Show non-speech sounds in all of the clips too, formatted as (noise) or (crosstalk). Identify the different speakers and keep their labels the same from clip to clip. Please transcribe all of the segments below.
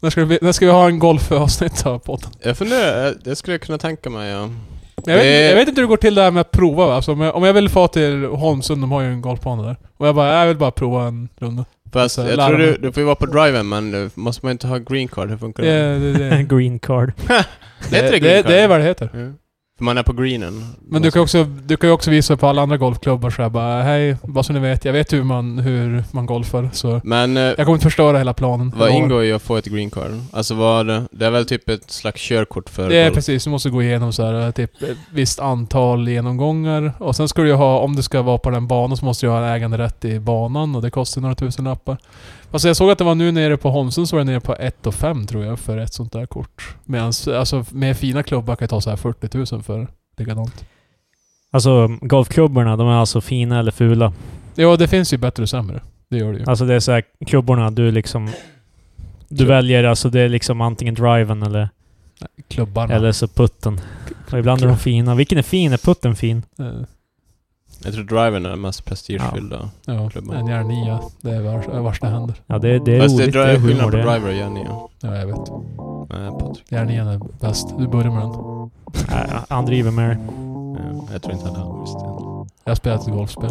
Speaker 1: När ska vi, när ska vi ha en golfavsnitt av podden?
Speaker 2: Jag funderar, eh, det skulle jag kunna tänka mig ja.
Speaker 1: Jag vet,
Speaker 2: Eh.
Speaker 1: jag vet inte hur det går till det här med att prova va? Alltså, om, jag, om jag vill få till Holmsund, de har ju en golfbana där. Och jag bara, jag vill bara prova en runda.
Speaker 2: Fast
Speaker 1: Så
Speaker 2: jag
Speaker 1: Alltså, lära
Speaker 2: tror du,
Speaker 1: mig.
Speaker 2: du får ju vara på driven men du, måste man inte ha green card? Hur funkar
Speaker 1: Det,
Speaker 2: (laughs) det?
Speaker 1: det,
Speaker 2: Mm.
Speaker 1: det,
Speaker 3: (laughs) Green card.
Speaker 2: Heter
Speaker 1: det,
Speaker 2: green
Speaker 1: det,
Speaker 2: card?
Speaker 1: det är vad det heter.
Speaker 2: Ja. För man är på greenen.
Speaker 1: Men
Speaker 2: Alltså.
Speaker 1: du kan, också, du kan ju också visa på alla andra golfklubbar så här bara, hej, bara så ni vet, jag vet hur man, hur man golfar. Så
Speaker 2: Men eh,
Speaker 1: jag kommer inte förstöra hela planen.
Speaker 2: vad
Speaker 1: Jag lovar.
Speaker 2: ingår i att få ett green card? Alltså vad, det är väl typ ett slags körkort för
Speaker 1: Det är
Speaker 2: golf.
Speaker 1: precis, du måste gå igenom så här, typ ett visst antal genomgångar. Och sen ska du ju ha, om du ska vara på den banan så måste du ha en äganderätt i banan och det kostar några tusen lappar. Alltså jag såg att det var nu nere på Holmsund så var det nere på 1 5 tror jag för ett sånt där kort. Medan, alltså med fina klubbar kan jag ta så här 40 000 för likadant.
Speaker 3: Alltså golfklubborna, de är alltså fina eller fula.
Speaker 1: Jo, det finns ju bättre och sämre. Det gör det ju.
Speaker 3: Alltså det är så här, klubborna du liksom... Du
Speaker 1: Klubb.
Speaker 3: väljer alltså det är liksom antingen driven eller,
Speaker 1: Klubbarna.
Speaker 3: eller så putten. Och ibland är de fina. Vilken är fin? Är putten fin?
Speaker 1: Eh,
Speaker 2: Jag tror driven är den mest prestigefyllda.
Speaker 1: Ja,
Speaker 2: Klubban.
Speaker 1: en järnia. Det är vars, är vars det händer.
Speaker 3: Ja, det, det är
Speaker 2: Fast det är,
Speaker 3: roligt. Det är
Speaker 2: dri-
Speaker 3: humor
Speaker 2: skillnad på
Speaker 3: det.
Speaker 2: driver och Janne.
Speaker 1: Ja, jag vet.
Speaker 2: Nej, Patrik.
Speaker 1: Järnian är bäst. Du börjar med den.
Speaker 3: Nej, Han driver med det.
Speaker 2: Ja, Eh, jag tror inte han
Speaker 1: (laughs)
Speaker 2: har visst det.
Speaker 1: Jag har spelat ett golfspel.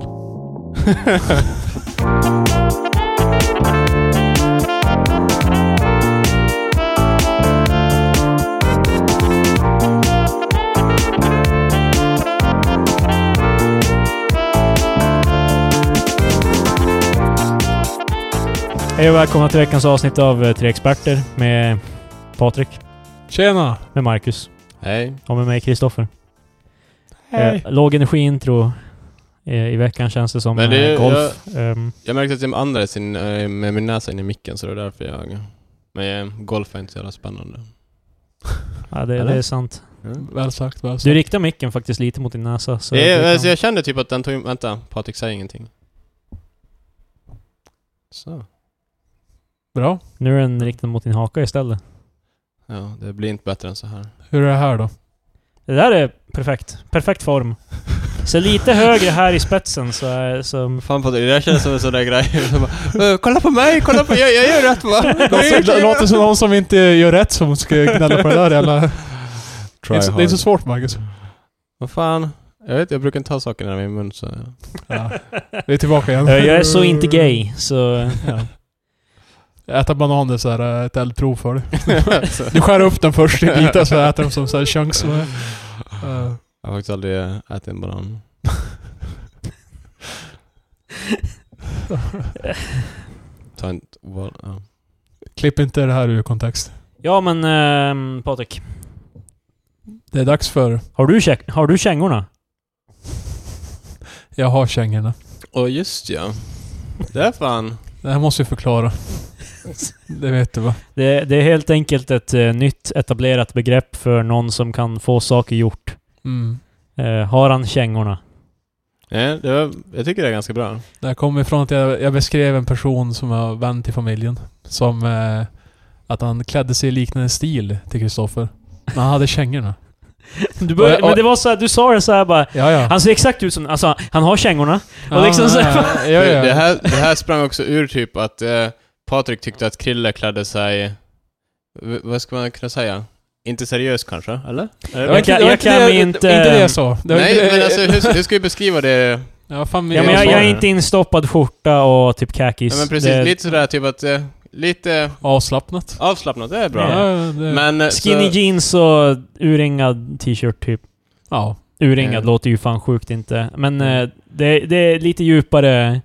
Speaker 3: Hej och välkomna till veckans avsnitt av eh, Tre Experter med Patrik,
Speaker 1: Tjena!
Speaker 3: med Marcus
Speaker 2: Hej.
Speaker 3: och med mig Kristoffer. Eh, låg energi-intro eh, i veckan känns det som.
Speaker 2: Men det-
Speaker 3: eh, golf. Ehm,
Speaker 2: Jag märkte att jag andades in, eh, med min näsa in i micken så det är därför jag... Men eh, golf är inte så jävla spännande.
Speaker 3: ja, det,
Speaker 2: Eller?
Speaker 3: det är sant.
Speaker 1: Väl sagt, väl sagt.
Speaker 3: Du riktar micken faktiskt lite mot din näsa. Så
Speaker 2: Det,
Speaker 3: det
Speaker 2: är-
Speaker 3: kan-
Speaker 2: alltså, jag kände typ att den tog... Vänta, Patrik säger ingenting. Så.
Speaker 1: Bra.
Speaker 3: Nu är den riktad mot din haka istället.
Speaker 2: Ja, det blir inte bättre än så här.
Speaker 1: Hur är det här då?
Speaker 3: Det där är perfekt. Perfekt form. Så lite högre här i spetsen så... är- så
Speaker 2: Fan Patrik, det där känns som en sån där grej. (laughs) som bara, "Eh, kolla på mig, kolla på... Jag, jag gör rätt (laughs) va?
Speaker 1: Låter, låter som någon som inte gör rätt som ska gnälla på det där
Speaker 3: (laughs)
Speaker 1: jävla... Det är, inte, det är inte så svårt Marcus.
Speaker 2: Vad fan? Jag vet jag brukar inte ta saker nära min mun (laughs) så...
Speaker 1: Ja. Vi är tillbaka igen.
Speaker 3: Eh, jag är så inte gay, så...
Speaker 1: Ja. Äta bananer så här, äh, ett eldprov för dig.
Speaker 2: så.
Speaker 1: Du skär upp den först i bitar så äter de som så här chunks. Med.
Speaker 2: Jag har faktiskt aldrig eh, ätit
Speaker 1: (laughs)
Speaker 2: en banan. Ta inte... Well, ja.
Speaker 1: klipp inte det här ur kontext.
Speaker 3: Ja men ehm, Patrik.
Speaker 1: Det är dags för...
Speaker 3: Har du, käk- har du kängorna?
Speaker 1: Jag har kängorna.
Speaker 2: Och just ja. Det är fan...
Speaker 1: Det här måste vi förklara. Det vet du va?
Speaker 3: Det, det är helt enkelt ett eh, nytt etablerat begrepp för någon som kan få saker gjort.
Speaker 1: Mm.
Speaker 3: Eh, har han kängorna?
Speaker 2: Nej, det var, jag tycker det är ganska bra.
Speaker 1: Det här kommer ifrån att jag, jag beskrev en person som jag har vän till familjen. Som... Eh, att han klädde sig i liknande stil till Kristoffer. Men han hade kängorna.
Speaker 3: Du,
Speaker 1: började-
Speaker 3: började, men det var så här, du sa det så här bara...
Speaker 1: (laughs) Ja, ja.
Speaker 3: Han ser exakt ut som... Alltså han har kängorna. och liksom så-
Speaker 1: ja, (laughs) ja,
Speaker 2: Det, det,
Speaker 1: ja.
Speaker 2: här, det här sprang också ur typ att eh, Patrik tyckte att Krille klädde sig... v- Vad ska man kunna säga? Inte seriös kanske, eller?
Speaker 1: Det
Speaker 2: Eller?
Speaker 1: var
Speaker 3: Jag
Speaker 1: inte-
Speaker 3: kan-
Speaker 1: det var
Speaker 3: jag
Speaker 1: inte
Speaker 3: kan
Speaker 1: det-
Speaker 3: inte-
Speaker 1: Inte det jag sa. Det var
Speaker 2: Nej,
Speaker 1: inte det-
Speaker 2: men alltså hur, (laughs) hur ska vi beskriva det?
Speaker 1: Ja, fan,
Speaker 3: Ja, men jag, jag är inte instoppad skjorta och typ khakis.
Speaker 2: Ja, men precis,
Speaker 3: Det-
Speaker 2: lite sådär typ att... eh, lite
Speaker 1: Avslappnat.
Speaker 2: avslappnat, det är bra.
Speaker 3: Ja.
Speaker 1: Ja, det,
Speaker 2: Men... eh,
Speaker 3: Skinny
Speaker 2: så,
Speaker 3: jeans och urringad t-shirt typ.
Speaker 1: ja.
Speaker 3: Urringad
Speaker 2: Mm.
Speaker 3: låter ju fan sjukt inte. Men eh, det, det är lite djupare.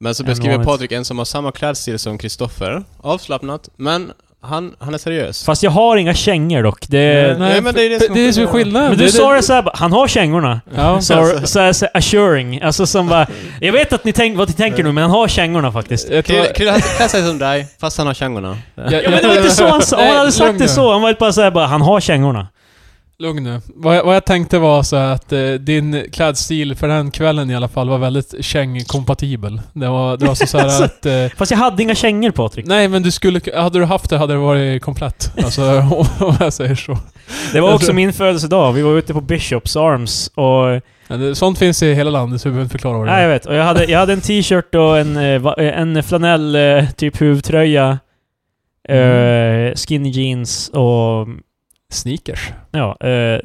Speaker 2: men så
Speaker 3: än
Speaker 2: beskriver
Speaker 3: vanligt.
Speaker 2: Patrik en som har samma klädstil som Kristoffer. Avslappnat, men han, han är seriös.
Speaker 3: Fast jag har inga kängor dock. Det,
Speaker 2: Nej, men det är det
Speaker 1: Eh,
Speaker 2: som-
Speaker 1: det är som skillnaden.
Speaker 3: men du sa det såhär bara, han har kängorna.
Speaker 1: Ja,
Speaker 3: Så, så, så, så assuring. Alltså som bara, jag vet att ni tänk, vad ni tänker nu, men han har kängorna faktiskt.
Speaker 1: jag tror...
Speaker 2: Krille, Krille han klär sig som dig, fast han har kängorna.
Speaker 3: Ja men det var inte så han sa. Om han hade sagt det så, han var bara såhär bara, han har kängorna.
Speaker 1: Lugn nu. Vad jag, vad jag tänkte var så här att eh, din klädstil för den kvällen i alla fall var väldigt kängkompatibel. Det var, det var så, så
Speaker 3: (laughs)
Speaker 1: här att... Eh,
Speaker 3: Fast jag hade inga kängor Patrik.
Speaker 1: nej men du skulle... Hade du haft det hade det varit komplett. Alltså (laughs) om om jag säger så.
Speaker 3: Det var också min födelsedag. Vi var ute på Bishops Arms och
Speaker 1: Men det- Sånt finns i hela landet så vi behöver inte förklara vad det
Speaker 3: Nej, jag
Speaker 1: är.
Speaker 3: vet. Och jag hade, jag hade en t-shirt och en, eh, va- eh, en flanell eh, typ huvtröja.
Speaker 1: Mm.
Speaker 3: Eh, skinny jeans och... (laughs)
Speaker 1: Sneakers.
Speaker 3: Ja, eh,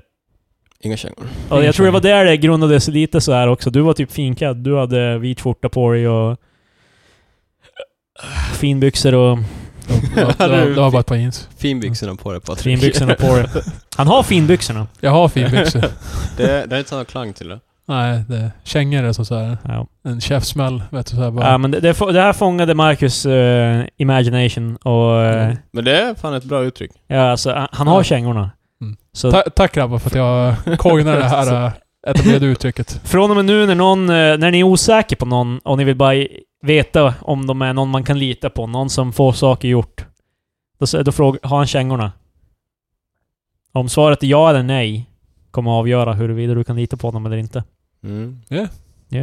Speaker 2: Inga kängor.
Speaker 3: och jag tror det var där det grundades lite så här också. Du var typ finklädd. Du hade vit skjorta på dig och... Finbyxor och
Speaker 1: Det var, det var, det var bara ett par jeans.
Speaker 2: Finbyxorna på dig Patrik.
Speaker 3: Mm. finbyxorna på dig.
Speaker 2: (laughs)
Speaker 3: Han har finbyxorna.
Speaker 1: Jag har
Speaker 3: (laughs)
Speaker 1: finbyxor.
Speaker 2: Det, det är inte någon klang till det.
Speaker 1: Nej, det, kängor är som så här
Speaker 3: Ja.
Speaker 1: en käftsmäll. Vet du, så här bara.
Speaker 3: Ja, men det, det, få- det här fångade Marcus eh, imagination och...
Speaker 1: Mm.
Speaker 3: eh,
Speaker 2: Men det är fan ett bra uttryck.
Speaker 3: ja, alltså, han- han har
Speaker 1: Ja.
Speaker 3: kängorna.
Speaker 1: Mm.
Speaker 3: Så
Speaker 1: Ta, tack grabbar för att jag coinade det
Speaker 3: (laughs)
Speaker 1: här äh, etablerade uttrycket.
Speaker 3: från och med nu när någon, eh, när ni är osäker på någon och ni vill bara i- veta om de är någon man kan lita på, någon som får saker gjort. Då, s- då frågar, har han kängorna? Om svaret är ja eller nej kommer avgöra huruvida du kan lita på honom eller inte.
Speaker 2: Mm.
Speaker 3: Yeah.
Speaker 2: Det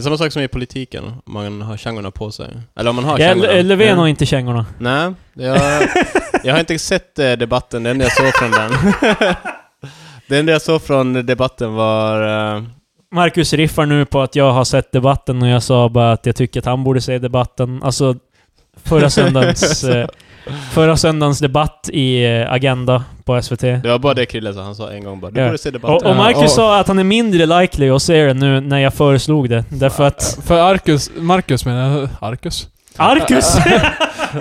Speaker 2: är samma sak som i politiken, om man har kängorna på sig. Eller om man har
Speaker 3: Ja,
Speaker 2: kängorna.
Speaker 3: L- Löfven
Speaker 2: Mm.
Speaker 3: har inte kängorna.
Speaker 2: Nej, jag, jag har inte sett eh, debatten. Det enda jag såg från den... (laughs) det enda jag såg från debatten var... eh,
Speaker 3: Marcus riffar nu på att jag har sett debatten och jag sa bara att jag tycker att han borde se debatten. Alltså, förra (laughs) söndagens, eh, förra söndagens debatt i eh, Agenda på SVT.
Speaker 2: det var bara det Krille sa. Han sa en gång bara du
Speaker 3: Ja.
Speaker 2: borde se debatten.
Speaker 3: Och, och Marcus
Speaker 1: Ja, och-
Speaker 3: sa att han är mindre likely att se den nu när jag föreslog det. Därför att...
Speaker 1: För Arkus, Marcus menar jag, Arkus?
Speaker 3: Arkus!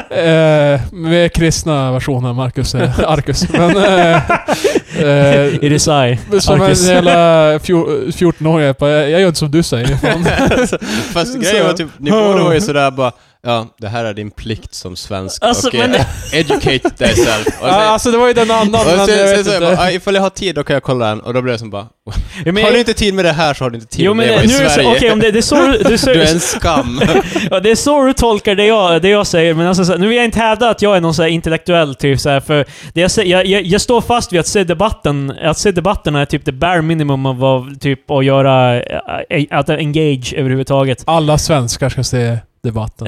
Speaker 1: Eh, med kristna versionen av Marcus, eh, Arkus. Men... Eh, eh,
Speaker 3: (laughs) It is I.
Speaker 1: som en
Speaker 3: Arkus.
Speaker 1: jävla fjor- 14-åring, jag bara, jag jag gör inte som du säger.
Speaker 2: (laughs)
Speaker 1: Fan.
Speaker 2: Alltså, Fast
Speaker 1: Så.
Speaker 2: grejen var typ, ni båda var ju sådär bara Ja, det här är din plikt som svensk.
Speaker 3: Alltså,
Speaker 2: Okej,
Speaker 3: men-
Speaker 2: Educate thyself. Och sen,
Speaker 1: (laughs) Ja, alltså det var ju den
Speaker 2: och
Speaker 1: andan,
Speaker 2: sen,
Speaker 1: men jag
Speaker 2: sen,
Speaker 1: vet
Speaker 2: så jag bara,
Speaker 1: inte.
Speaker 2: "Ah, ifall jag har tid då kan jag kolla den. Och då blev det som bara,
Speaker 3: Ja, men,
Speaker 2: har du inte tid med det här så har du inte tid
Speaker 3: jo
Speaker 2: med
Speaker 3: men
Speaker 2: att
Speaker 3: nu
Speaker 2: leva i
Speaker 3: är det så-
Speaker 2: Sverige.
Speaker 3: okej om det, det är så du... du,
Speaker 2: du är en
Speaker 3: (laughs)
Speaker 2: skam.
Speaker 3: Ja, det är så du tolkar det jag, det jag säger, men alltså, så här, nu vill jag inte hävda att jag är någon så här intellektuell typ så här, för det jag, säger, jag, jag, jag står fast vid att se debatten, att se debatterna är typ det bare minimum av vad, typ att göra, eh, att engage överhuvudtaget.
Speaker 1: Alla svenskar ska se debatten.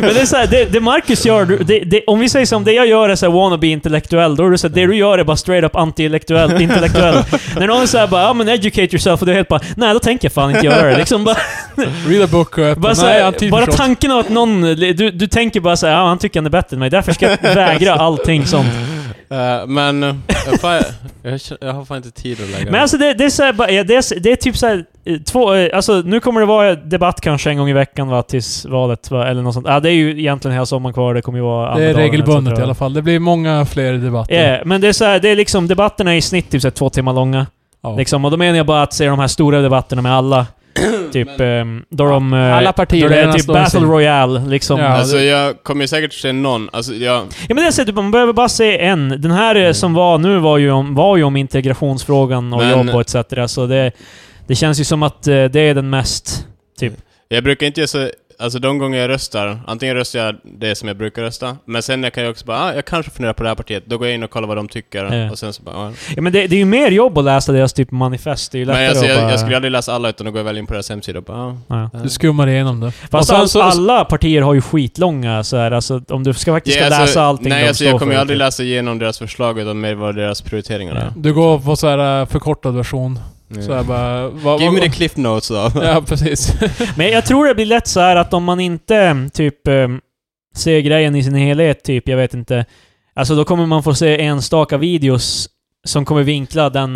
Speaker 3: Men det är så här, det, det Marcus gör, du- det, det, om vi säger som det jag gör är så här wannabe intellektuell, då är det så här, det du gör är bara straight up anti-intellektuell. Intellektuell. När någon säger bara ja men educate yourself, och du är helt bara nej då tänker jag fan inte göra det. Liksom bara,
Speaker 1: Read a book och öppna.
Speaker 3: Bara, så
Speaker 1: Nej,
Speaker 3: här, bara
Speaker 1: antiförstått.
Speaker 3: tanken av att någon... Du, du tänker bara såhär, ja, han tycker han är bättre än mig, därför ska jag vägra allting sånt.
Speaker 2: (laughs) Eh, men, eh, fan, jag, jag, jag har fan inte tid att lägga
Speaker 3: Men alltså det, det är såhär, bara- ja, det, är, s- det är typ såhär, eh, två... eh, Alltså nu kommer det vara debatt kanske en gång i veckan va, tills valet va, eller något sånt. Ja, det är ju egentligen hela sommaren kvar, det kommer ju vara
Speaker 1: Det är
Speaker 3: Almedalen,
Speaker 1: regelbundet
Speaker 3: etc.
Speaker 1: i alla fall. Det blir många fler debatter.
Speaker 3: Ja, Eh, men det är såhär, det är liksom, debatterna är i snitt typ såhär två timmar långa.
Speaker 1: Ja.
Speaker 3: Liksom, och då menar jag bara att se de här stora debatterna med
Speaker 2: (clears throat)
Speaker 3: alla. typ, ehm, då de... eh,
Speaker 1: Alla partier
Speaker 3: Då det är
Speaker 1: redan
Speaker 3: typ
Speaker 1: står i
Speaker 3: Battle
Speaker 1: sin-
Speaker 3: Royale, liksom.
Speaker 1: Ja,
Speaker 2: Alltså
Speaker 1: det-
Speaker 2: jag kommer ju säkert se någon, alltså jag...
Speaker 3: Ja men det är så att man behöver bara se en. Den här eh,
Speaker 2: Mm.
Speaker 3: som var nu var ju om, var ju om integrationsfrågan och
Speaker 2: Men-
Speaker 3: jobb och etc. Så det, det känns ju som att eh, det är den mest...
Speaker 2: Jag brukar inte göra så... Alltså de gånger jag röstar, antingen röstar jag det som jag brukar rösta, men sen jag kan jag också bara, ah, jag kanske funderar på det här partiet. Då går jag in och kollar vad de tycker,
Speaker 3: Ja.
Speaker 2: och sen så bara, ah.
Speaker 3: Ja men det, det är ju mer jobb att läsa deras typ manifest. Det är ju lättare
Speaker 2: Men alltså,
Speaker 3: att
Speaker 2: jag,
Speaker 3: bara...
Speaker 2: jag skulle aldrig läsa alla, utan då går jag väl in på deras hemsida och bara, ah.
Speaker 3: Ja.
Speaker 1: Du skummar igenom det. Och
Speaker 3: Fast
Speaker 1: sen
Speaker 3: all,
Speaker 1: så-
Speaker 3: alla partier har ju skitlånga så här, alltså om du ska faktiskt
Speaker 2: Ja,
Speaker 3: ska
Speaker 2: alltså,
Speaker 3: läsa allting
Speaker 2: Nej,
Speaker 3: de
Speaker 2: alltså
Speaker 3: står
Speaker 2: jag kommer ju
Speaker 3: för,
Speaker 2: aldrig
Speaker 3: typ.
Speaker 2: läsa igenom deras förslag, utan mer vad deras prioriteringar är.
Speaker 1: Du går på så här eh, förkortad version.
Speaker 2: Mm.
Speaker 1: Så här bara... Vad,
Speaker 2: Give me
Speaker 1: vad,
Speaker 2: the cliff notes då.
Speaker 1: (laughs) ja, precis.
Speaker 3: Men jag tror det blir lätt så här att om man inte typ eh, ser grejen i sin helhet, typ, jag vet inte. Alltså då kommer man få se enstaka videos som kommer
Speaker 2: (clears throat)
Speaker 3: vinkla den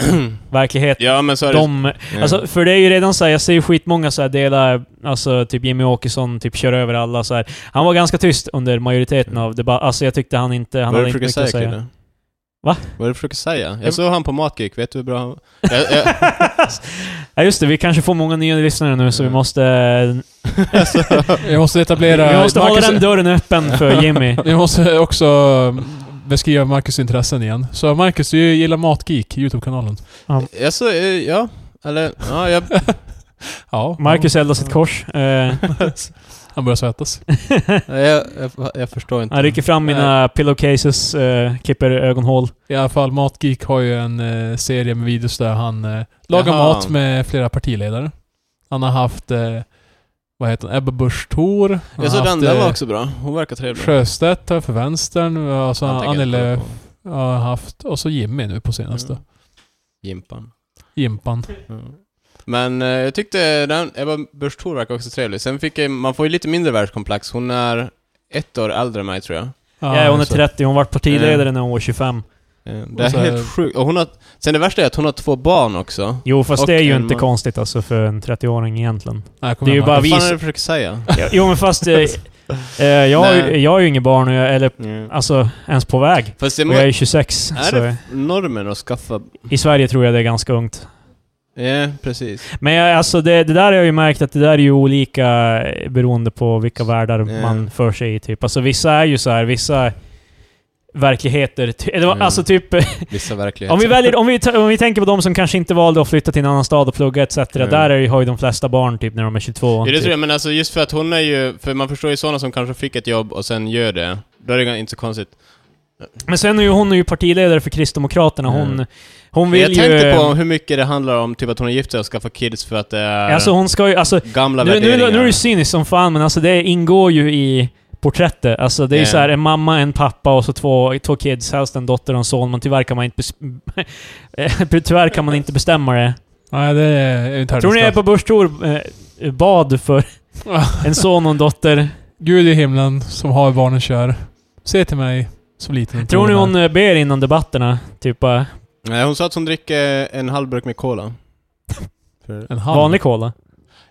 Speaker 3: verklighet
Speaker 2: ja, men så är det...
Speaker 3: de
Speaker 2: Ja.
Speaker 3: Alltså, för det är ju redan så här, jag ser ju skitmånga så här delar, alltså typ Jimmy Åkesson typ kör över alla så här. Han var ganska tyst under majoriteten av debatten, alltså jag tyckte han inte, han
Speaker 2: vad är det
Speaker 3: hade
Speaker 2: du
Speaker 3: inte
Speaker 2: försöker
Speaker 3: mycket att
Speaker 2: säga,
Speaker 3: (laughs) säga.
Speaker 2: Krille?
Speaker 3: Va?
Speaker 2: Vad är det du försöker säga?
Speaker 3: Ja.
Speaker 2: Jag såg han på Matgeek, vet du hur bra han... Jag, jag,
Speaker 3: (laughs) ja just det, vi kanske får många nya lyssnare nu så vi
Speaker 2: Ja.
Speaker 3: måste...
Speaker 1: Jag måste etablera...
Speaker 3: vi måste hålla
Speaker 1: Marcus-
Speaker 3: den dörren
Speaker 2: (laughs)
Speaker 3: öppen för Jimmy.
Speaker 1: (laughs) Vi måste också eh, beskriva Marcus intressen igen. Så Marcus, du gillar Matgeek, YouTube-kanalen.
Speaker 2: jag såg, eh, ja, eller, ja, jag...
Speaker 1: Ja.
Speaker 3: Marcus eldar sitt kors. Eh,
Speaker 1: (laughs) Han börjar svettas.
Speaker 2: Jag, jag, jag förstår inte.
Speaker 3: han rycker fram mina pillowcases, eh, klipper ögonhål.
Speaker 1: I alla fall, Matgeek har ju en eh, serie med videos där han eh, lagar
Speaker 2: Jaha.
Speaker 1: mat med flera partiledare. Han har haft... Eh, vad heter han? Ebba Busch Thor. Han har
Speaker 2: Jag såg den,
Speaker 1: haft,
Speaker 2: den
Speaker 1: eh,
Speaker 2: var också bra. Hon verkar trevlig.
Speaker 1: Sjöstedt har för vänstern, och så
Speaker 2: Han tänker
Speaker 1: Annie
Speaker 2: inte kolla
Speaker 1: Lööf
Speaker 2: på
Speaker 1: har haft, och så Jimmy nu på senaste.
Speaker 2: Mm. Gimpan. Mm.
Speaker 1: Jimpan.
Speaker 2: Men eh, jag tyckte den, Ebba Busch Thor verkar också trevlig. Sen fick jag, man får ju lite mindre världskomplex. Hon är ett år äldre än mig tror jag.
Speaker 1: Ja,
Speaker 3: jag är under
Speaker 1: just det.
Speaker 3: 30, hon var partiledare när hon var 25.
Speaker 2: Eh, Det är
Speaker 1: Och så är-
Speaker 2: helt sjukt. Och hon har... Sen det värsta är att hon har två barn också.
Speaker 3: Jo, fast
Speaker 2: Och
Speaker 3: det är ju
Speaker 2: en
Speaker 3: inte
Speaker 2: man.
Speaker 3: konstigt alltså för en 30-åring egentligen.
Speaker 1: Nej, kom
Speaker 3: Det är
Speaker 1: igen,
Speaker 3: ju bara
Speaker 1: Marcus.
Speaker 2: Vad
Speaker 3: vi-
Speaker 2: fan är det du försöker säga?
Speaker 3: Jo, men fast... Eh, eh, jag, har ju,
Speaker 2: Nej.
Speaker 3: jag är ju inget barn, och jag, eller
Speaker 2: Ja.
Speaker 3: alltså ens på väg.
Speaker 2: Fast det
Speaker 3: Och jag
Speaker 2: är
Speaker 3: är 26,
Speaker 2: Är
Speaker 3: så
Speaker 2: det- normen att skaffa...
Speaker 3: i Sverige tror jag det är ganska ungt.
Speaker 2: Ja, precis.
Speaker 3: Men jag, alltså det, det där har jag ju märkt att det där är ju olika eh, beroende på vilka världar
Speaker 2: Ja.
Speaker 3: man för sig i typ. Alltså vissa är ju så här, vissa verkligheter. Ty, eller,
Speaker 2: Ja.
Speaker 3: Alltså typ,
Speaker 2: Vissa verkligheter.
Speaker 3: (laughs) om vi, väljer, om, vi, ta- om vi tänker på de som kanske inte valde att flytta till en annan stad och plugga etc.
Speaker 2: Ja.
Speaker 3: Där är, ju- har ju de flesta barn typ när de är 22.
Speaker 2: Ja, det
Speaker 3: typ.
Speaker 2: tror jag, men alltså just för att hon är ju... För man förstår ju sådana som kanske fick ett jobb och sen gör det. Då är det inte så konstigt.
Speaker 3: Men sen är ju hon är ju partiledare för Kristdemokraterna. Hon,
Speaker 2: Mm.
Speaker 3: hon
Speaker 2: Men jag
Speaker 3: vill
Speaker 2: tänkte
Speaker 3: ju...
Speaker 2: på hur mycket det handlar om typ att hon är gift sig och skaffar kids för att det är
Speaker 3: Alltså hon ska ju... Alltså,
Speaker 2: gamla
Speaker 3: nu, nu,
Speaker 2: värderingar.
Speaker 3: nu är det cyniskt som fan, men alltså det ingår ju i porträttet. Alltså det är ju
Speaker 2: Ja.
Speaker 3: så här en mamma, en pappa och så två, två kids. Helst en dotter och en son, men tyvärr kan man inte, bes- (laughs) tyvärr kan man inte bestämma det.
Speaker 1: Nej, det är ju inte
Speaker 3: Tror ni jag är på börstor eh, bad för en son och en dotter?
Speaker 1: Gud i himlen som har barnen kär. Se till mig som liten.
Speaker 3: Tror ni
Speaker 1: jag.
Speaker 3: hon eh, ber innan debatterna? Typ bara,
Speaker 2: Nej, hon sa att hon dricker en halv burk med cola. För-
Speaker 1: En hand.
Speaker 3: eh, vanlig cola?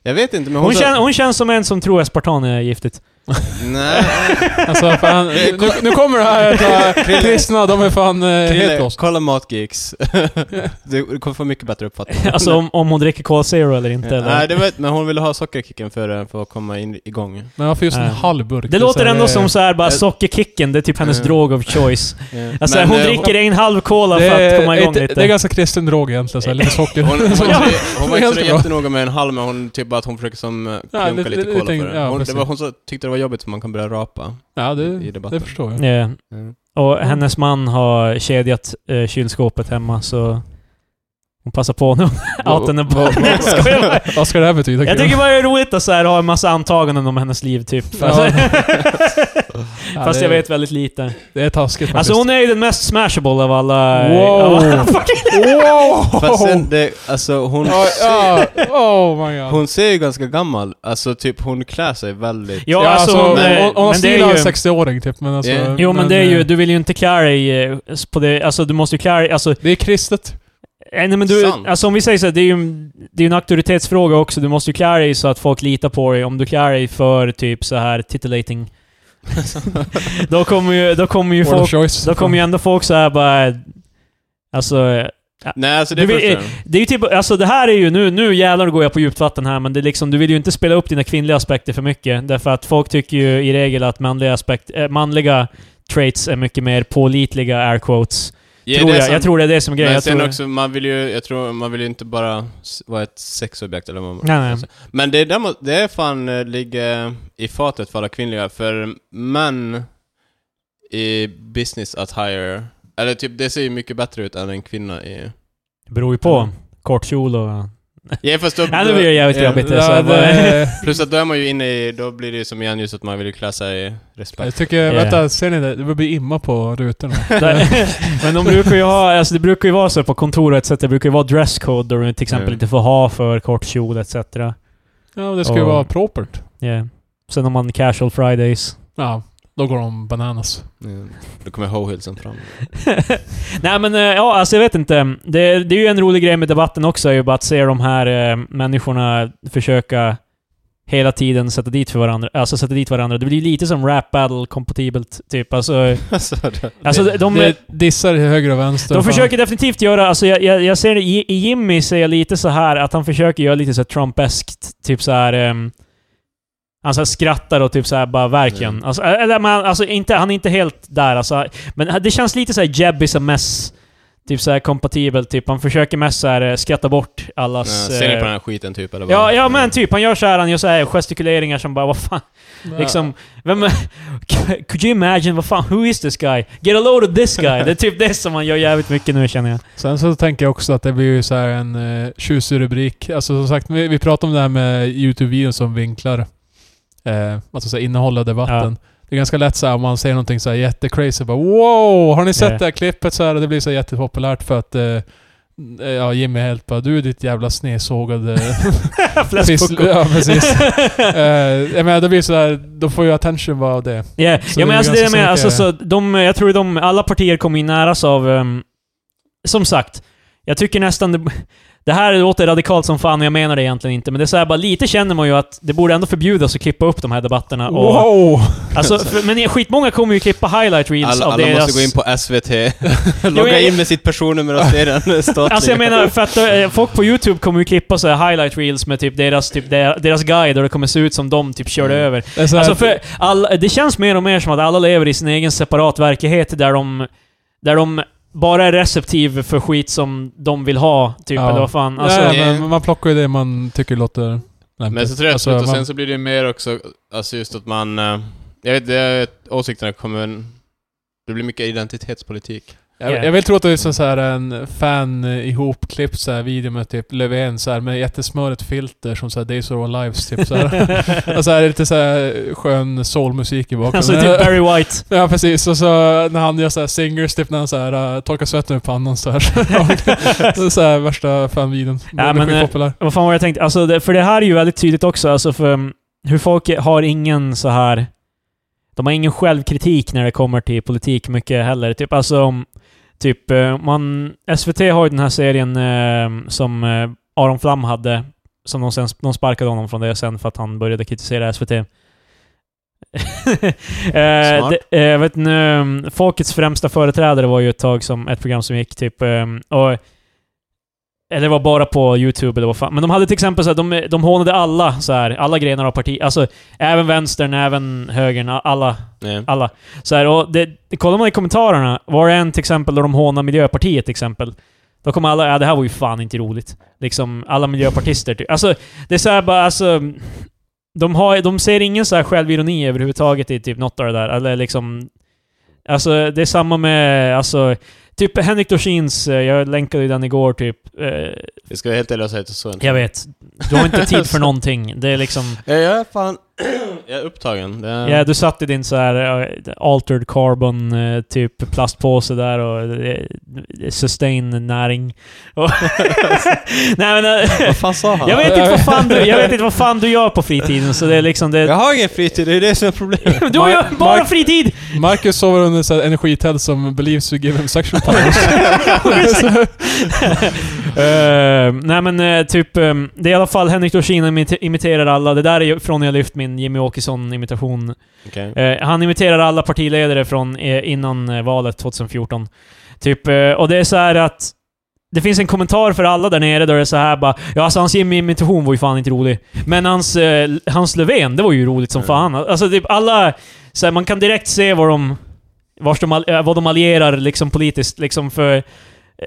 Speaker 2: Jag vet inte, men hon,
Speaker 3: Hon,
Speaker 2: sa...
Speaker 3: kän, hon känns som en som tror aspartam är giftigt.
Speaker 2: (laughs) Nej,
Speaker 1: (laughs) Alltså fan, nu, nu kommer det här att
Speaker 2: (laughs)
Speaker 1: eh, kristna, de är fan eh, helt
Speaker 2: Krille,
Speaker 1: lost.
Speaker 2: kolla Matgeeks. (laughs) du, du kommer få mycket bättre uppfattning.
Speaker 3: (laughs) Alltså om, om hon dricker Cola Zero eller inte. eller?
Speaker 2: Nej, det vet, men hon ville ha sockerkicken för, för att komma in, igång.
Speaker 1: Men varför just en
Speaker 3: Nej.
Speaker 1: halv burk?
Speaker 3: Det låter
Speaker 1: så här,
Speaker 3: ändå
Speaker 1: eh,
Speaker 3: som så här bara
Speaker 2: Eh,
Speaker 3: sockerkicken, det är typ hennes
Speaker 2: eh.
Speaker 3: drog of choice.
Speaker 2: Ja.
Speaker 3: Alltså
Speaker 2: Men,
Speaker 3: hon
Speaker 2: eh,
Speaker 3: dricker en halv cola
Speaker 1: det
Speaker 3: för
Speaker 1: är
Speaker 3: att komma igång
Speaker 1: ett-
Speaker 3: lite.
Speaker 1: Det är ganska kristen drog egentligen, så här, lite socker.
Speaker 2: (laughs) Hon, hon,
Speaker 1: Så-
Speaker 2: hon, hon var inte så
Speaker 1: Ganska bra.
Speaker 2: jättenoga med en halv, men hon typ bara att hon försöker som eh, klunka
Speaker 1: det-
Speaker 2: lite
Speaker 1: det- det
Speaker 2: cola
Speaker 1: tänk-
Speaker 2: för det.
Speaker 1: ja,
Speaker 2: Hon, det
Speaker 1: precis.
Speaker 2: var, hon så, tyckte det var jobbigt så man kan börja rapa.
Speaker 1: ja,
Speaker 2: i
Speaker 1: det,
Speaker 2: debatten.
Speaker 1: det förstår jag. (laughs)
Speaker 3: Ja.
Speaker 2: Mm.
Speaker 3: Eh, Och hennes man har kedjat eh, kylskåpet hemma så hon passar på nu. (laughs) Out and about. Nej, (laughs) jag skojar bara.
Speaker 1: Vad ska det här betyda?
Speaker 3: Jag
Speaker 1: Krille?
Speaker 3: tycker bara det är roligt att så här, ha en massa antaganden om hennes liv typ.
Speaker 1: (laughs) Ja. Ja,
Speaker 3: (laughs) Fast
Speaker 1: det-
Speaker 3: jag vet väldigt lite.
Speaker 1: Det är taskigt
Speaker 3: Alltså
Speaker 1: faktiskt.
Speaker 3: hon är ju den mest smashable av alla... av (laughs) alla-
Speaker 1: Wow! (laughs) wow!
Speaker 2: Fast sen, det, alltså hon,
Speaker 1: Ja, ja. Oh my god.
Speaker 2: hon ser ju ganska gammal, alltså typ hon klär sig väldigt...
Speaker 3: Ja, alltså, hon,
Speaker 1: men,
Speaker 3: eh,
Speaker 1: hon, hon har
Speaker 3: men det är
Speaker 1: stil av en
Speaker 3: ju-
Speaker 1: 60-åring typ, men alltså...
Speaker 2: Ja.
Speaker 3: Jo men, det är ju,
Speaker 1: eh,
Speaker 3: du vill ju inte klä dig eh, på det, alltså du måste ju klä dig, alltså
Speaker 1: Det är kristet.
Speaker 3: Nej, nej men du,
Speaker 2: Sant.
Speaker 3: alltså om vi säger så här, det är ju det är ju en auktoritetsfråga också. Du måste ju klä dig så att folk litar på dig. Om du klär dig för typ så här titillating, då kommer ju, då kommer ju
Speaker 1: Word of
Speaker 3: folk,
Speaker 1: choice.
Speaker 3: då kommer ju ändå folk så här bara... eh, Alltså,
Speaker 2: Nej, alltså det
Speaker 3: Du vill-
Speaker 2: är
Speaker 3: det är ju typ, alltså det här är ju nu, nu jävlar går jag på djupt vatten här, men det är liksom, du vill ju inte spela upp dina kvinnliga aspekter för mycket. Därför att folk tycker ju i regel att manliga aspekt, äh, manliga traits är mycket mer pålitliga, air quotes.
Speaker 2: Ja,
Speaker 3: tror
Speaker 2: det är
Speaker 3: jag.
Speaker 2: sant.
Speaker 3: Jag tror det är det som är grejen.
Speaker 2: Men
Speaker 3: Jag
Speaker 2: sen
Speaker 3: tror-
Speaker 2: också, man vill ju, jag tror, man vill ju inte bara s- vara ett sexobjekt eller vad man Alltså,
Speaker 3: Nej, nej.
Speaker 2: Men det är, däremot, det är fan eh, ligger i fatet för alla kvinnliga, för män i business att hire, eller typ det ser ju mycket bättre ut än en kvinna i...
Speaker 3: Det beror ju på.
Speaker 2: Mm.
Speaker 3: Kort
Speaker 2: (laughs)
Speaker 3: kjol och...
Speaker 2: Ja, fast då,
Speaker 3: (laughs) Ja, det blir ju jävligt
Speaker 2: ja.
Speaker 3: jobbigt.
Speaker 1: Ja,
Speaker 3: så jag bara-
Speaker 1: det,
Speaker 2: Plus att då är man ju inne i, då blir det ju som igen just att man vill ju klä sig i
Speaker 1: (laughs) jag
Speaker 2: respekt.
Speaker 1: tycker, vänta, ser ni det? Det börjar bli imma på
Speaker 3: (laughs)
Speaker 1: rutorna.
Speaker 3: Där- Men de brukar ju ha, alltså det brukar ju vara så på kontor och etc. Det brukar ju vara dresscode där du till exempel
Speaker 2: Mm.
Speaker 3: inte får ha för kort kjol etc.
Speaker 1: Ja, det ska ju
Speaker 3: Och-
Speaker 1: vara propert.
Speaker 3: Yeah. Sen om man casual fridays.
Speaker 1: Ja, då går de bananas.
Speaker 2: Ja. Då kommer hohilsen fram.
Speaker 3: (laughs) Nej men eh, ja, alltså jag vet inte. Det, det är ju en rolig grej med debatten också, är ju bara att se de här eh, människorna försöka hela tiden sätta dit för varandra. Alltså sätta dit varandra. Det blir ju lite som rap battle kompatibelt typ. Alltså,
Speaker 2: (laughs) alltså, det,
Speaker 3: alltså de, de,
Speaker 1: det dissar till höger och vänster.
Speaker 3: De
Speaker 1: Fan.
Speaker 3: försöker definitivt göra, alltså jag, jag, jag ser det, i i Jimmy ser jag lite så här att han försöker göra lite så här Trumpeskt, typ så här. ehm, han så här skrattar och typ så här bara verkligen.
Speaker 2: Mm.
Speaker 3: Alltså, eller, men, han- alltså inte, han är inte helt där alltså. Men det känns lite så här Jeb is a mess. Typ så här kompatibel, typ. Han försöker mest så här eh, skratta bort
Speaker 2: ja,
Speaker 3: allas...
Speaker 2: ser ni
Speaker 3: eh,
Speaker 2: på den här skiten typ eller
Speaker 3: Ja, ja men typ. Han gör så här, han gör så här gestikuleringar som bara vad fan. Liksom, vem... (laughs) Could you imagine, vad fan, who is this guy? Get a load of this guy! Det är typ det som man gör jävligt mycket nu känner jag.
Speaker 1: Sen så tänker jag också att det blir ju så här en eh, tjusig rubrik. Alltså som sagt, vi, vi pratade om det här med YouTube-videon som vinklar. Eh, alltså så här, innehålla debatten. Det är ganska lätt så här, om man säger någonting så här jättecrazy. Bara, wow! Har ni sett
Speaker 3: Ja.
Speaker 1: det här klippet? Så här, det blir så här jättepopulärt för att eh, eh, ja, Jimmy är helt bara du ditt jävla
Speaker 3: (laughs)
Speaker 1: snesågade...
Speaker 3: Fläskpucko.
Speaker 1: ja,
Speaker 3: (laughs)
Speaker 1: precis. Eh, jag menar, det blir sådär, då får ju attention bara av det.
Speaker 3: Yeah.
Speaker 1: Så
Speaker 3: Ja
Speaker 1: det är
Speaker 3: men alltså det
Speaker 1: ganska
Speaker 3: jag menar,
Speaker 1: säkert.
Speaker 3: alltså, så de, jag tror de, alla partier kommer ju näras av... ehm, som sagt, jag tycker nästan det, det här låter radikalt som fan och jag menar det egentligen inte, men det är så här, bara lite känner man ju att det borde ändå förbjudas att klippa upp de här debatterna. Och,
Speaker 1: Wow!
Speaker 3: alltså, för, men skitmånga kommer ju klippa highlight reels
Speaker 2: Alla,
Speaker 3: av
Speaker 2: alla
Speaker 3: deras...
Speaker 2: måste gå in på (laughs) SVT,
Speaker 3: (laughs) Jo,
Speaker 2: logga
Speaker 3: jag-
Speaker 2: in med sitt personnummer och se den statliga.
Speaker 3: (laughs) Alltså jag menar, för att eh, folk på YouTube kommer ju klippa så här highlight reels med typ deras, typ der- deras guide och det kommer se ut som de typ körde
Speaker 2: Mm.
Speaker 3: över.
Speaker 1: Det, är så här,
Speaker 3: Alltså för alla, det känns mer och mer som att alla lever i sin egen separat verklighet där de, där de bara är receptiv för skit som de vill ha, typ.
Speaker 1: Ja.
Speaker 3: Eller vad fan.
Speaker 1: nej,
Speaker 3: Alltså, (laughs)
Speaker 2: Ja,
Speaker 1: men man plockar ju det man tycker låter lämpligt.
Speaker 2: Men så tror jag
Speaker 1: Alltså,
Speaker 2: absolut, och
Speaker 1: man-
Speaker 2: sen så blir det ju mer också, alltså just att man... eh, Jag vet, det är åsikterna kommer... Det blir mycket identitetspolitik.
Speaker 1: Jag,
Speaker 3: Yeah.
Speaker 1: jag vill tro att det är så så här en fan eh, ihopklippt så här video med typ Löfven så här med jättesmörigt filter som såhär Days of Our Lives typ så här.
Speaker 3: (laughs)
Speaker 1: Och så här lite så här skön soulmusik i bakgrunden.
Speaker 3: alltså typ Barry White.
Speaker 1: (laughs) Ja precis, och så när han gör såhär singers typ när han såhär uh, torkar svetten ur pannan såhär. (laughs)
Speaker 3: (laughs)
Speaker 1: så så här värsta fanvideon.
Speaker 3: Ja,
Speaker 1: Den är
Speaker 3: men, eh,
Speaker 1: skitpopulär.
Speaker 3: Vad fan var det jag tänkte? Alltså, det, för det här är ju väldigt tydligt också, alltså för mm, hur folk har ingen så här... De har ingen självkritik när det kommer till politik mycket heller. Typ alltså om... Typ eh, man... SVT har ju den här serien eh, som eh, Aron Flam hade. Som de sen... De sparkade honom från det sen för att han började kritisera SVT. eh,
Speaker 2: Smart.
Speaker 3: det, (laughs) eh, jag vet inte, eh, folkets främsta företrädare var ju ett tag som ett program som gick typ... eh, och, eller det var bara på YouTube eller vad fan. Men de hade till exempel så här, de, de hånade alla så här, alla grenar av parti. Alltså, även vänstern, även högern, a- alla.
Speaker 2: Nej.
Speaker 3: alla. Så här, och det, kollar man i kommentarerna, var det en till exempel då de hånade Miljöpartiet till exempel. Då kommer alla, ja det här var ju fan inte roligt. Liksom, alla miljöpartister typ. Alltså, det är så här bara, alltså... De, har, de ser ingen så här självironi överhuvudtaget i typ något av det där. Eller liksom... Alltså, det är samma med, alltså... Typ Henrik Dorsins, eh, jag länkade ju den igår typ. Eh,
Speaker 2: Vi ska vara helt ärliga och säga att det så inte.
Speaker 3: jag vet. Du har inte tid för någonting. Det är liksom...
Speaker 2: Ja, Jag är fan... (clears throat) Jag är upptagen. Det är,
Speaker 3: Ja, du satt i din så här eh, altered carbon eh, typ plastpåse där och eh, sustain näring. Och (laughs) Nej men... eh,
Speaker 2: Vad fan sa han?
Speaker 3: Jag vet, inte vad fan du, jag vet inte vad fan du gör på fritiden, så det är liksom... Det,
Speaker 2: Jag har ingen fritid, det är det som är problemet.
Speaker 3: (laughs) du har ju
Speaker 1: Mark-
Speaker 3: bara
Speaker 1: Mark-
Speaker 3: fritid! (laughs)
Speaker 1: Marcus sover under såhär energitält som believes you give him
Speaker 3: (laughs)
Speaker 1: sexual powers.
Speaker 3: Eh, nej men eh, typ, eh, det är i alla fall Henrik Dorsin imite- imiterar alla. Det där är ju från när jag lyft min Jimmy Åkesson-imitation
Speaker 2: Okej.
Speaker 3: Eh, han imiterar alla partiledare från eh, innan eh, valet 2014. Typ, eh, och det är så här att... Det finns en kommentar för alla där nere där det är så här bara Ja alltså hans Jimmy-imitation var ju fan inte rolig. Men hans, eh, hans Löfven, det var ju roligt som
Speaker 2: Mm.
Speaker 3: fan. Alltså typ alla... Så här, man kan direkt se vad de... Vars de, all- eh, vad de allierar liksom politiskt liksom för...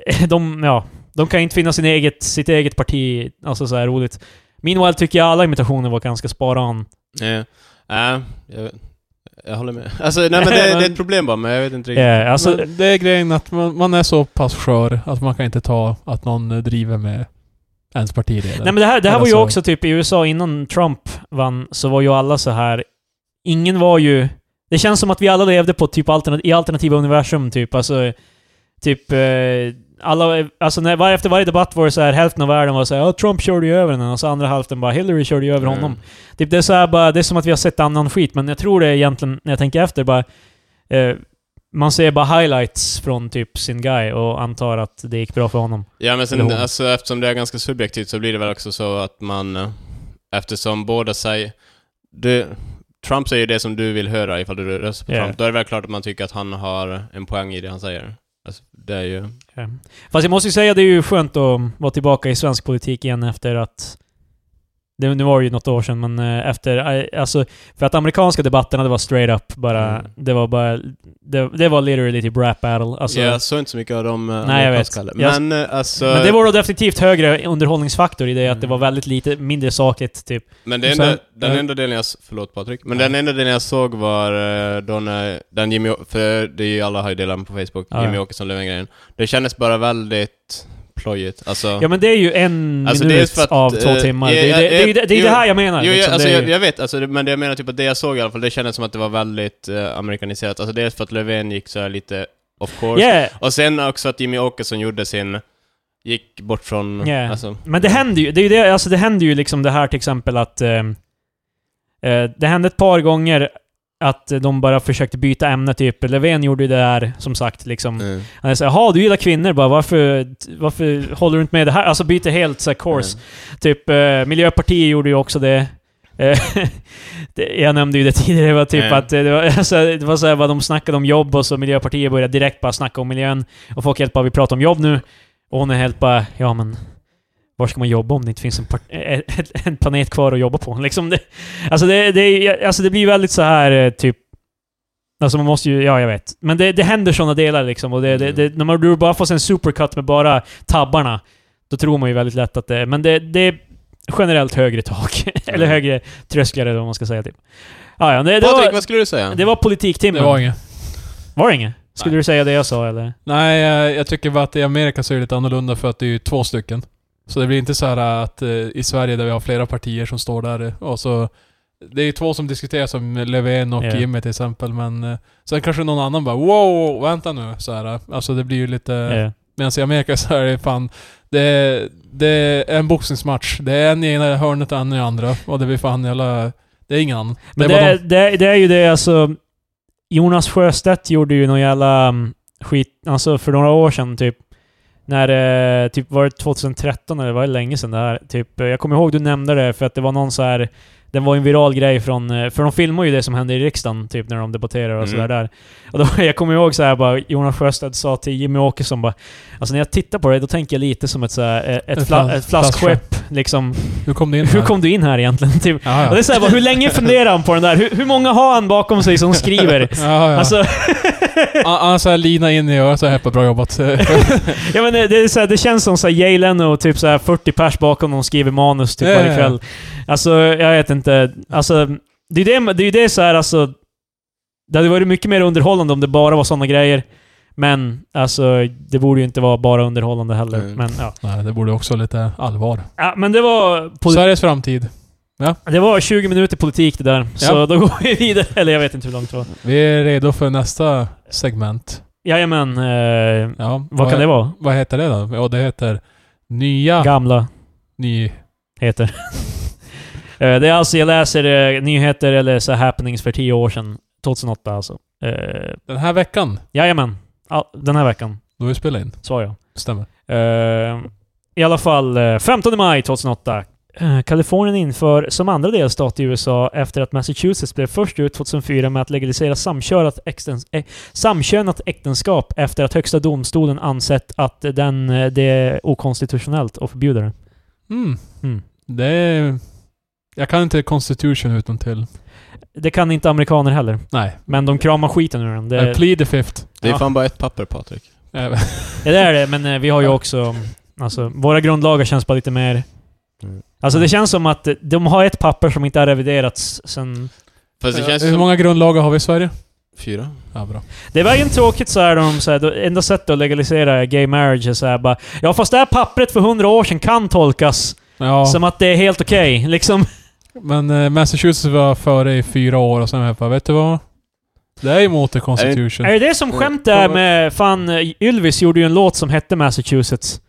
Speaker 3: eh, De, ja. De kan inte finna sin eget, sitt eget parti, alltså så här roligt. Meanwhile tycker jag alla imitationer var ganska sparan.
Speaker 2: Nej, Nej, jag, jag håller med. Alltså,
Speaker 3: (laughs)
Speaker 2: nej men det, det är ett problem bara, men jag vet inte riktigt.
Speaker 3: Eh, alltså,
Speaker 1: Men det är grejen att man, man är så pass skör att man kan inte ta att någon eh, driver med ens partiledare.
Speaker 3: Nej men det här, det här
Speaker 1: Eller
Speaker 3: var ju
Speaker 1: så-
Speaker 3: också typ i USA innan Trump vann, så var ju alla så här... Ingen var ju... Det känns som att vi alla levde på typ alternat- i alternativa universum typ. Alltså, typ... Eh, alla, alltså när, var, efter varje debatt var det så här hälften av världen var så här ja Trump körde ju över den och så andra hälften bara Hillary körde ju över honom.
Speaker 2: Mm.
Speaker 3: Typ det är så här bara, det är som att vi har sett annan skit, men jag tror det är egentligen, när jag tänker efter, bara... Eh, man ser bara highlights från typ sin guy och antar att det gick bra för honom.
Speaker 2: Ja men sen,
Speaker 3: Eller hon.
Speaker 2: alltså, eftersom det är ganska subjektivt så blir det väl också så att man, eh, eftersom båda säger, du, Trump säger det som du vill höra ifall du röstar på
Speaker 3: Ja.
Speaker 2: Trump, då är det väl klart att man tycker att han har en poäng i det han säger. Alltså, det är ju...
Speaker 3: Ja. Fast jag måste ju säga, det är ju skönt att vara tillbaka i svensk politik igen efter att... Det, nu var det ju något år sedan, men eh, efter... eh, Alltså, för att amerikanska debatterna, det var straight up bara...
Speaker 2: Mm.
Speaker 3: Det var bara... Det, det var literally typ rap battle. Alltså,
Speaker 2: jag såg inte så mycket av dem eh,
Speaker 3: Nej, jag
Speaker 2: amerikanska
Speaker 3: vet.
Speaker 2: heller. Men eh, alltså...
Speaker 3: Men det var då definitivt högre underhållningsfaktor i det att det
Speaker 2: Mm.
Speaker 3: var väldigt lite, mindre sakligt typ.
Speaker 2: Men det
Speaker 1: Och
Speaker 2: enda,
Speaker 1: sen-
Speaker 2: den
Speaker 1: eh.
Speaker 2: enda delen jag... s- Förlåt Patrik. Men den enda delen jag såg var eh, då när den Jimmy... Å- För det är ju alla har ju delat den på Facebook,
Speaker 3: Ja, ja.
Speaker 2: Jimmy Åkesson Löfven-grejen. Det kändes bara väldigt plojigt. Alltså...
Speaker 3: Ja men det är ju en
Speaker 2: Alltså,
Speaker 3: minut
Speaker 2: dels för att,
Speaker 3: av två
Speaker 2: eh,
Speaker 3: timmar.
Speaker 2: ja,
Speaker 3: det, är
Speaker 2: ja,
Speaker 3: det, det, är ju det, det, är
Speaker 2: jo,
Speaker 3: det här jag menar.
Speaker 2: Jo, jag,
Speaker 3: liksom.
Speaker 2: alltså,
Speaker 3: det är
Speaker 2: jag,
Speaker 3: ju-
Speaker 2: jag vet, alltså, det, men det jag menar typ att det jag såg i alla fall, det kändes som att det var väldigt eh, amerikaniserat. Alltså dels för att Löfven gick så här lite off course,
Speaker 3: yeah.
Speaker 2: och sen också att Jimmy Åkesson gjorde sin gick bort från...
Speaker 3: Ja.
Speaker 2: Alltså,
Speaker 3: Men det händer ju, det, är ju det, alltså det händer ju liksom det här till exempel att... Eh, eh, det hände ett par gånger att de bara försökte byta ämne typ. Löfven gjorde ju det där, som sagt, liksom.
Speaker 2: Mm.
Speaker 3: Han sa jaha, du gillar kvinnor bara, varför, varför håller du inte med det här? Alltså byter helt så här, course.
Speaker 2: Mm.
Speaker 3: Typ, eh, Miljöpartiet gjorde ju också det. Eh, (laughs) det- Jag nämnde ju det tidigare, det var typ
Speaker 2: Mm.
Speaker 3: att eh, det var, (laughs) alltså, det var så här, vad de snackade om jobb och så Miljöpartiet började direkt bara snacka om miljön. Och folk helt bara, vi pratar om jobb nu. Och hon är helt bara, ja men... Var ska man jobba om det inte finns en, part- eh, eh, en planet kvar att jobba på? (laughs) Liksom det, alltså, det, det, är- alltså det blir väldigt så här eh, typ... Alltså man måste ju, ja jag vet. Men det, det händer sådana delar liksom. Och det, det,
Speaker 2: Mm.
Speaker 3: det, när man du bara får en supercut med bara tabbarna, då tror man ju väldigt lätt att det Men det, det är generellt högre tak. (laughs) eller
Speaker 2: Mm.
Speaker 3: högre trösklar eller vad man ska säga typ. Ja, ja, det, det,
Speaker 2: Patrik,
Speaker 3: var,
Speaker 2: vad skulle du säga?
Speaker 3: det var
Speaker 1: Det
Speaker 3: politiktimmen.
Speaker 1: var inget.
Speaker 3: Var det inget? Skulle
Speaker 2: Nej.
Speaker 3: du säga det jag sa eller?
Speaker 1: Nej, eh, jag tycker bara att i Amerika så är det lite annorlunda för att det är ju två stycken. Så det blir inte så här att eh, i Sverige där vi har flera partier som står där eh, och så... Det är ju två som diskuterar som Löfven och
Speaker 3: Ja.
Speaker 1: Jimmy till exempel men... eh, Sen kanske någon annan bara wow, vänta nu så här. eh. Alltså det blir ju lite...
Speaker 2: Eh.
Speaker 3: Ja.
Speaker 1: Medan alltså, i Amerika så är det fan... Det är, det är en boxningsmatch. Det är en i ena hörnet och en i andra. Och det blir fan jävla... Det är ingen annan.
Speaker 3: Men
Speaker 1: det
Speaker 3: det,
Speaker 1: är bara
Speaker 3: är- det, är- det är ju det alltså... Jonas Sjöstedt gjorde ju någon jävla mm, skit, alltså för några år sedan typ. När, eh, typ var det 2013 eller var det länge sedan det här? Typ, eh, jag kommer ihåg du nämnde det för att det var någon så här... Den var ju en viral grej från... eh, För de filmar ju det som händer i riksdagen typ när de debatterar och
Speaker 2: Mm.
Speaker 3: sådär där. Och då, (laughs) jag kommer ihåg så här bara, Jonas Sjöstedt sa till Jimmy Åkesson bara Alltså när jag tittar på det då tänker jag lite som ett så här, eh, ett,
Speaker 1: En
Speaker 3: fla,
Speaker 1: flas-
Speaker 3: ett flaskskepp liksom.
Speaker 1: Hur kom det in
Speaker 3: (laughs) Hur
Speaker 1: här?
Speaker 3: kom du in här egentligen? (laughs) Typ.
Speaker 1: Ja,
Speaker 3: Och det
Speaker 1: ja.
Speaker 3: är såhär, bara, hur länge funderar han på den där? Hur, hur många har han bakom sig som skriver?
Speaker 1: (laughs) Ja, ja.
Speaker 3: Alltså,
Speaker 1: Ah, ah, så här lina in i örat så här på bra jobbat. (laughs)
Speaker 3: ja, men det, det, är så här, det känns som såhär Jay Leno, typ såhär 40 pers bakom någon skriver manus typ
Speaker 1: Ja,
Speaker 3: varje
Speaker 1: ja,
Speaker 3: kväll. Alltså, jag vet inte. Alltså, det är ju det, det, är ju det såhär alltså... Det hade varit mycket mer underhållande om det bara var sådana grejer. Men alltså, det borde ju inte vara bara underhållande heller.
Speaker 2: Nej.
Speaker 3: Men, ja.
Speaker 1: Nej, det borde också lite allvar.
Speaker 3: ja, men det var... poli-
Speaker 1: Sveriges framtid.
Speaker 3: Det var 20 minuter politik det där. Så då går vi vidare. Eller jag vet inte hur långt det var.
Speaker 1: Vi är redo för nästa segment.
Speaker 3: Jajamän. Eh,
Speaker 1: Ja,
Speaker 3: vad kan det vara?
Speaker 1: Vad heter det då? Ja, det heter Nya...
Speaker 3: Gamla.
Speaker 1: ny...
Speaker 3: heter. (laughs) Eh, det är alltså, jag läser eh, nyheter eller så här happenings för tio år sedan. 2008 alltså. Eh,
Speaker 1: Den här veckan,
Speaker 3: jajamän. Ja, den här veckan,
Speaker 1: då vi spelar in.
Speaker 3: sa jag.
Speaker 1: Stämmer.
Speaker 3: Eh, I alla fall, eh, 15 maj 2008. Eh, Kalifornien inför som andra delstat i USA efter att Massachusetts blev först ut 2004 med att legalisera samkörat äktens- eh, samkönat äktenskap efter att högsta domstolen ansett att den, eh, det är okonstitutionellt och förbjuder det.
Speaker 1: Mm.
Speaker 3: Mm.
Speaker 1: Det är... Jag kan inte Constitution utan till.
Speaker 3: Det kan inte amerikaner heller.
Speaker 1: Nej.
Speaker 3: Men de kramar skiten ur den.
Speaker 1: Det... I
Speaker 3: Det,
Speaker 1: plead the fifth.
Speaker 2: Det är
Speaker 3: Ja.
Speaker 2: fan bara ett papper, Patrik.
Speaker 1: (laughs) Eh,
Speaker 3: Ja, det är det, men eh, vi har ju också... Alltså, våra grundlagar känns bara lite mer...
Speaker 2: Mm.
Speaker 3: Alltså det känns som att eh, de har ett papper som inte har reviderats sen...
Speaker 2: Fast det känns ju
Speaker 1: Hur
Speaker 2: som...
Speaker 1: många grundlagar har vi i Sverige?
Speaker 2: Fyra?
Speaker 1: Ja, bra.
Speaker 3: Det var ju tråkigt så här, de, så här, då- enda sättet att legalisera gay marriage är så här bara... Ja, fast det här pappret för hundra år sedan kan tolkas
Speaker 1: Ja,
Speaker 3: som att det är helt okej. Liksom.
Speaker 1: men eh, Massachusetts var före i fyra år och sen var jag bara, vet du vad? Det är emot the Constitution.
Speaker 3: Är det det som
Speaker 2: Mm.
Speaker 3: skämt är med... Fan, eh, Ylvis gjorde ju en låt som hette Massachusetts.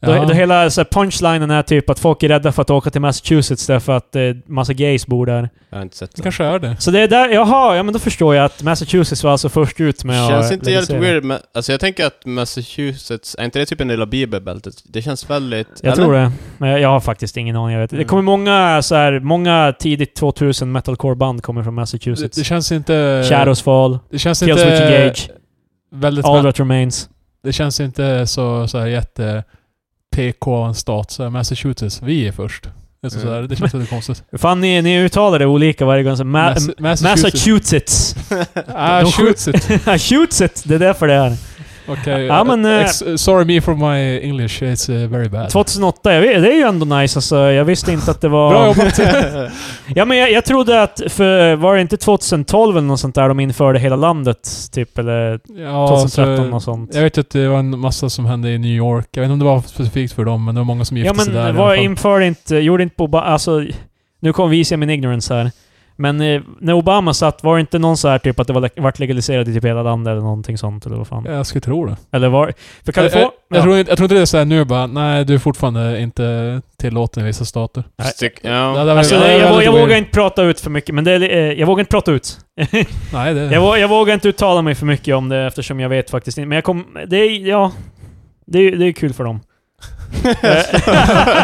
Speaker 3: Då,
Speaker 1: Ja.
Speaker 3: då hela så här, punchlinen är typ att folk är rädda för att åka till Massachusetts därför att eh, massa gays bor där.
Speaker 2: Jag har inte sett
Speaker 1: Det
Speaker 2: det.
Speaker 1: kanske är det.
Speaker 3: Så det är där, jaha, ja men då förstår jag att Massachusetts var alltså först ut med att
Speaker 2: Känns inte jävligt
Speaker 3: legalisera.
Speaker 2: weird med, Alltså jag tänker att Massachusetts, är inte det typ en del av bibelbältet? Det känns väldigt...
Speaker 3: Jag
Speaker 2: (laughs)
Speaker 3: tror det. Men jag- jag har faktiskt ingen aning. Jag vet. Det
Speaker 2: Mm.
Speaker 3: kommer många så här, många tidigt 2000 metalcore-band kommer från
Speaker 1: det. Det
Speaker 3: Massachusetts.
Speaker 1: känns inte...
Speaker 3: Shadows Fall,
Speaker 1: Det känns
Speaker 3: Kills Switch
Speaker 1: inte... eh,
Speaker 3: Engage,
Speaker 1: Väldigt
Speaker 3: All That Remains.
Speaker 1: Det känns inte så, så här jätte PK en stat. Så här, Massachusetts, vi är först. Det, är så
Speaker 2: Mm.
Speaker 1: så här, det känns lite konstigt.
Speaker 3: Fan, ni, ni uttalar det olika varje gång. Så Ma
Speaker 1: Mass- Massachusetts.
Speaker 3: Massachusetts. (laughs)
Speaker 1: Ah,
Speaker 3: De skjut-
Speaker 1: Massachusetts.
Speaker 3: Massachusetts! Det är därför det är.
Speaker 1: Okej.
Speaker 3: Ja, men, eh,
Speaker 1: Ex- sorry me for my English. It's eh, very bad.
Speaker 3: 2008, jag vet, det är ju ändå nice alltså. Jag visste inte att det var...
Speaker 1: Bra jobbat!
Speaker 3: (laughs) Ja, men jag, jag trodde att, för var det inte 2012 eller något sånt där de införde hela landet? Typ, eller
Speaker 1: Ja,
Speaker 3: 2013
Speaker 1: så-
Speaker 3: och sånt.
Speaker 1: jag vet att det var en massa som hände i New York. Jag vet inte om det var specifikt för dem, men det var många som gifte
Speaker 3: Ja
Speaker 1: sig där
Speaker 3: men var
Speaker 1: i alla fall.
Speaker 3: införde inte, gjorde inte Obama, alltså nu kommer visa min ignorance här. Men eh, när Obama satt, var det inte någon så här typ att det var, le- vart legaliserat i typ hela landet eller någonting sånt eller vad fan?
Speaker 1: Jag skulle tro det.
Speaker 3: Eller var... För
Speaker 1: Eh, eh,
Speaker 3: Kalifornien...
Speaker 1: Jag,
Speaker 3: Ja.
Speaker 1: tror inte, jag tror inte det är såhär nu bara, nej du är fortfarande inte tillåten i vissa stater.
Speaker 3: Nej.
Speaker 2: Stick, ja.
Speaker 1: där var-
Speaker 3: Alltså,
Speaker 1: det var
Speaker 3: jag, jag,
Speaker 1: väldigt
Speaker 3: jag
Speaker 1: weird.
Speaker 3: vågar inte prata ut för mycket, men det är, li- eh, jag vågar inte prata ut. (laughs)
Speaker 1: Nej, det...
Speaker 3: Jag, vå- jag vågar inte uttala mig för mycket om det eftersom jag vet faktiskt inte. Men jag kom, det är, ja. Det är, det är kul
Speaker 1: (laughs)
Speaker 3: för dem. Eh,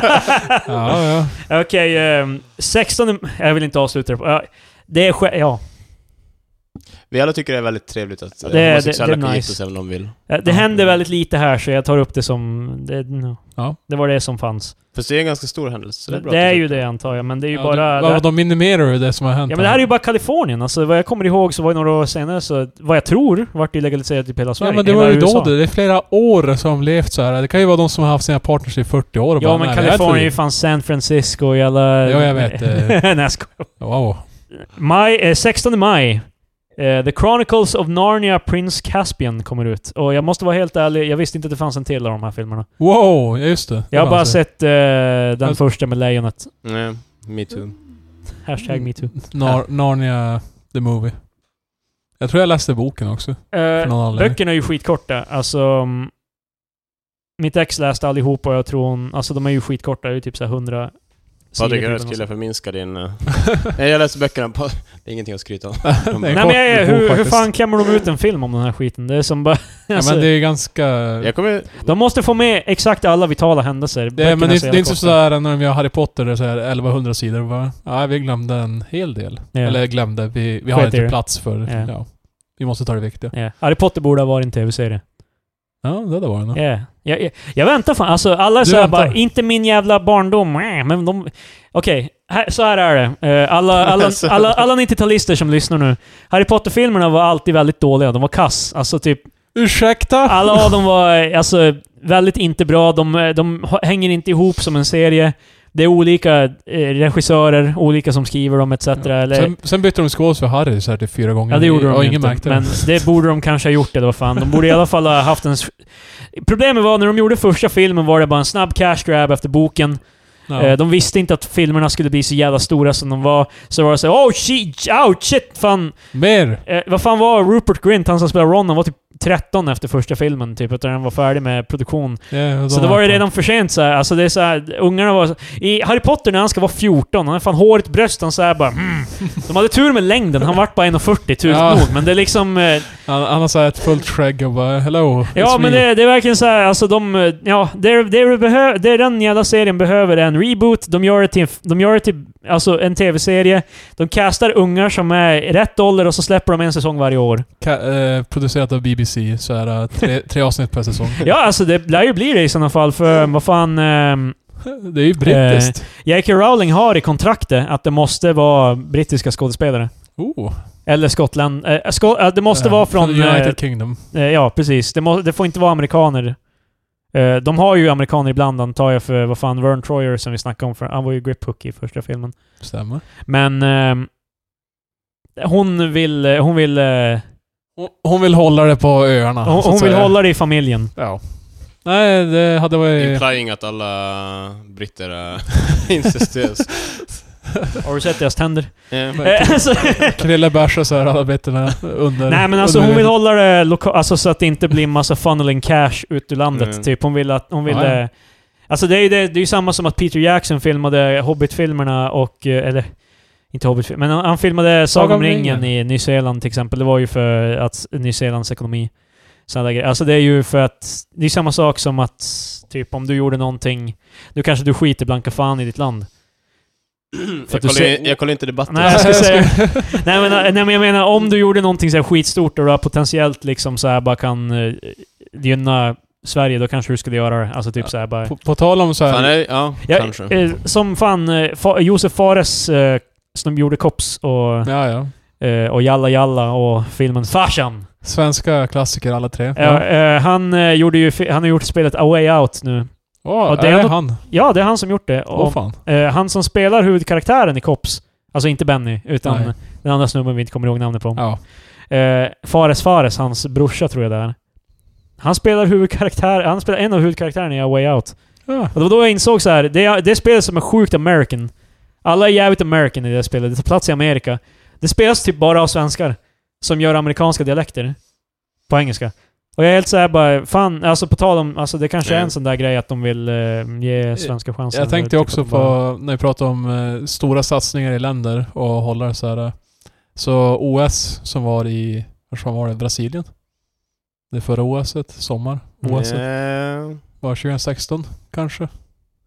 Speaker 1: ja, ja.
Speaker 3: Okej, ehm, 16... Jag vill inte avsluta det på... ja, Det är skä- Ja.
Speaker 2: Vi alla tycker det är väldigt trevligt att
Speaker 3: Det-
Speaker 2: det,
Speaker 3: det-
Speaker 2: homosexuella
Speaker 3: det är
Speaker 2: kan gifta
Speaker 3: nice.
Speaker 2: sig om de vill.
Speaker 3: Eh, Det
Speaker 1: Ja.
Speaker 3: händer väldigt lite här, så jag tar upp det som... Det, no.
Speaker 1: Ja.
Speaker 3: det var det som fanns.
Speaker 2: Fast det är en ganska stor händelse. så
Speaker 3: Det,
Speaker 2: är, bra
Speaker 3: det
Speaker 2: att
Speaker 3: är
Speaker 2: du-
Speaker 3: ju det antar jag, men det är ju
Speaker 1: ja,
Speaker 3: bara...
Speaker 1: du,
Speaker 3: det,
Speaker 1: vad, de minimerar ju det som har hänt.
Speaker 3: ja men det här är ju bara Kalifornien. Alltså vad jag kommer ihåg så var det några år senare så... Vad jag tror vart det legaliserat i hela Sverige.
Speaker 1: Ja, men det
Speaker 3: hela
Speaker 1: var ju då
Speaker 3: USA.
Speaker 1: det. Det är flera år som levt så här. Det kan ju vara de som har haft sina partners i 40 år och
Speaker 3: Ja
Speaker 1: bara,
Speaker 3: men
Speaker 1: nej, det är
Speaker 3: Kalifornien är ju
Speaker 1: inte
Speaker 3: fan San Francisco och alla...
Speaker 1: Ja, jag vet, eh.
Speaker 3: (laughs) Nej jag skojar.
Speaker 1: för- Wow.
Speaker 3: Maj, eh, 16 maj. Eh, The Chronicles of Narnia Prince Caspian kommer ut. Och jag måste vara helt ärlig, jag visste inte att det fanns en till av de här filmerna.
Speaker 1: Wow, ja just det. Det
Speaker 3: Jag har
Speaker 1: var
Speaker 3: bara
Speaker 1: alltså-
Speaker 3: sett eh, den
Speaker 1: Alltså-
Speaker 3: första med lejonet.
Speaker 2: Nej, me too.
Speaker 3: Hashtag
Speaker 1: Mm.
Speaker 3: metoo.
Speaker 1: Nar- Narnia the Movie. Jag tror jag läste boken också. För någon
Speaker 3: Eh,
Speaker 1: anledning.
Speaker 3: böckerna är ju skitkorta. Alltså... mm, Mitt ex läste allihopa och jag tror hon... Alltså de är ju skitkorta, det är ju typ såhär 100 sidor.
Speaker 2: Patrik,
Speaker 3: typ
Speaker 2: jag
Speaker 3: eller
Speaker 2: lät
Speaker 3: något
Speaker 2: killar
Speaker 3: sånt.
Speaker 2: förminska din... eh,
Speaker 1: (laughs)
Speaker 2: Nej, jag läste böckerna. på- Det är ingenting att skryta om.
Speaker 1: Det är
Speaker 3: Nej
Speaker 1: kort
Speaker 3: men jag,
Speaker 1: bok
Speaker 3: hur, hur
Speaker 1: faktiskt.
Speaker 3: fan klämmer de ut en film om den här skiten? Det är som bara...
Speaker 1: Ja,
Speaker 3: alltså,
Speaker 1: men det är ganska...
Speaker 3: Mm.
Speaker 2: Jag kommer...
Speaker 3: De måste få med exakt alla vitala händelser.
Speaker 1: Det, är- men det, är- det är inte
Speaker 3: så jävla korta.
Speaker 1: sådär när vi har Harry Potter, det är såhär 1100 sidor. och Bara, ja, vi glömde en hel del.
Speaker 3: Ja.
Speaker 1: Eller glömde, vi, vi har
Speaker 3: Skit i det.
Speaker 1: inte plats för...
Speaker 3: Ja.
Speaker 1: Ja. Vi måste ta det viktiga.
Speaker 3: Ja. Harry Potter borde ha varit en tv-serie.
Speaker 1: Ja, det där var det nog.
Speaker 3: Ja. Jag, jag, jag väntar fan. Alltså, alla är
Speaker 1: Du
Speaker 3: såhär
Speaker 1: väntar.
Speaker 3: bara, inte min jävla barndom. Äh, Men de... Okej, här- så här är det.
Speaker 1: (laughs)
Speaker 3: Eh, Alla, alla,
Speaker 2: Så-
Speaker 3: alla, alla 90-talister som lyssnar nu. Harry Potter-filmerna var alltid väldigt dåliga. De var kass. Alltså typ,
Speaker 1: Ursäkta!
Speaker 3: alla av dem var eh, alltså, väldigt inte bra. De, eh, de ha- hänger inte ihop som en serie. Det är olika eh, regissörer, olika som skriver dem etc. Eller,
Speaker 1: Sen, sen bytte de skål för Harry så här typ fyra gånger.
Speaker 3: Ja, det gjorde de
Speaker 1: och
Speaker 3: ju
Speaker 1: ingen
Speaker 3: inte.
Speaker 1: märkte
Speaker 3: men
Speaker 1: det.
Speaker 3: det borde de kanske ha gjort, eller vad fan. De borde i alla fall ha haft en... s- Problemet var, när de gjorde första filmen var det bara en snabb cash grab efter boken.
Speaker 1: Ja.
Speaker 3: Eh, De visste inte att filmerna skulle bli så jävla stora som de var. Så var det så här, oh shit, ouch, shit, fan.
Speaker 1: Mer!
Speaker 3: Eh, vad fan var Rupert Grint, han som spelade Ron, han var typ 13 efter första filmen, typ. Utan den var färdig med produktion.
Speaker 1: Ja,
Speaker 3: Så
Speaker 1: de
Speaker 3: då var det
Speaker 1: här-
Speaker 3: redan för sent så här. Alltså det är så här, ungarna var... så- I Harry Potter när han ska vara 14, han har fan håret bröst, han så här bara mm. De hade tur med längden, han vart bara 1,40, tur
Speaker 1: Ja.
Speaker 3: nog. Men det är liksom... eh,
Speaker 1: Han, han har såhär ett fullt skägg och bara hello, it's
Speaker 3: Ja, men
Speaker 1: me."
Speaker 3: det, det är verkligen så här, alltså de... eh, Ja, det, det, vi behö, det den jävla serien behöver är en reboot. De gör det till, en f- de gör det till alltså, en tv-serie. De castar ungar som är i rätt ålder och så släpper de en säsong varje år.
Speaker 1: Ka- eh, producerat av BBC, så är det
Speaker 3: (laughs)
Speaker 1: tre, tre avsnitt per säsong.
Speaker 3: Ja, alltså det lär ju bli det i sådana fall, för vad fan... ehm,
Speaker 1: Det är ju brittiskt.
Speaker 3: J.K. Rowling har i kontraktet att det måste vara brittiska skådespelare.
Speaker 1: oh.
Speaker 3: Eller Skottland. Eh, sko- eh, det Eh. måste
Speaker 1: Eh,
Speaker 3: vara från...
Speaker 1: United Kingdom.
Speaker 3: Eh, eh, ja, precis. Det, må- det får inte vara amerikaner. Eh, de har ju amerikaner ibland antar jag för vad fan, Vern Troyer som vi snackade om. För, han var ju grip hook i första filmen.
Speaker 1: Stämmer.
Speaker 3: Men... ehm, hon vill... eh, Hon vill... eh,
Speaker 1: Hon, hon vill hålla det på öarna.
Speaker 3: hon
Speaker 1: så att
Speaker 3: hon vill
Speaker 1: säga.
Speaker 3: hålla det i familjen.
Speaker 1: Ja. Nej, det hade
Speaker 3: Eh.
Speaker 1: varit...
Speaker 2: Implying att alla britter är (laughs)
Speaker 3: (laughs)
Speaker 2: Eh, incestuösa.
Speaker 3: Har du sett deras tänder?
Speaker 2: Eh,
Speaker 3: Eh, (laughs) så-
Speaker 1: Krille bärsa såhär alla betterna under...
Speaker 3: Nej men alltså hon
Speaker 1: under- (laughs)
Speaker 3: vill hålla det loka- alltså, så att det inte blir massa funneling cash ut ur landet.
Speaker 2: Mm.
Speaker 3: Typ. Hon vill att... Hon vill,
Speaker 1: Ja, ja.
Speaker 3: eh, Alltså det är ju det, det är ju samma som att Peter Jackson filmade Hobbit-filmerna och... eh, Eller... Inte hobbit men han, han filmade Sagan om ringen i Nya Zeeland till exempel. Det var ju för att Nya Zeelands ekonomi... Sådana grejer. Alltså det är ju för att... Det är samma sak som att... Typ om du gjorde någonting... Nu kanske du skiter blanka fan i ditt land.
Speaker 2: jag,
Speaker 3: du
Speaker 2: kollar,
Speaker 3: ser-
Speaker 2: in- jag kollar inte debatten.
Speaker 3: Nej, jag ska säga... nej, men,
Speaker 1: Eh.
Speaker 3: nej men jag menar om du gjorde någonting så här skitstort och du har potentiellt liksom så här bara kan eh, gynna Sverige, då kanske du skulle göra det. Alltså typ så här bara...
Speaker 1: På, på tal om
Speaker 2: Fan,
Speaker 1: såhär...
Speaker 2: nej, ja,
Speaker 3: Ja,
Speaker 2: kanske.
Speaker 3: eh, som fan eh, fa Josef Fares eh, som gjorde Kops och,
Speaker 1: Ja, ja.
Speaker 3: eh, och Jalla Jalla och filmen Farsan.
Speaker 1: Svenska klassiker alla tre.
Speaker 3: Ja, eh, han, eh, gjorde ju, fi- han har gjort spelet A Way Out nu.
Speaker 1: Åh,
Speaker 3: och det
Speaker 1: är
Speaker 3: är
Speaker 1: det
Speaker 3: något-
Speaker 1: han?
Speaker 3: Ja, det är han som gjort det.
Speaker 1: Åh
Speaker 3: Och,
Speaker 1: fan.
Speaker 3: eh, han som spelar huvudkaraktären i Kops, alltså inte Benny, utan
Speaker 1: Nej.
Speaker 3: den andra snubben vi inte kommer ihåg namnet på.
Speaker 1: Ja.
Speaker 3: Eh, Fares Fares, hans brorsa tror jag det är. Han spelar huvudkaraktär, han spelar en av huvudkaraktärerna i A Way Out.
Speaker 1: ja.
Speaker 3: Och det var då jag insåg så här, det, är- det är spelet som är sjukt American. Alla är jävligt American i det här spelet, det tar plats i Amerika. Det spelas typ bara av svenskar. Som gör amerikanska dialekter. På engelska. Och jag är helt såhär bara, fan, alltså på tal om, alltså det kanske är
Speaker 2: Mm.
Speaker 3: en sån där grej att de vill eh, ge svenska chansen.
Speaker 1: Eh. Jag tänkte
Speaker 3: Typ
Speaker 1: också
Speaker 3: att bara-
Speaker 1: på, när vi pratade om eh, stora satsningar i länder och hållare så här. eh, Så OS som var i, var fan var det? Brasilien? Det förra OSet, sommar. OS et
Speaker 2: Yeah.
Speaker 1: var 2016 kanske?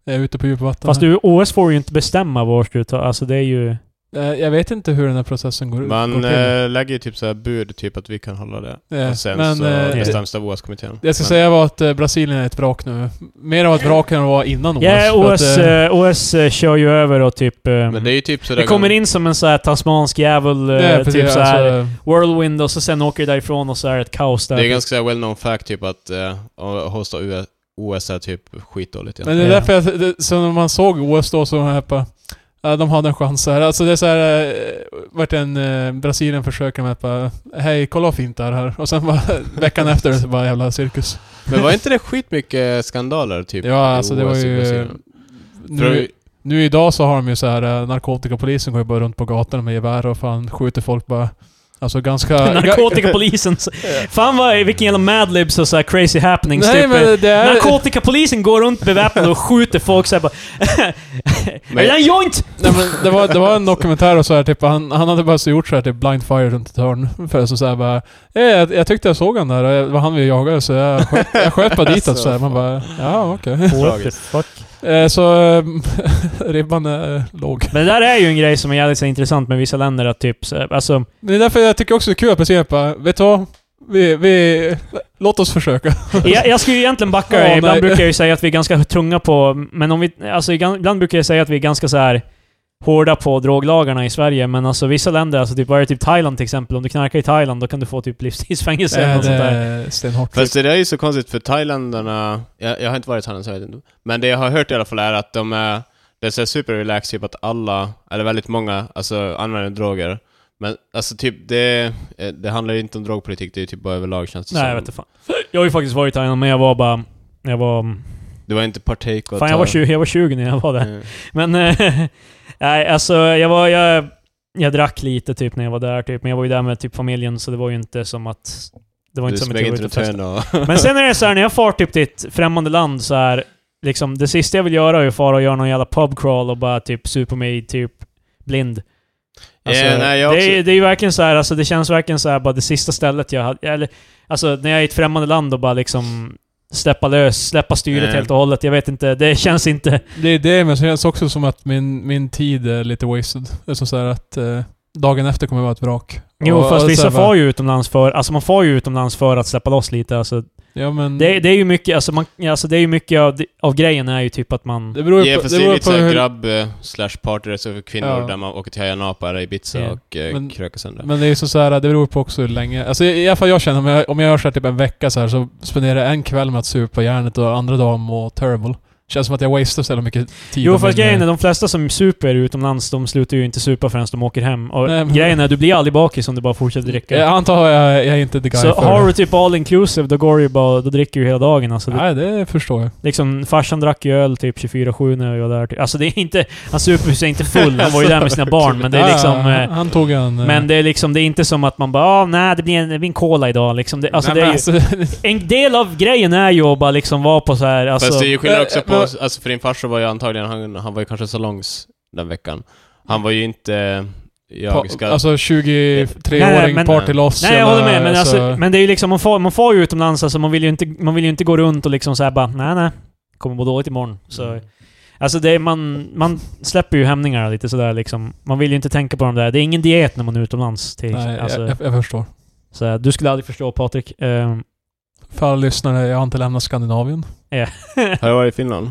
Speaker 1: Jag är ute på djupvatten.
Speaker 3: Fast
Speaker 1: här.
Speaker 3: du, OS får ju inte bestämma vart du tar, alltså det är ju...
Speaker 1: Eh, Jag vet inte hur den här processen går,
Speaker 2: Man
Speaker 1: går till.
Speaker 2: eh, lägger ju typ så här bud, typ att vi kan hålla det.
Speaker 1: Eh,
Speaker 2: Och sen
Speaker 1: men,
Speaker 2: så
Speaker 1: eh,
Speaker 2: bestäms det av OS-kommittén.
Speaker 1: Det jag ska
Speaker 2: Men-
Speaker 1: säga var att eh, Brasilien är ett vrak nu. Mer av ett vrak än vad det var innan OS.
Speaker 3: Ja,
Speaker 1: för att,
Speaker 3: OS,
Speaker 1: eh,
Speaker 3: eh, OS eh, kör ju över och typ... eh,
Speaker 2: Men det
Speaker 3: det,
Speaker 2: är ju typ sådär...
Speaker 3: kommer in som en så här tasmansk jävel, eh,
Speaker 1: det är
Speaker 3: typ
Speaker 1: precis,
Speaker 3: så här
Speaker 1: alltså,
Speaker 3: whirlwind och så sen åker det därifrån och så är det ett kaos där.
Speaker 2: Det är ganska well known fact typ att eh, att hosta US, OS är typ skitdåligt
Speaker 1: Men
Speaker 2: egentligen.
Speaker 1: det är
Speaker 3: Ja.
Speaker 1: därför jag, det, så när man såg OS då så var jag på Ja, de hade en chans här. Alltså det är såhär... Vart en eh, Brasilien försöker med att bara... Hej, kolla vad fint det är här. Och sen bara, (laughs)
Speaker 2: (laughs)
Speaker 1: veckan efter så bara jävla cirkus.
Speaker 2: Men var inte det skitmycket skandaler typ?
Speaker 1: Ja, alltså
Speaker 2: i
Speaker 1: det var
Speaker 2: OS i
Speaker 1: ju...
Speaker 2: Brasilien?
Speaker 1: Nu, nu idag så har de ju så här eh, narkotikapolisen går ju bara runt på gatorna med gevär och fan skjuter folk bara. Alltså ganska...
Speaker 3: (laughs) (laughs) Narkotikapolisen. Fan vad, vilken jävla madlibs och så här crazy happenings
Speaker 1: Nej
Speaker 3: typ.
Speaker 1: men det är...
Speaker 3: Narkotikapolisen går runt beväpnad och skjuter folk såhär bara... (laughs)
Speaker 2: Men-
Speaker 3: Är det en joint?
Speaker 1: Nej, men det, var, det var en dokumentär och så här, typ, han, han hade bara så gjort så här, typ blind fire runt ett hörn. (laughs) För så, så här, bara, eh, jag, jag tyckte jag såg han där, och jag- det var han vi jagade så jag sköt, jag sköt bara dit alltså, så här. Man bara, ja okej. (laughs)
Speaker 3: What the
Speaker 2: Tragiskt.
Speaker 3: fuck?
Speaker 1: Eh, så (laughs) eh, ribban är låg.
Speaker 3: Men det där är ju en grej som är jävligt så intressant med vissa länder att typ, så- alltså...
Speaker 1: Det är därför jag tycker också det är kul att precis bara, vet du vad? Vi, vi, låt oss försöka. (laughs)
Speaker 3: Jag, jag skulle ju egentligen backa dig.
Speaker 1: Ja,
Speaker 3: Ibland
Speaker 1: nej.
Speaker 3: brukar jag ju säga att vi är ganska tunga på... Men om vi... Alltså ibland ibland brukar jag säga att vi är ganska så här hårda på droglagarna i Sverige, men alltså vissa länder, alltså typ, vad är det, typ Thailand till exempel? Om du knarkar i Thailand, då kan du få typ livstidsfängelse eller
Speaker 1: Eh,
Speaker 3: något
Speaker 1: det
Speaker 3: sånt där.
Speaker 1: är stenhårt.
Speaker 2: Fast det där är ju så konstigt för thailändarna, jag, jag har inte varit i Thailand så jag vet inte. Men det jag har hört i alla fall är att de är, det är så här super relaxed, typ att alla, eller väldigt många, alltså använder droger. Men alltså typ det, eh, det handlar ju inte om drogpolitik, det är ju typ bara överlag känns det
Speaker 3: Nej, jag
Speaker 2: som.
Speaker 3: vet inte fan. Jag har ju faktiskt varit i Thailand, men jag var bara... Jag var...
Speaker 2: Det var inte partake och
Speaker 3: Fan, jag
Speaker 2: ta-
Speaker 3: var 20, jag var 20 när jag var där.
Speaker 2: Eh,
Speaker 3: Men... eh, (laughs) Nej, alltså jag var... Jag, jag drack lite typ när jag var där, typ. Men jag var ju där med typ familjen, så det var ju inte som att... Det var
Speaker 2: Du
Speaker 3: inte som att
Speaker 2: smög
Speaker 3: jag var
Speaker 2: inte
Speaker 3: ute och
Speaker 2: runt
Speaker 3: festade.
Speaker 2: hörn och...
Speaker 3: Men sen är det så här när jag far typ till ett främmande land så här, liksom det sista jag vill göra är att fara och göra någon jävla pubcrawl och bara typ supa mig typ blind. Alltså,
Speaker 2: Eh, nej, jag
Speaker 3: det,
Speaker 2: också-
Speaker 3: är, det är ju verkligen så här, alltså det känns verkligen så här bara det sista stället jag hade, eller alltså när jag är i ett främmande land och bara liksom släppa lös, släppa styret
Speaker 1: Mm.
Speaker 2: Eh.
Speaker 3: helt och hållet. Jag vet inte, det känns inte...
Speaker 1: Det är det, men så känns det också som att min, min tid är lite wasted. Det är som så här att eh, dagen efter kommer jag vara ett vrak.
Speaker 3: Jo,
Speaker 1: Och- och
Speaker 3: fast
Speaker 1: så
Speaker 3: vissa
Speaker 1: här bara-
Speaker 3: far ju utomlands för, alltså man far ju utomlands för att släppa loss lite. Alltså,
Speaker 1: Ja, men...
Speaker 3: det, det är ju mycket, alltså, man, alltså det är ju mycket av, av grejen är ju typ att man...
Speaker 1: Det beror ju
Speaker 2: Ja,
Speaker 1: på,
Speaker 2: fast
Speaker 1: det
Speaker 2: det är
Speaker 1: beror
Speaker 2: lite
Speaker 1: på
Speaker 2: såhär
Speaker 1: hur...
Speaker 2: grabb eh, slash partyresor för kvinnor
Speaker 1: Ja.
Speaker 2: där man åker till Ayia Napa eller Ibiza
Speaker 3: Ja.
Speaker 2: och eh,
Speaker 1: Men-
Speaker 2: krökar sönder.
Speaker 1: Men det är ju så så här, det beror på också hur länge... Alltså i alla fall jag känner, om jag, om jag gör så här typ en vecka så här så spenderar jag en kväll med att supa järnet och andra dagen må terrible. Känns som att jag wastar så jävla mycket tid.
Speaker 3: Jo
Speaker 1: av
Speaker 3: fast
Speaker 1: min-
Speaker 3: grejen är de flesta som super utomlands, de slutar ju inte supa förrän de åker hem. Och
Speaker 1: Nej, men-
Speaker 3: grejen är du blir aldrig bakis om du bara fortsätter dricka.
Speaker 1: Jag antar att jag, jag är inte the guy
Speaker 3: så
Speaker 1: för
Speaker 3: har du
Speaker 1: det.
Speaker 3: typ all inclusive, då går du ju bara, då dricker du hela dagen alltså. Det,
Speaker 1: Nej, det förstår jag.
Speaker 3: liksom, farsan drack ju öl typ 24-7 när jag var där. typ. Alltså det är inte, han super sig inte full, han var ju där med sina barn. Men det är
Speaker 1: Ja,
Speaker 3: liksom... eh,
Speaker 1: han tog en...
Speaker 3: Men det är liksom, det är inte som att man bara ah, nej det blir en, det blir en cola idag liksom. Det, alltså,
Speaker 1: Nej,
Speaker 3: det är
Speaker 1: men
Speaker 3: ju,
Speaker 1: (laughs)
Speaker 3: en del av grejen är ju att bara liksom vara på så här, alltså,
Speaker 2: Fast det är ju skillnad
Speaker 1: eh,
Speaker 2: också på,
Speaker 1: men-
Speaker 2: alltså för din farsa var ju antagligen, han, han var ju kanske salongs den veckan. Han var ju inte, eh, jag
Speaker 1: pa,
Speaker 2: ska...
Speaker 1: alltså
Speaker 3: Nej, nej,
Speaker 1: 23-åring
Speaker 3: men-
Speaker 1: partyloss
Speaker 3: Nej, jag
Speaker 1: jävla-
Speaker 3: håller med. Men, alltså,
Speaker 1: så-
Speaker 3: men det är ju liksom, man far, man far ju utomlands, alltså, man, vill ju inte, man vill ju inte gå runt och liksom såhär bara nej nej, kommer må dåligt imorgon. Så,
Speaker 2: Mm.
Speaker 3: Alltså det är, man, man släpper ju hämningar lite sådär liksom. Man vill ju inte tänka på dem där. Det är ingen diet när man är utomlands. Till,
Speaker 1: Nej,
Speaker 3: alltså,
Speaker 1: jag, jag, jag förstår.
Speaker 3: så här, du skulle aldrig förstå Patrik. Ehm,
Speaker 1: För alla lyssnare, jag har inte lämnat Skandinavien.
Speaker 2: Har du varit i Finland?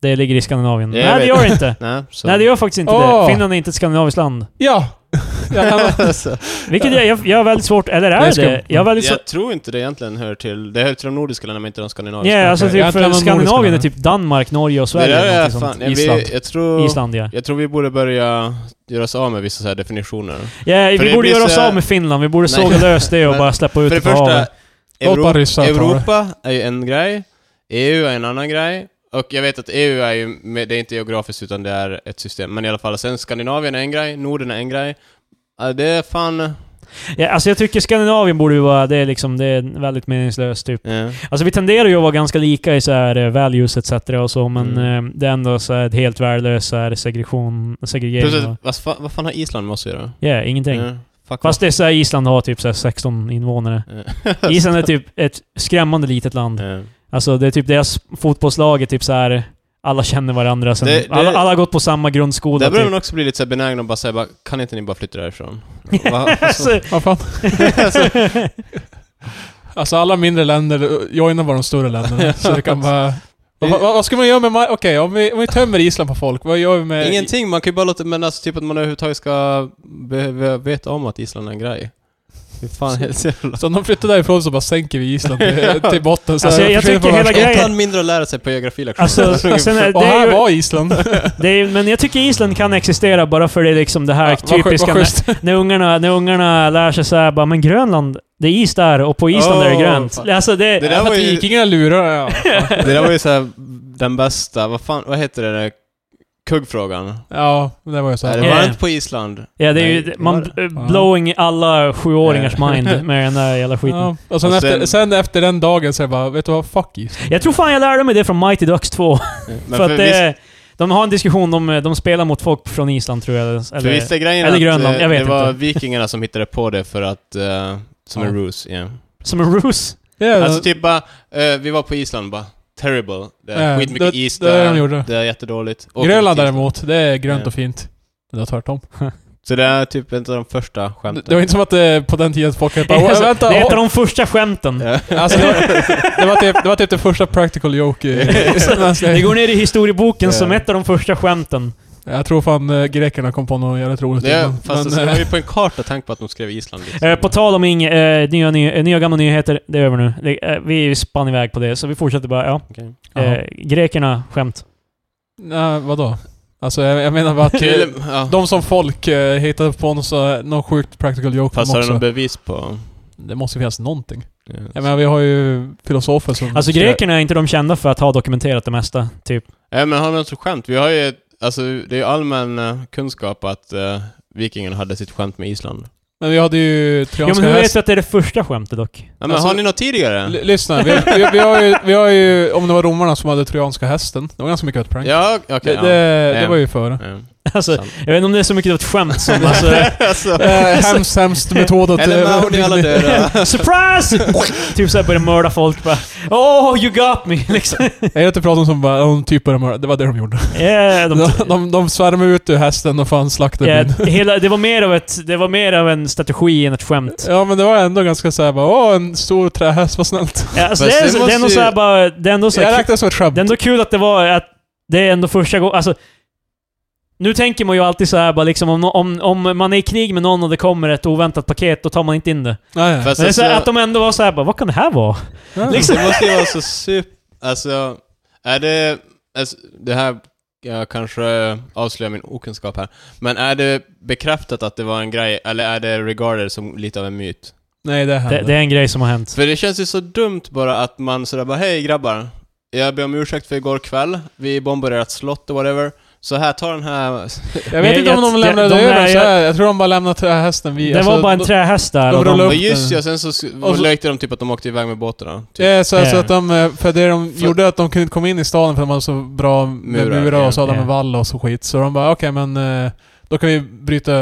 Speaker 3: det ligger i Skandinavien.
Speaker 2: Jag
Speaker 3: nej, det
Speaker 2: vet.
Speaker 3: gör det inte.
Speaker 2: Nej, (laughs) så.
Speaker 3: Nej, det gör faktiskt inte
Speaker 1: Åh!
Speaker 3: det. Finland är inte ett skandinaviskt land.
Speaker 1: Ja!
Speaker 2: (laughs)
Speaker 1: Jag kan,
Speaker 2: alltså,
Speaker 3: Vilket jag, jag, jag har väldigt svårt... Eller
Speaker 1: Det är
Speaker 3: är
Speaker 1: skumt.
Speaker 3: det? Jag har väldigt svårt...
Speaker 2: jag tror inte det egentligen hör till, det hör till de nordiska länderna men inte de
Speaker 3: Ja,
Speaker 2: skandinaviska.
Speaker 3: yeah, alltså
Speaker 1: Jag har
Speaker 3: typ,
Speaker 1: inte
Speaker 3: för
Speaker 1: lämnat
Speaker 3: Skandinavien är
Speaker 1: Nordiska.
Speaker 3: typ Danmark, Norge och
Speaker 2: det
Speaker 3: Sverige.
Speaker 2: där
Speaker 3: eller
Speaker 2: är
Speaker 3: någonting
Speaker 2: fan,
Speaker 3: sånt.
Speaker 2: jag,
Speaker 1: Island.
Speaker 2: vi, jag, tror,
Speaker 3: Island, ja.
Speaker 2: jag tror vi borde börja göra oss av med vissa så här definitioner.
Speaker 3: Ja,
Speaker 2: För
Speaker 3: vi
Speaker 2: det
Speaker 3: borde
Speaker 2: blir
Speaker 3: göra oss
Speaker 2: så här-
Speaker 3: av med Finland. Vi borde
Speaker 2: Nej.
Speaker 3: såga lös det och
Speaker 2: Men
Speaker 3: bara släppa ut
Speaker 2: För det
Speaker 3: det på
Speaker 2: första,
Speaker 3: havet.
Speaker 1: Låt bara ryssar ta det.
Speaker 2: Europa är ju en grej, EU är en annan grej, och jag vet att EU är ju, med, det är inte geografiskt utan det är ett system, men i alla fall, sen Skandinavien är en grej, Norden är en grej. Ja, Det är fan...
Speaker 3: Ja, alltså jag tycker Skandinavien borde ju vara... Det är liksom... Det är väldigt meningslöst typ.
Speaker 2: Ja.
Speaker 3: Alltså vi tenderar ju att vara ganska lika i så här eh, values etc. och så, men
Speaker 2: Mm.
Speaker 3: eh, det är ändå så här ett helt värdelös så här segregation... Segregering
Speaker 2: Plus
Speaker 3: och-
Speaker 2: att, vad, fa- vad fan har Island med oss att göra?
Speaker 3: Ja, ingenting.
Speaker 2: Ja, fuck
Speaker 3: Fast det är så här, Island har typ så här 16 invånare.
Speaker 2: off. Ja.
Speaker 3: Island är typ ett skrämmande litet land.
Speaker 2: (laughs) Ja.
Speaker 3: Alltså det är typ deras fotbollslag är typ så här alla känner varandra. Sen,
Speaker 2: Det- det-
Speaker 3: alla, alla har gått på samma grundskola.
Speaker 2: Där börjar
Speaker 3: Typ.
Speaker 2: man också bli lite så här benägen och bara säga bara, kan inte ni bara flytta därifrån? Va?
Speaker 3: (laughs)
Speaker 2: Alltså,
Speaker 3: Alltså,
Speaker 1: Vad fan? Alltså alla mindre länder eh, joinar bara de större
Speaker 3: (laughs)
Speaker 1: länderna. så det kan bara... Vad, vad, vad ska man göra med... Ma- Okej, om, vi, om vi tömmer Island på folk, vad gör vi med...
Speaker 2: Ingenting, man kan ju bara låta, men alltså typ att man överhuvudtaget ska behöva veta om att Island är en grej. Hur fan helt jävla...
Speaker 1: Så om de flyttar därifrån så bara sänker vi Island
Speaker 3: (laughs)
Speaker 1: till, till botten. Så
Speaker 3: Alltså,
Speaker 1: här
Speaker 3: jag
Speaker 1: försvinner
Speaker 3: tycker
Speaker 1: på (laughs)
Speaker 3: hela
Speaker 1: världs-
Speaker 2: Ett
Speaker 3: grejen-
Speaker 2: land mindre att lära sig på geografilektionen. (laughs)
Speaker 3: alltså, sen är,
Speaker 1: Och
Speaker 3: det är
Speaker 1: här
Speaker 3: ju,
Speaker 1: var
Speaker 3: (laughs)
Speaker 1: Island.
Speaker 3: det är, men jag tycker Island kan existera bara för det är liksom det här
Speaker 1: Ja, vad sj-
Speaker 3: typiska
Speaker 1: vad
Speaker 3: när,
Speaker 1: schysst.
Speaker 3: när, ungarna, när ungarna lär sig såhär bara men Grönland, det är is där och på Island är det
Speaker 2: Oh,
Speaker 3: grönt.
Speaker 2: fan.
Speaker 3: Alltså det,
Speaker 2: Det
Speaker 1: Ja,
Speaker 2: där
Speaker 1: för
Speaker 2: var
Speaker 1: att
Speaker 2: ju-
Speaker 1: vikingarna lurar ja.
Speaker 2: det där var ju såhär, den bästa, vad fan, vad heter det där? Kuggfrågan.
Speaker 1: Ja, det var ju så
Speaker 2: Är
Speaker 1: här.
Speaker 2: det
Speaker 3: Ja.
Speaker 2: varmt på Island?
Speaker 3: (laughs) Ja, det är
Speaker 2: Nej,
Speaker 3: ju...
Speaker 2: det
Speaker 3: Man
Speaker 2: var
Speaker 3: bl- blowing alla sjuåringars mind med den där jävla skiten.
Speaker 1: Ja, och sen,
Speaker 2: Och
Speaker 1: efter,
Speaker 2: sen-
Speaker 1: sen efter den dagen så är det bara, vet du vad? Fuck Island.
Speaker 3: Jag tror fan jag lärde mig det från Mighty Ducks 2.
Speaker 2: Men
Speaker 3: (laughs) för att
Speaker 2: visst-
Speaker 3: det, de har en diskussion, de, de spelar mot folk från Island tror jag. Eller,
Speaker 2: För visst är grejen
Speaker 3: eller
Speaker 2: att
Speaker 3: Grönland,
Speaker 2: eh,
Speaker 3: jag vet
Speaker 2: det var
Speaker 3: inte.
Speaker 2: vikingarna som hittade på det för att... eh, som
Speaker 1: Ja.
Speaker 2: en ruse, ja.
Speaker 3: Som
Speaker 2: (laughs)
Speaker 3: en ruse.
Speaker 1: Yeah.
Speaker 2: Alltså typ bara, eh, vi var på Island bara, terrible. Det är
Speaker 1: Ja,
Speaker 2: skitmycket
Speaker 1: det-
Speaker 2: is
Speaker 1: det är det
Speaker 2: där,
Speaker 1: de gjorde.
Speaker 2: det är jättedåligt. Åker
Speaker 1: Grönland
Speaker 2: till Island.
Speaker 1: däremot, det är grönt
Speaker 2: Ja.
Speaker 1: och fint. Men det var tvärtom.
Speaker 2: Så det är typ en av de första skämten.
Speaker 1: Det var inte som att eh, på den tiden folk
Speaker 3: (laughs)
Speaker 1: bara "Åh,
Speaker 3: Alltså,
Speaker 1: vänta,
Speaker 3: det är ett
Speaker 1: åh."
Speaker 3: av de första skämten.
Speaker 2: Ja.
Speaker 1: Alltså, det, var, det, var typ, det var typ det första practical joke i-
Speaker 3: (laughs)
Speaker 1: Alltså, i
Speaker 3: (laughs) Det går ner i historieboken
Speaker 2: Ja.
Speaker 3: som ett av de första skämten.
Speaker 1: Jag tror fan eh, grekerna kom på något jävligt roligt.
Speaker 2: (laughs)
Speaker 1: (laughs)
Speaker 2: Det är,
Speaker 1: innan.
Speaker 2: fast alltså,
Speaker 1: Men,
Speaker 2: det var
Speaker 1: eh,
Speaker 2: ju på en karta tanke på att de skrev Island. Liksom.
Speaker 3: Eh, på tal om inga, eh, nya, nya, nya gamla nyheter, det är över nu. Det, eh, vi spann iväg på det, så vi fortsätter bara. Ja.
Speaker 2: Okej.
Speaker 1: jaha.
Speaker 3: Eh, grekerna, skämt.
Speaker 1: Nej, vadå? Alltså jag, jag menar bara att eh,
Speaker 2: Kul, ja.
Speaker 1: de som folk eh, hittade på någon, så, någon sjukt practical joke
Speaker 2: Fast
Speaker 1: om
Speaker 2: har du
Speaker 1: också.
Speaker 2: något bevis på...
Speaker 1: Det måste ju finnas någonting.
Speaker 2: Ja.
Speaker 1: Jag menar vi har ju filosofer som...
Speaker 3: Alltså grekerna är inte de kända för att ha dokumenterat det mesta, typ.
Speaker 2: Ja, men har du något skämt? Vi har ju, ett- alltså det är ju allmän eh, kunskap att eh, vikingarna hade sitt skämt med Island.
Speaker 1: Men vi hade ju
Speaker 3: Ja, men
Speaker 1: trojanska
Speaker 3: hur vet
Speaker 1: häst-
Speaker 3: vi att det är det första skämtet dock? (laughs)
Speaker 2: Ja, men
Speaker 1: Alltså-
Speaker 2: har ni något tidigare?
Speaker 1: L- Lyssna, vi, vi, vi, har ju, vi har ju... Om det var romarna som hade trojanska hästen. Det var ganska mycket av ett prank.
Speaker 2: Ja, okej.
Speaker 1: det,
Speaker 2: ja.
Speaker 1: det, det
Speaker 2: Ja.
Speaker 1: var ju före.
Speaker 2: Ja.
Speaker 3: Alltså,
Speaker 2: sant.
Speaker 3: jag vet inte om det är så mycket av ett skämt som alltså...
Speaker 2: alltså,
Speaker 1: Eh, hemskt, hemskt metod att...
Speaker 2: eller
Speaker 1: eh,
Speaker 2: med ni alla döda.
Speaker 3: (laughs) Surprise! typ såhär börjar mörda folk bara. Oh, you got me! (laughs) Liksom.
Speaker 1: Jag gillar att prata om som bara, de typ började mörda. Det var det de gjorde.
Speaker 3: Yeah, de,
Speaker 1: De,
Speaker 3: (laughs)
Speaker 1: de, de svärmade ut ur hästen och fan slaktade
Speaker 3: yeah,
Speaker 1: byn.
Speaker 3: hela, det, var mer av ett, det var mer av en strategi än ett skämt.
Speaker 1: (laughs) Ja men det var ändå ganska såhär bara, åh en stor trähäst, vad snällt.
Speaker 3: Ja, alltså, det,
Speaker 2: Fast
Speaker 3: är,
Speaker 2: det
Speaker 3: så- det
Speaker 2: måste
Speaker 3: är ändå
Speaker 2: ju-
Speaker 3: såhär bara... Det är ändå, så
Speaker 1: Jag
Speaker 3: här,
Speaker 1: räknade som ett skämt.
Speaker 3: det är ändå kul att det var att... Det är ändå första gången... Alltså, nu tänker man ju alltid så här bara liksom om, om, om man är i krig med någon och det kommer ett oväntat paket, då tar man inte in det.
Speaker 1: Nej, nej.
Speaker 2: Fast
Speaker 3: Men det är så här, att
Speaker 2: alltså,
Speaker 3: de ändå var så här bara, vad kan det här vara?
Speaker 1: (laughs) Ja.
Speaker 3: liksom-
Speaker 2: det måste ju vara så super... Alltså, är det... Alltså, det här jag kanske avslöjar min okunskap här. Men är det bekräftat att det var en grej, eller är det regarded som lite av en myt?
Speaker 1: Nej det
Speaker 3: Det,
Speaker 1: hände.
Speaker 3: det är en grej som har hänt.
Speaker 2: För det känns ju så dumt bara att man sådär bara Hej grabbar, jag ber om ursäkt för igår kväll, vi bombade ert slott och whatever. Så här, ta den här...
Speaker 1: Jag vet
Speaker 3: Jag-
Speaker 1: inte om
Speaker 3: jag-
Speaker 1: de lämnade
Speaker 3: de- de
Speaker 1: över
Speaker 3: där-
Speaker 1: så här. Jag tror de bara lämnade trähästen vid. alltså,
Speaker 3: Det var bara en
Speaker 1: de-
Speaker 3: trähäst där.
Speaker 1: de
Speaker 3: och de,
Speaker 1: rullade
Speaker 2: Och
Speaker 1: upp
Speaker 2: just
Speaker 1: den.
Speaker 2: ja, sen så, s-
Speaker 1: Och så-
Speaker 2: lekte de typ att de åkte iväg med båtarna.
Speaker 1: Det
Speaker 2: Typ.
Speaker 1: är så, så
Speaker 3: Ja.
Speaker 1: att de, eh, för det de
Speaker 2: För-
Speaker 1: gjorde att de kunde inte komma in i staden för de hade så bra med
Speaker 2: Murar,
Speaker 1: murar, och så
Speaker 2: ja.
Speaker 1: hade de
Speaker 3: Ja.
Speaker 1: en vall och så skit. Så de bara okej men eh, då kan vi bryta,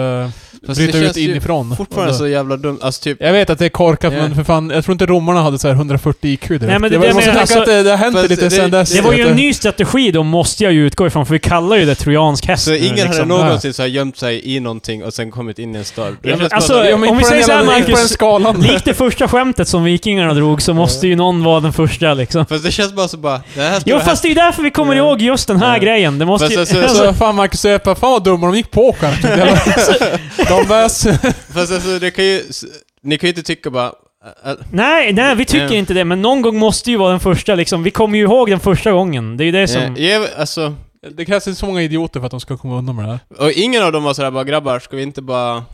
Speaker 2: Fast
Speaker 1: bryta
Speaker 2: det
Speaker 1: ut
Speaker 2: känns ju
Speaker 1: inifrån.
Speaker 2: Fortfarande
Speaker 1: Och då-
Speaker 2: så jävla dumt, alltså typ...
Speaker 1: Jag vet att det är korkat
Speaker 2: Ja.
Speaker 1: men för fan, jag tror inte romarna hade så här 140 IQ direkt.
Speaker 3: Nej, men det-
Speaker 1: var-
Speaker 3: det
Speaker 1: man ska
Speaker 3: menar-
Speaker 1: tänka
Speaker 3: alltså-
Speaker 1: att det, det har hänt
Speaker 2: Fast
Speaker 1: lite
Speaker 2: det-
Speaker 1: sen dess.
Speaker 3: det var ju
Speaker 1: att
Speaker 3: en ny strategi då, måste jag ju utgå ifrån, för vi kallar ju det trojansk häst.
Speaker 2: Så
Speaker 3: nu,
Speaker 2: ingen hade
Speaker 3: liksom.
Speaker 2: någonsin så här gömt sig i någonting och sen kommit in i en stad? Det
Speaker 3: Ja,
Speaker 2: känns
Speaker 3: alltså,
Speaker 2: bara så-
Speaker 1: Ja, men
Speaker 3: om
Speaker 1: om
Speaker 3: vi
Speaker 1: vi
Speaker 3: säger så här,
Speaker 1: På
Speaker 3: Marcus-
Speaker 1: den skalan.
Speaker 3: Likt det första skämtet som vikingarna drog så måste ju någon vara den första liksom.
Speaker 2: Fast det känns bara så bara, det här ska
Speaker 3: Jo
Speaker 2: vara
Speaker 3: fast det är ju därför vi kommer
Speaker 2: Ja.
Speaker 3: ihåg just den här
Speaker 2: Ja.
Speaker 3: grejen. Det måste
Speaker 2: Fast
Speaker 3: ju...
Speaker 2: alltså,
Speaker 3: alltså,
Speaker 1: Så fan Marcus och jag bara, fan vad dumma de gick på skämtet.
Speaker 3: (laughs)
Speaker 1: Jag bara, de bäst.
Speaker 2: här- Fast alltså, det kan ju... s- Ni kan ju inte tycka bara... äh, äh,
Speaker 3: nej, nej, vi tycker
Speaker 2: Ja.
Speaker 3: inte det, men någon gång måste ju vara den första liksom. Vi kommer ju ihåg den första gången. Det är ju det som...
Speaker 2: eh, ge- Alltså,
Speaker 1: Det krävs inte så många idioter för att de ska komma undan med det här.
Speaker 2: och ingen av dem var sådär bara grabbar, ska vi inte bara...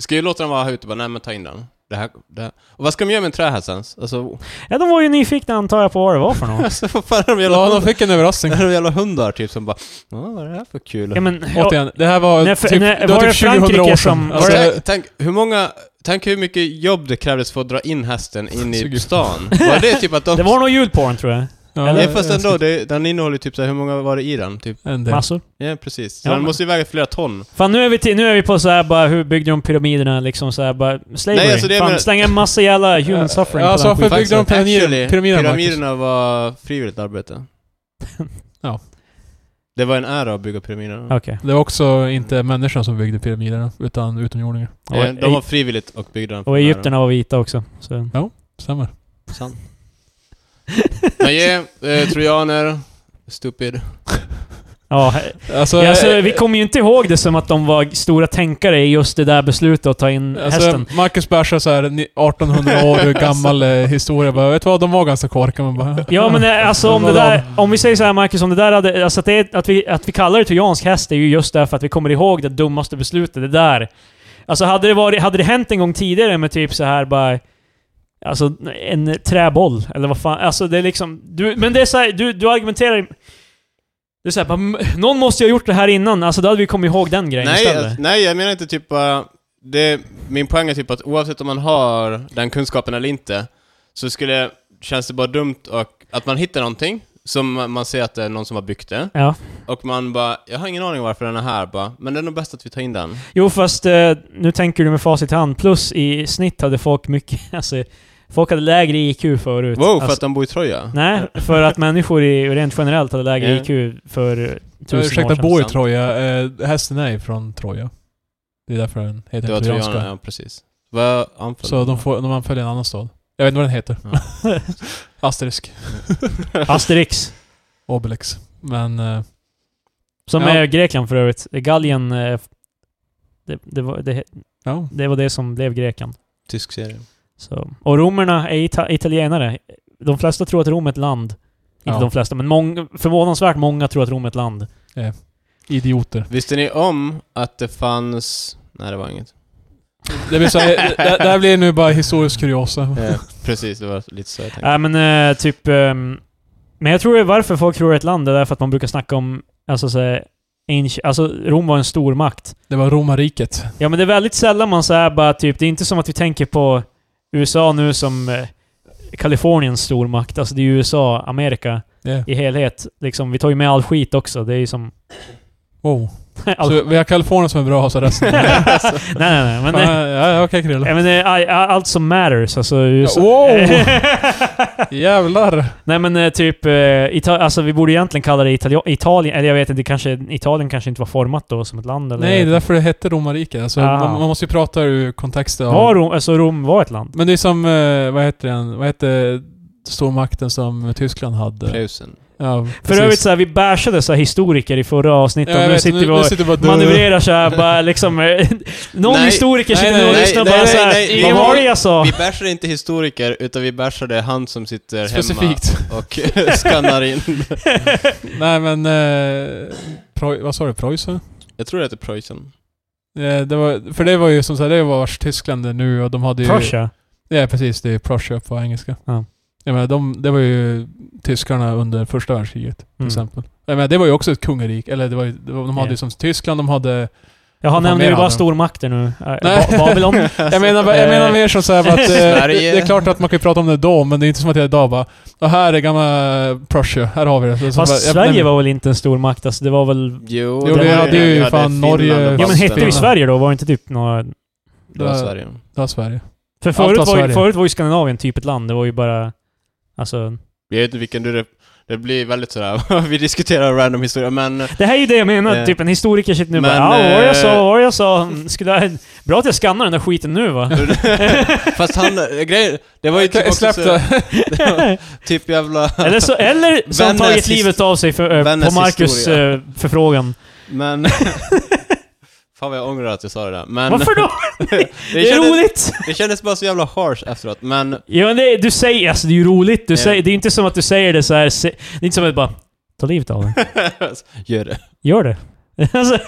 Speaker 2: Ska vi låta dem vara här ute? Bara, nej men ta in den. Det här, det här. Och vad ska de göra med en trähäst ens? Alltså, (laughs)
Speaker 3: Ja, de var ju nyfikna antar jag på vad det var för något.
Speaker 2: alltså vad fan är de jävla
Speaker 1: Ja, de
Speaker 2: hundar?
Speaker 1: fick en överraskning.
Speaker 2: Är de jävla hundar typ som bara, "Ja, vad är det här för kul?
Speaker 3: Ja, men, ja,
Speaker 1: Återigen, det här var
Speaker 3: Nej, för-
Speaker 1: typ,
Speaker 3: nej,
Speaker 1: det var
Speaker 3: var
Speaker 1: typ
Speaker 3: det
Speaker 1: 20
Speaker 3: Frankrike
Speaker 1: år
Speaker 3: som-
Speaker 1: sedan.
Speaker 3: var
Speaker 1: Alltså,
Speaker 2: tänk, tänk, hur många Tänk hur mycket jobb det krävdes för att dra in hästen in
Speaker 3: (laughs)
Speaker 2: i
Speaker 1: Suger.
Speaker 2: stan. Var det typ att de...
Speaker 3: Det var nog julporn tror jag.
Speaker 1: Ja,
Speaker 2: Nej,
Speaker 3: eller-
Speaker 2: fast ändå. Det, den innehåller typ så här, hur många var det i den? Typ?
Speaker 1: En del.
Speaker 3: Massor.
Speaker 2: Ja, precis. Så
Speaker 3: Ja,
Speaker 2: den
Speaker 3: men-
Speaker 2: måste ju väga flera ton.
Speaker 3: Fan nu är vi, till, nu är vi på så här bara, hur byggde de pyramiderna liksom så här bara, slavery.
Speaker 2: Nej, alltså det
Speaker 3: Fan,
Speaker 2: menar-
Speaker 3: slänga en
Speaker 2: (laughs)
Speaker 3: massa jävla human suffering
Speaker 1: Ja,
Speaker 3: på
Speaker 1: så
Speaker 3: den
Speaker 1: för
Speaker 3: skiten.
Speaker 1: byggde de pyramider-
Speaker 2: Actually,
Speaker 1: pyramiderna, Marcus?
Speaker 2: pyramiderna var frivilligt arbete.
Speaker 1: (laughs) Ja.
Speaker 2: Det var en ära att bygga pyramiderna.
Speaker 3: Okej.
Speaker 1: Det var också inte människan som byggde pyramiderna, utan utomjordingar.
Speaker 3: Och,
Speaker 2: Eh, De var
Speaker 3: Eg-
Speaker 2: frivilligt och byggde den. för
Speaker 3: och
Speaker 2: den
Speaker 3: egyptierna var vita också. Så.
Speaker 1: Stämmer.
Speaker 2: äran. Sant. Men ge eh, trojaner, stupid.
Speaker 3: Ja, he-
Speaker 1: Alltså,
Speaker 3: ja, alltså,
Speaker 1: eh,
Speaker 3: vi kommer ju inte ihåg det som att de var stora tänkare i just det där beslutet att ta
Speaker 2: Mm,
Speaker 3: in
Speaker 1: alltså,
Speaker 3: hästen.
Speaker 1: Marcus Bärsar såhär 1800
Speaker 3: (laughs)
Speaker 1: år gammal eh, historia bara, vet du vad, de var ganska korkade. Man bara,
Speaker 3: Ja
Speaker 1: (laughs)
Speaker 3: men eh, alltså om det där, om vi säger så här Marcus, om det där hade, alltså att, det, är- att, vi, att vi kallar det trojansk häst är ju just därför att vi kommer ihåg det dummaste beslutet, det där. Alltså hade det, varit, hade det hänt en gång tidigare med typ så här bara... Alltså en träboll, eller vad fan. Alltså det är liksom... Du, men det är så här, du, du argumenterar... Du säger bara, "M- någon måste ju ha gjort det här innan, alltså då hade vi kommit ihåg den grejen
Speaker 2: Nej,
Speaker 3: istället.
Speaker 2: alltså, nej, jag menar inte typ bara... det, min poäng är typ att oavsett om man har den kunskapen eller inte, så skulle, känns det bara dumt och, att man hittar någonting som man man ser att det är någon som har byggt det,
Speaker 3: Ja.
Speaker 2: och man bara, jag har ingen aning varför den är här bara, men det är nog bäst att vi tar in den.
Speaker 3: Jo fast eh, nu tänker du med facit i hand, plus i snitt hade folk mycket, (laughs) alltså... Folk hade lägre IQ förut.
Speaker 2: Wow, för
Speaker 3: alltså,
Speaker 2: att de bor i Troja?
Speaker 3: Nej, för att människor i, rent generellt hade lägre
Speaker 2: Ja.
Speaker 3: IQ för tusen år
Speaker 1: Ursäkta,
Speaker 3: sedan.
Speaker 1: bor i
Speaker 2: sant.
Speaker 1: Troja. Eh, hästen är från Troja. Det är därför den heter
Speaker 2: Det var
Speaker 1: trojanska.
Speaker 2: trojanerna, ja precis. Vad anföll?
Speaker 1: Så
Speaker 2: (laughs)
Speaker 1: de, får, de anföljer en annan stad. Jag vet inte vad den heter.
Speaker 2: Ja.
Speaker 1: (laughs) Asterisk.
Speaker 3: Asterix,
Speaker 1: Obelix. Men... Eh,
Speaker 3: som
Speaker 1: Ja.
Speaker 3: är Grekland för övrigt. Gallien, eh, det, det, var, det,
Speaker 1: ja.
Speaker 3: det var det som blev Grekland.
Speaker 2: Tysk serie.
Speaker 3: Så. Och romerna är ita italienare. De flesta tror att Rom är ett land. Inte
Speaker 1: Ja.
Speaker 3: de flesta, men mång, förvånansvärt många tror att Rom är ett land.
Speaker 1: Idioter.
Speaker 2: Visste ni om att det fanns... Nej, det var inget.
Speaker 1: Det, blir så,
Speaker 2: (laughs)
Speaker 1: det, det här blir nu bara historisk kuriosa.
Speaker 2: Eh, precis, det var lite så jag tänkte.
Speaker 3: Nej men eh, typ... ehm, men jag tror det är varför folk tror det är ett land, det är därför att man brukar snacka om... Alltså, så, här, anci- alltså Rom var en stor makt.
Speaker 1: Det var romarriket.
Speaker 3: Ja men det är väldigt sällan man säger bara typ, det är inte som att vi tänker på USA nu som eh, Kaliforniens stormakt. Alltså det är ju USA, Amerika
Speaker 1: Yeah.
Speaker 3: i helhet. Liksom, vi tar ju med all skit också. Det är ju som... (laughs)
Speaker 1: Wow.
Speaker 3: all...
Speaker 1: Så vi har Kalifornien som är bra och så resten.
Speaker 3: (laughs) nej,
Speaker 1: Fan,
Speaker 3: nej, nej. Alltså- (laughs) Men, eh,
Speaker 1: ja, ja, okej Krille.
Speaker 3: ja, men eh, all- all- allt som matters. Alltså USA... (laughs)
Speaker 1: wow! Jävlar!
Speaker 3: nej men eh, typ, eh, Ita- alltså vi borde egentligen kalla det Itali Italien, eller jag vet inte, kanske, Italien kanske inte var format då som ett land eller?
Speaker 1: Nej, det är därför det hette romarriket. Alltså,
Speaker 3: Ah.
Speaker 1: man, man måste ju prata ur kontexten. av-
Speaker 3: Var Rom, alltså Rom var ett land?
Speaker 1: Men det är som, eh, vad heter den? Vad heter stormakten som Tyskland hade?
Speaker 2: Preussen.
Speaker 1: Ja,
Speaker 3: För övrigt så här, vi bärsade så här historiker i förra avsnittet, och nu sitter vi och
Speaker 1: sitter vi bara
Speaker 3: manövrerar så här, bara liksom... eh, (laughs) Någon
Speaker 2: Nej,
Speaker 3: historiker
Speaker 1: nej,
Speaker 3: sitter nu och
Speaker 1: nej,
Speaker 3: lyssnar
Speaker 2: nej,
Speaker 3: bara
Speaker 2: nej,
Speaker 3: såhär...
Speaker 2: nej,
Speaker 1: nej.
Speaker 3: Vad var det jag sa?
Speaker 2: Vi bärsar inte historiker, utan vi bärsade han som sitter
Speaker 1: Specifikt.
Speaker 2: hemma och (laughs) skannar in.
Speaker 3: (laughs)
Speaker 1: Nej men... Eh, Preu- vad sa du? Preussen?
Speaker 2: Jag tror det heter Preussen.
Speaker 1: Eh, det var, för det var ju som sagt, det var Tyskland det nu och de hade ju...
Speaker 3: Prussia?
Speaker 1: Ja precis, det är Prussia på engelska.
Speaker 3: Ja.
Speaker 1: Jag menar, de, det var ju tyskarna under första världskriget till
Speaker 3: Mm.
Speaker 1: exempel. Jag menar, det var ju också ett kungarik, eller det var, ju- det var de hade
Speaker 3: Ja.
Speaker 1: ju som Tyskland, de hade...
Speaker 3: Jaha,
Speaker 1: Vad fan
Speaker 3: nämnde
Speaker 1: mer
Speaker 3: ju bara
Speaker 1: hade de?
Speaker 3: stormakter nu. Eh,
Speaker 1: Nej.
Speaker 3: Ba Babylon?
Speaker 1: (laughs) Jag menar, bara- jag menar mer som såhär att... Eh,
Speaker 2: Alltså, Sverige.
Speaker 1: det är klart att man kan ju prata om det då, men det är inte som att jag idag bara... Och här är gamla Prussia, här har vi det. Så
Speaker 3: Fast
Speaker 1: bara, jag-
Speaker 3: Sverige
Speaker 1: nej,
Speaker 3: var väl inte en stormakt? Alltså det var väl...
Speaker 2: Jo,
Speaker 1: Jo,
Speaker 2: det
Speaker 3: vi
Speaker 2: var
Speaker 3: hade
Speaker 1: ju
Speaker 2: vi
Speaker 1: fan
Speaker 2: Finland
Speaker 1: Norge-
Speaker 2: och
Speaker 1: Ja,
Speaker 3: Ja men
Speaker 2: Balterna.
Speaker 3: hette ju
Speaker 1: Balterna.
Speaker 3: Sverige då? Var det inte typ några...
Speaker 2: Det var Sverige.
Speaker 1: Det var Sverige.
Speaker 3: För
Speaker 1: Allt
Speaker 3: förut
Speaker 1: var
Speaker 3: var, ju,
Speaker 1: Sverige.
Speaker 3: förut var ju Skandinavien typ ett land, det var ju bara... Alltså...
Speaker 2: Jag vet inte vilken du... Det blir väldigt sådär, (laughs) vi diskuterar random historia, men...
Speaker 1: (laughs)
Speaker 2: (laughs)
Speaker 3: Det här är ju det jag menar,
Speaker 2: Eh.
Speaker 3: typ en historiker sitter nu
Speaker 2: Men,
Speaker 3: bara ja, vad var det jag sa,
Speaker 2: eh,
Speaker 3: vad var det jag sa? Skulle jag... Bra att jag skannar den där skiten
Speaker 1: (laughs)
Speaker 3: nu va?
Speaker 2: Fast han, grejen, det var ju typ också
Speaker 1: Släpp
Speaker 2: så,
Speaker 1: det!
Speaker 2: (laughs) typ jävla...
Speaker 3: (laughs) Eller så, eller så har han
Speaker 2: Vännäs
Speaker 3: tagit
Speaker 2: his-
Speaker 3: livet av sig för, eh, på
Speaker 2: Vännäs
Speaker 3: Marcus
Speaker 2: historia.
Speaker 3: eh, förfrågan. (laughs)
Speaker 2: Men... Fan vad jag ångrar att jag sa det där, men...
Speaker 3: Varför då?
Speaker 2: Det,
Speaker 3: Det är
Speaker 2: kändes,
Speaker 3: roligt!
Speaker 2: det kändes bara så jävla harsh efteråt, men...
Speaker 3: (laughs) Ja, men det, du säger, alltså det är ju roligt. Du
Speaker 2: Ja.
Speaker 3: säger, det är ju inte som att du säger det så här. Se, det är inte som att du bara ta livet av den.
Speaker 2: Gör det.
Speaker 3: Gör det. (laughs) alltså,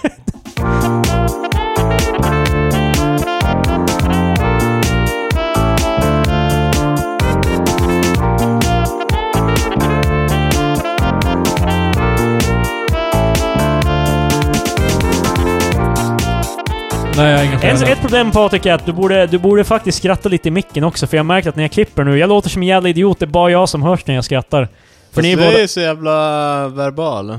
Speaker 1: Nej, jag har inga
Speaker 3: En,
Speaker 1: föräldrar.
Speaker 3: ett problem Patrik är att du borde, du borde faktiskt skratta lite i micken också, för jag har märkt att när jag klipper nu, jag låter som en jävla idiot, det är bara jag som hörs när jag skrattar. För
Speaker 2: Fast
Speaker 3: ni
Speaker 2: du
Speaker 3: är
Speaker 2: är
Speaker 3: båda...
Speaker 2: ju så jävla verbal.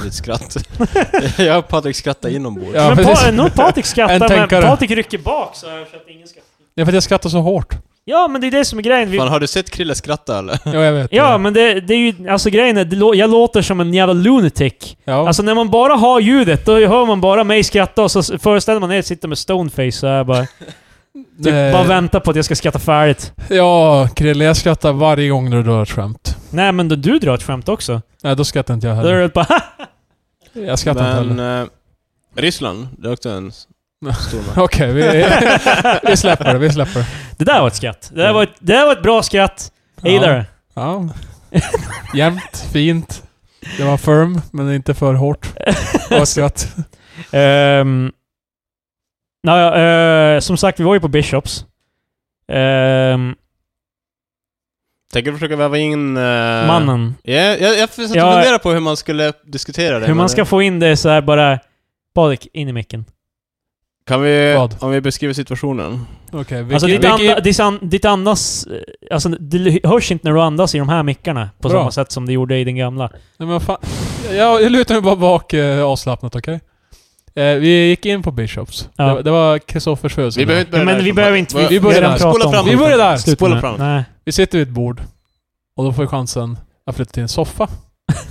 Speaker 2: I ditt skratt. (laughs) jag och Patrik skrattar inombords.
Speaker 1: Ja,
Speaker 3: men pa,
Speaker 1: precis.
Speaker 3: nog Patrik
Speaker 1: En
Speaker 3: skrattar, men
Speaker 1: tänkare.
Speaker 3: Patrik rycker bak så här så att ingen skrattar.
Speaker 1: Det är för att jag skrattar så hårt.
Speaker 3: Ja, men det är det som är grejen. Vi,
Speaker 2: Fan, har du sett Krille skratta eller?
Speaker 1: Ja, jag vet.
Speaker 3: ja, men det, det är ju... Alltså grejen är, det, lå- jag låter som en jävla lunatic.
Speaker 1: ja.
Speaker 3: Alltså när man bara har ljudet, då hör man bara mig skratta och så s- föreställer man sig att jag sitter med stoneface så här bara. Typ
Speaker 1: Nej.
Speaker 3: bara vänta på att jag ska skratta färdigt.
Speaker 1: Eh, Ja, Krille, jag skrattar varje gång du drar ett skämt.
Speaker 3: Nej, men då du drar ett skämt också.
Speaker 1: Nej, då skrattar inte jag
Speaker 3: Då är
Speaker 1: heller.
Speaker 3: det bara
Speaker 1: Jag skrattar inte
Speaker 2: Men...
Speaker 1: heller.
Speaker 2: Eh, Ryssland, det är också en s- stor match.
Speaker 1: Okej, vi, (laughs) vi släpper (laughs) det. Vi släpper det.
Speaker 3: Det där var ett skratt. Det där var ett, det där var ett bra skratt. Jag gillar det.
Speaker 1: Ja. Jämnt, fint. Det var firm, men inte för
Speaker 3: (laughs)
Speaker 1: hårt. Och skratt.
Speaker 3: Ehm, naja, eh, som sagt, vi var ju på Bishops. Ehm,
Speaker 2: Tänker försöka väva in... eh,
Speaker 3: mannen.
Speaker 2: Ja, jag, jag satt och
Speaker 3: Ja.
Speaker 2: funderade på hur man skulle diskutera det.
Speaker 3: Hur man
Speaker 2: men-
Speaker 3: ska få in det så här bara... Patrik, in i micken.
Speaker 2: Kan vi...
Speaker 1: Vad?
Speaker 2: Om vi beskriver situationen.
Speaker 1: Okej,
Speaker 3: alltså ditt,
Speaker 1: vilket-
Speaker 3: anda, ditt, an, ditt andas... eh, Alltså det hörs inte när du andas i de här mickarna på
Speaker 1: Bra.
Speaker 3: samma sätt som det gjorde i den gamla.
Speaker 1: Nej men vad fan. Jag, jag lutar mig bara bak eh, avslappnat, okej? Eh, vi gick in på Bishops.
Speaker 3: Ja.
Speaker 1: Det, det var Kristoffers
Speaker 2: Vi behöver
Speaker 1: födelsedag.
Speaker 2: inte
Speaker 3: Men
Speaker 2: börja
Speaker 3: vi
Speaker 2: därifrån.
Speaker 3: behöver inte...
Speaker 2: Vad-
Speaker 1: vi börjar
Speaker 3: redan
Speaker 1: där.
Speaker 3: pratat
Speaker 2: Spola
Speaker 3: om
Speaker 2: fram
Speaker 3: det.
Speaker 1: Vi börjar där.
Speaker 3: Sluta
Speaker 2: Spola
Speaker 3: med-
Speaker 2: fram.
Speaker 3: Nej.
Speaker 1: Vi sitter vid ett bord. Och då får vi chansen att flytta till en soffa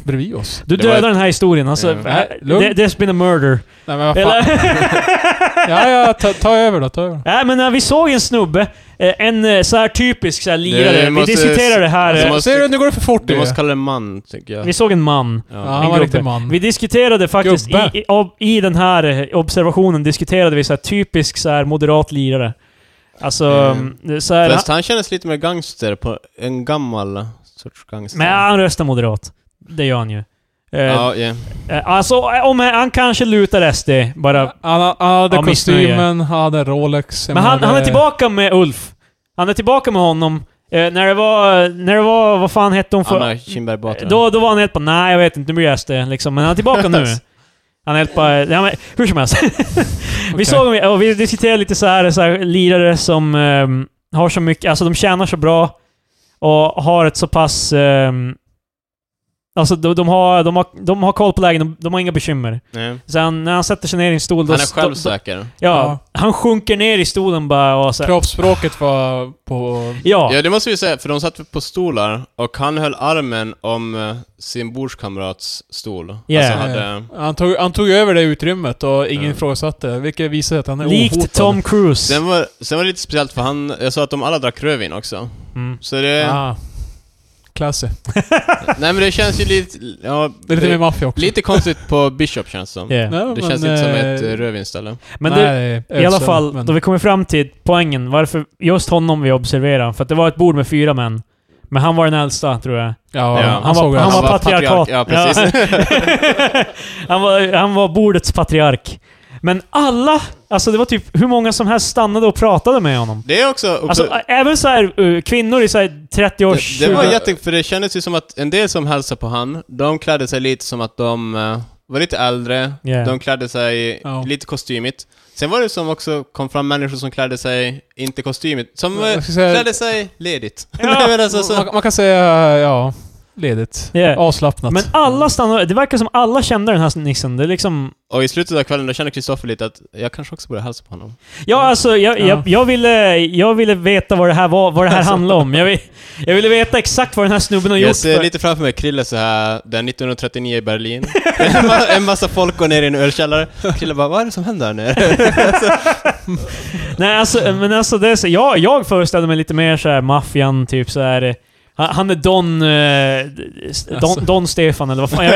Speaker 1: bredvid
Speaker 3: (laughs)
Speaker 1: oss.
Speaker 3: Du
Speaker 2: Det var
Speaker 3: dödar den här historien. Alltså,
Speaker 2: Ja.
Speaker 1: Nej, lugn.
Speaker 3: det, there's been a murder.
Speaker 1: Nej
Speaker 2: Ah,
Speaker 1: men vad fan.
Speaker 3: Eller?
Speaker 1: (laughs) Ja, ja, ta, ta över då, ta över.
Speaker 3: (laughs) Nej men när vi såg en snubbe, eh, en eh, så här typisk så här
Speaker 2: Det-
Speaker 3: lirare,
Speaker 2: det
Speaker 3: vi
Speaker 2: måste-
Speaker 3: diskuterade det här,
Speaker 2: alltså,
Speaker 3: eh,
Speaker 2: måste-
Speaker 1: Ser du, nu går det för fort
Speaker 2: Du
Speaker 1: det.
Speaker 2: måste kalla det man, tycker jag.
Speaker 3: vi såg en man.
Speaker 1: Ja,
Speaker 2: Ja.
Speaker 1: han
Speaker 3: en
Speaker 1: var
Speaker 3: gubbe.
Speaker 1: riktigt
Speaker 2: Mm.
Speaker 1: man.
Speaker 3: Vi diskuterade faktiskt, i,
Speaker 1: Gubbe.
Speaker 3: i, av- i den här eh, observationen diskuterade vi så här typisk så här moderat lirare. Alltså,
Speaker 2: Mm.
Speaker 3: mm. så här,
Speaker 2: Fast han kändes lite mer gangster, på en gammal sorts gangster.
Speaker 3: men han röstar moderat. Det gör han ju. Eh,
Speaker 2: Ja, ja.
Speaker 3: eh, Alltså, eh, om han, han kanske lutar SD bara.
Speaker 1: Han, han hade
Speaker 3: Ja, missnöje.
Speaker 1: kostymen, han hade Rolex. jag
Speaker 3: Men han,
Speaker 1: menar, eh,
Speaker 3: han
Speaker 2: Eh.
Speaker 3: är
Speaker 1: det-
Speaker 3: tillbaka med Ulf. Han är tillbaka med honom. Eh, när det var, när det var, vad fan hette hon för...
Speaker 2: Anna Kinberg Batra.
Speaker 3: Då, då var han helt bara nej jag vet inte, nu blir jag SD liksom. Men han är
Speaker 2: (laughs)
Speaker 3: tillbaka nu. Han är helt bara, ja, men, hur som helst. vi
Speaker 1: Okej.
Speaker 3: såg och vi diskuterade lite så här, så här lirare som ehm, har så mycket, alltså de tjänar så bra och har ett så pass... ehm, alltså de, de, har, de, har, de har koll på lägen, de, de har inga bekymmer.
Speaker 2: Nej.
Speaker 3: Så han, när han sätter sig ner i en stol... Då,
Speaker 2: Han är
Speaker 3: stå-
Speaker 2: självsäker.
Speaker 3: Ja,
Speaker 1: Ja.
Speaker 3: han sjunker ner i stolen bara och så här,
Speaker 1: Kroppsspråket var på...
Speaker 3: Ja,
Speaker 2: Ja, det måste vi säga, för de satt på stolar och han höll armen om eh, sin bordskamrats stol.
Speaker 3: Ja.
Speaker 2: Alltså hade...
Speaker 1: Han tog, han tog över det utrymmet och ingen
Speaker 2: Ja.
Speaker 1: ifrågasatte det, vilket visar att han är ohotad.
Speaker 3: likt Tom Cruise.
Speaker 2: Sen var, sen var det lite speciellt för han, jag sa att de alla drack rödvin också.
Speaker 3: Mm.
Speaker 2: Så det...
Speaker 1: Ah. Classy.
Speaker 2: Nej men det känns ju lite... Ja,
Speaker 1: Det är lite mer maffia också.
Speaker 2: lite konstigt på Bishop känns det som.
Speaker 3: Yeah.
Speaker 1: Nej,
Speaker 2: Det
Speaker 1: men,
Speaker 2: känns inte som ett
Speaker 1: eh,
Speaker 2: eh, rödvinställe.
Speaker 3: Men det,
Speaker 1: nej,
Speaker 3: I alla
Speaker 1: ödsel,
Speaker 3: fall,
Speaker 1: men-
Speaker 3: då vi kommer fram till poängen, varför just honom vi observerar. För att det var ett bord med fyra män. Men han var den äldsta, tror jag.
Speaker 1: Ja,
Speaker 2: Ja,
Speaker 1: han,
Speaker 3: han var-
Speaker 1: såg
Speaker 3: han
Speaker 1: han
Speaker 3: var patriarkat.
Speaker 2: Ja, precis.
Speaker 3: (laughs) han, var, han var bordets patriark. Men alla, alltså det var typ hur många som helst stannade och pratade med honom.
Speaker 2: Det är också...
Speaker 3: Alltså ä- även så här eh, kvinnor i så här 30 års...
Speaker 2: Det, det var
Speaker 3: 20
Speaker 2: jätte... För det kändes ju som att en del som hälsade på han, de klädde sig lite som att de eh, var lite äldre,
Speaker 3: Yeah.
Speaker 2: de klädde sig
Speaker 1: Ja.
Speaker 2: lite kostymigt. Sen var det som också kom fram människor som klädde sig inte kostymigt, som eh,
Speaker 1: Jag ska säga-
Speaker 2: klädde sig ledigt.
Speaker 1: (laughs)
Speaker 2: (laughs)
Speaker 3: Ja.
Speaker 2: Men alltså, så,
Speaker 1: man, man kan säga, ja, ledigt.
Speaker 3: Yeah.
Speaker 1: Avslappnat.
Speaker 3: Men alla stannade, det verkar som alla kände den här nissen. Det är liksom...
Speaker 2: och i slutet av kvällen då kände Kristoffer lite att jag kanske också borde hälsa på honom.
Speaker 3: Ja, alltså jag,
Speaker 1: Ja.
Speaker 3: jag, jag, ville, jag ville veta vad det här var, vad det
Speaker 2: Alltså.
Speaker 3: här handlade om. Jag, vill, jag ville veta exakt vad den här snubben har
Speaker 2: Jag
Speaker 3: gjort.
Speaker 2: ser
Speaker 3: för-
Speaker 2: lite framför mig Krille så här, där 1939 i Berlin. (laughs) en, ma- en massa folk går ner i en ölkällare. Krille bara, vad är det som händer här nere? (laughs)
Speaker 3: Nej, alltså, men alltså det är så, jag, jag föreställde mig lite mer så här maffian, typ så här. eh, Han, han är Don... eh, Don,
Speaker 1: Alltså.
Speaker 3: Don Stefan eller vad fan (laughs) jag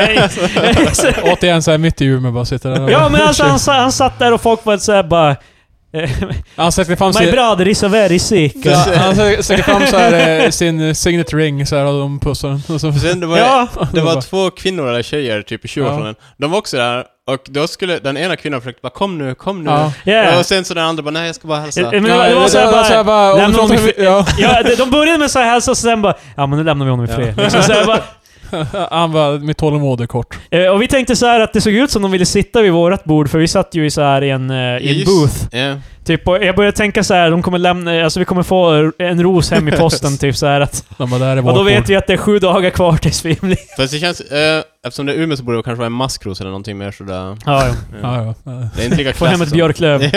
Speaker 1: (laughs)
Speaker 3: är.
Speaker 1: Återigen såhär mitt i Umeå bara sitter där och...
Speaker 3: ja men alltså han, sa- han satt där och folk var såhär bara... eh,
Speaker 1: Han sträckte fram
Speaker 3: My
Speaker 1: sin...
Speaker 3: brother is a very sick.
Speaker 1: Ja, han sträckte fram så här, eh, sin signet ring så här, och de pussar den. Och så,
Speaker 2: Sen det var,
Speaker 3: Ja,
Speaker 1: (laughs)
Speaker 2: det var två kvinnor eller tjejer, typ i 20-årsåldern. De var också där, och då skulle den ena kvinnan försöka bara 'Kom nu, kom nu'
Speaker 1: ja.
Speaker 3: yeah.
Speaker 2: Och sen så den andra bara 'Nej, jag ska bara hälsa'
Speaker 3: Eh, Men det var, Alltså. det var så här bara...
Speaker 1: såhär bara...
Speaker 3: lämna
Speaker 1: om du (laughs)
Speaker 3: honom i
Speaker 1: pratar-
Speaker 3: fred.
Speaker 1: ja.
Speaker 3: Ja, de- de började med så här hälsa och sen bara... Ja men nu lämnar vi honom i fred.
Speaker 2: Ja.
Speaker 3: Liksom, så här bara,
Speaker 1: Han var, mitt tålamod är kort.
Speaker 3: Eh, och vi tänkte så här att det såg ut som de ville sitta vid vårat bord, för vi satt ju i så här i en, eh, i en
Speaker 2: Just-
Speaker 3: booth.
Speaker 2: Ja.
Speaker 3: Typ, och jag började tänka så här, de kommer lämna, alltså vi kommer få en ros hem i posten, typ så här (laughs) att...
Speaker 1: De bara, där är
Speaker 3: Och
Speaker 1: vårt
Speaker 3: då
Speaker 1: bord.
Speaker 3: vet vi att det är sju dagar kvar tills vi blir...
Speaker 2: Fast det känns... Eh, eftersom det är Umeå så borde det kanske vara en maskros eller någonting mer sådär...
Speaker 3: Ja, (laughs) ja.
Speaker 2: Ja.
Speaker 1: Ja, ja.
Speaker 2: Det är inte lika
Speaker 3: (laughs) Få hem ett
Speaker 2: som-
Speaker 3: björklöv.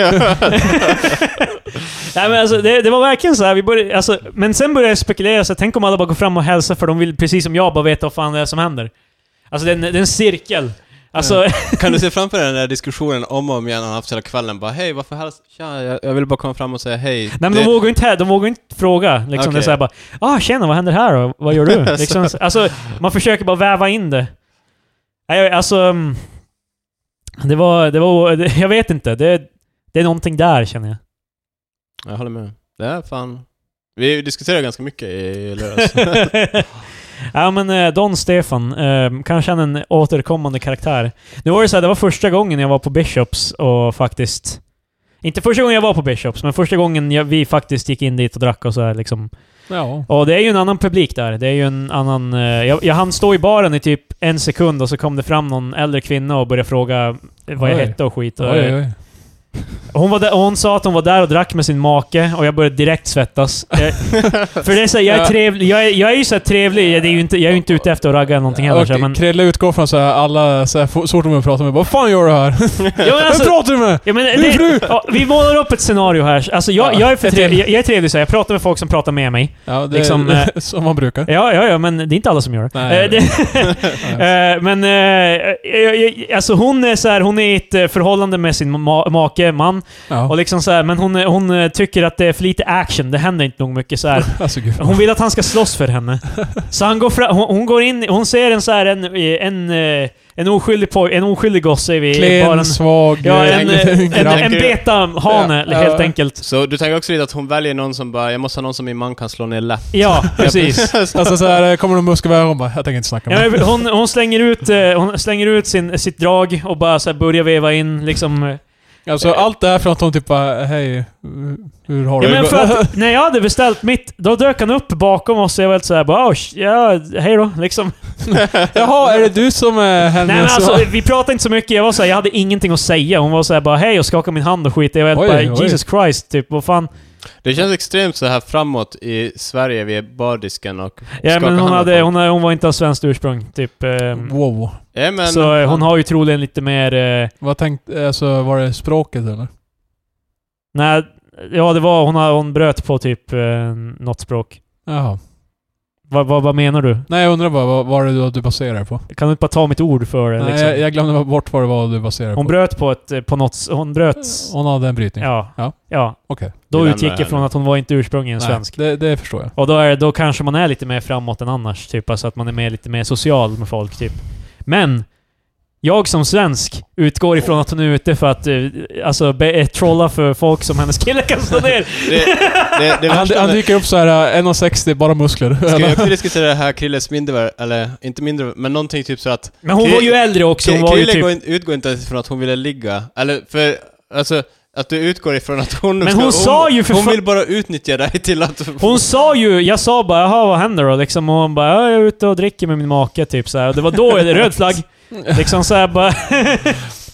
Speaker 3: Nej men alltså, det, det var verkligen så här, vi började, alltså, men sen började jag spekulera, så här, tänk om alla bara går fram och hälsar för de vill precis som jag bara veta vad fan det är som händer. Alltså det är en, det är en cirkel. Alltså,
Speaker 2: (laughs) Kan du se framför dig den där diskussionen om och om igen han har haft hela kvällen? Bara hej, varför hälsar... Tja, jag, jag vill bara komma fram och säga hej.
Speaker 3: nej men
Speaker 2: Det-
Speaker 3: de vågar ju inte, här- de vågar ju inte fråga. Liksom, Det är
Speaker 2: Okej.
Speaker 3: såhär bara ah, tjena, vad händer här då? Vad
Speaker 2: (laughs)
Speaker 3: gör du?” liksom, Alltså, man försöker bara väva in det. Nej, jag- alltså... mm, Det var, det var... det- (laughs) Jag vet inte. Det, det är någonting där, känner jag.
Speaker 2: Jag håller med. Det är fan... Vi diskuterade ganska mycket i lördags.
Speaker 3: (laughs) ja men eh, Don Stefan, eh, kanske han är en återkommande karaktär. Nu var det så här, det var första gången jag var på Bishops och faktiskt... Inte första gången jag var på Bishops, men första gången jag, vi faktiskt gick in dit och drack och så här liksom.
Speaker 1: ja.
Speaker 3: Och det är ju en annan publik där. Det är ju en annan... eh, jag, jag hann stå i baren i typ en sekund och så kom det fram någon äldre kvinna och började fråga vad jag
Speaker 1: Oj.
Speaker 3: hette och skit. Och,
Speaker 1: Oj, oj.
Speaker 3: Hon, var där, och hon sa att hon var där och drack med sin make och jag började
Speaker 1: (laughs)
Speaker 3: direkt svettas. Eh, För det är såhär, jag är
Speaker 1: Ja.
Speaker 3: trevlig. Jag är, jag är ju såhär trevlig. Jag är ju inte, jag är ju inte ute efter att ragga eller någonting heller.
Speaker 1: Och
Speaker 3: så här, Men,
Speaker 1: Krille utgår från såhär, alla såhär, fo- så fort de börjar prata med bara Vad fan gör du här? (laughs)
Speaker 3: ja, men
Speaker 1: Vem
Speaker 3: alltså,
Speaker 1: pratar du med?
Speaker 3: ja, men
Speaker 1: Min
Speaker 3: det,
Speaker 1: fru!
Speaker 3: ja, vi målar upp ett scenario här. Alltså, jag,
Speaker 1: Ja,
Speaker 3: jag, är, för
Speaker 1: ett till.
Speaker 3: trevlig, jag, jag är trevlig så här. Jag pratar med folk som pratar med mig.
Speaker 1: Ja, det
Speaker 3: (laughs) liksom, eh,
Speaker 1: är som man brukar.
Speaker 3: Ja, ja, ja, men det är inte alla som gör det.
Speaker 1: Nej.
Speaker 3: Eh, det (laughs) Eh, men eh, jag, jag, alltså hon är så här, hon är i ett eh, förhållande med sin ma make, man.
Speaker 1: Ja.
Speaker 3: Och liksom så här, men hon, eh, hon eh, tycker att det är för lite action. Det händer inte nog
Speaker 1: (laughs)
Speaker 3: mycket så här.
Speaker 1: Alltså gud.
Speaker 3: Hon vill att han ska slåss för henne. Så han går fram, hon, hon går in, hon ser en så här, en, en, eh, en oskyldig poj, en oskyldig gosse vid
Speaker 1: Klen,
Speaker 3: baren.
Speaker 1: svag,
Speaker 3: Ja,
Speaker 1: eh,
Speaker 3: en,
Speaker 1: (laughs) liten
Speaker 3: eh, en,
Speaker 1: grabb.
Speaker 3: en beta-hane
Speaker 1: Ja. Ja.
Speaker 3: helt enkelt.
Speaker 2: Så du tänker också lite att hon väljer någon som bara, jag måste ha någon som min man kan slå ner lätt.
Speaker 3: Ja, (laughs)
Speaker 1: (laughs)
Speaker 3: precis.
Speaker 1: Alltså såhär, eh, kommer de muska iväg? Hon bara, jag tänker inte snacka
Speaker 3: Ja,
Speaker 1: med
Speaker 3: men hon, hon slänger ut, eh, hon slänger ut sin, sitt drag och bara så här börjar veva in liksom... eh,
Speaker 1: Alltså allt det här från att hon typ bara, hej, hur- hur har
Speaker 3: Ja,
Speaker 1: du
Speaker 3: men
Speaker 1: det?
Speaker 3: för att när jag hade beställt mitt, då dök han upp bakom oss och jag var helt såhär bara oh, sh- ja, hej då, liksom.
Speaker 1: (laughs) Jaha, är det du som är hennes...
Speaker 3: Nej men alltså,
Speaker 1: Oj,
Speaker 3: vi pratade inte så mycket. Jag var såhär, jag hade ingenting att säga. Hon var såhär bara hej och skakade min hand och skit. Jag var helt
Speaker 1: Oj,
Speaker 3: bara
Speaker 1: oj.
Speaker 3: Jesus Christ, typ. Vad fan.
Speaker 2: Det känns extremt så här framåt i Sverige vid bardisken och
Speaker 3: Ja
Speaker 2: skaka
Speaker 3: men hon,
Speaker 2: hand med
Speaker 3: hade,
Speaker 2: folk.
Speaker 3: hon, eh, hon var inte av svenskt ursprung, typ.
Speaker 1: (laughs)
Speaker 3: ehm.
Speaker 1: Wow.
Speaker 2: Ja, men,
Speaker 3: så eh, hon har ju troligen lite mer... Eh,
Speaker 1: Vad tänkte, alltså var det språket eller?
Speaker 3: nej, ja det var, hon, har- hon bröt på typ eh, något språk.
Speaker 1: Jaha.
Speaker 3: Vad vad vad menar du?
Speaker 1: Nej jag undrar bara, vad var det då du baserade det på?
Speaker 3: Kan du inte bara ta mitt ord för det?
Speaker 1: Nej,
Speaker 3: Liksom?
Speaker 1: jag, jag glömde bort vad det var du baserade det
Speaker 3: Hon
Speaker 1: på.
Speaker 3: bröt på ett, eh, på något, s- hon bröt... s-
Speaker 1: Hon hade en brytning?
Speaker 3: Ja.
Speaker 1: Mm. Ja.
Speaker 3: ja.
Speaker 1: Okej.
Speaker 3: Då
Speaker 2: Vi lämnar
Speaker 3: utgick
Speaker 2: det
Speaker 3: jag
Speaker 2: här
Speaker 3: från
Speaker 2: nu.
Speaker 3: att hon var inte ursprungligen
Speaker 1: Nej,
Speaker 3: svensk.
Speaker 1: Det, det förstår jag.
Speaker 3: Och då, är, då kanske man är lite mer framåt än annars, typ. Alltså att man är mer, lite mer social med folk, typ. Men! Jag som svensk utgår ifrån att hon är ute för att eh, alltså, be, eh, trolla för folk som hennes kille kan slå ner.
Speaker 2: Det,
Speaker 3: (laughs)
Speaker 2: det, det
Speaker 1: Han,
Speaker 2: värsta
Speaker 1: han
Speaker 2: med-
Speaker 1: dyker upp så här eh, 1,60, bara muskler.
Speaker 2: Ska vi också diskutera det här Krilles mindre, eller inte mindre, men någonting typ så att...
Speaker 3: Men hon
Speaker 2: Kri-
Speaker 3: var ju äldre också. Hon
Speaker 2: Kri-
Speaker 3: var ju
Speaker 2: Krille
Speaker 3: typ,
Speaker 2: går in, utgår inte ens ifrån att hon ville ligga, eller för, alltså, att du utgår ifrån att hon...
Speaker 3: Men hon sa ju för
Speaker 2: Hon
Speaker 3: fan-
Speaker 2: vill bara utnyttja dig till att...
Speaker 3: hon sa ju... Jag sa bara “Jaha, vad händer då?” liksom, och hon bara “Ja, “Jag är ute och dricker med min make” typ så här. Och det var då det röd flagg. Liksom så här, bara...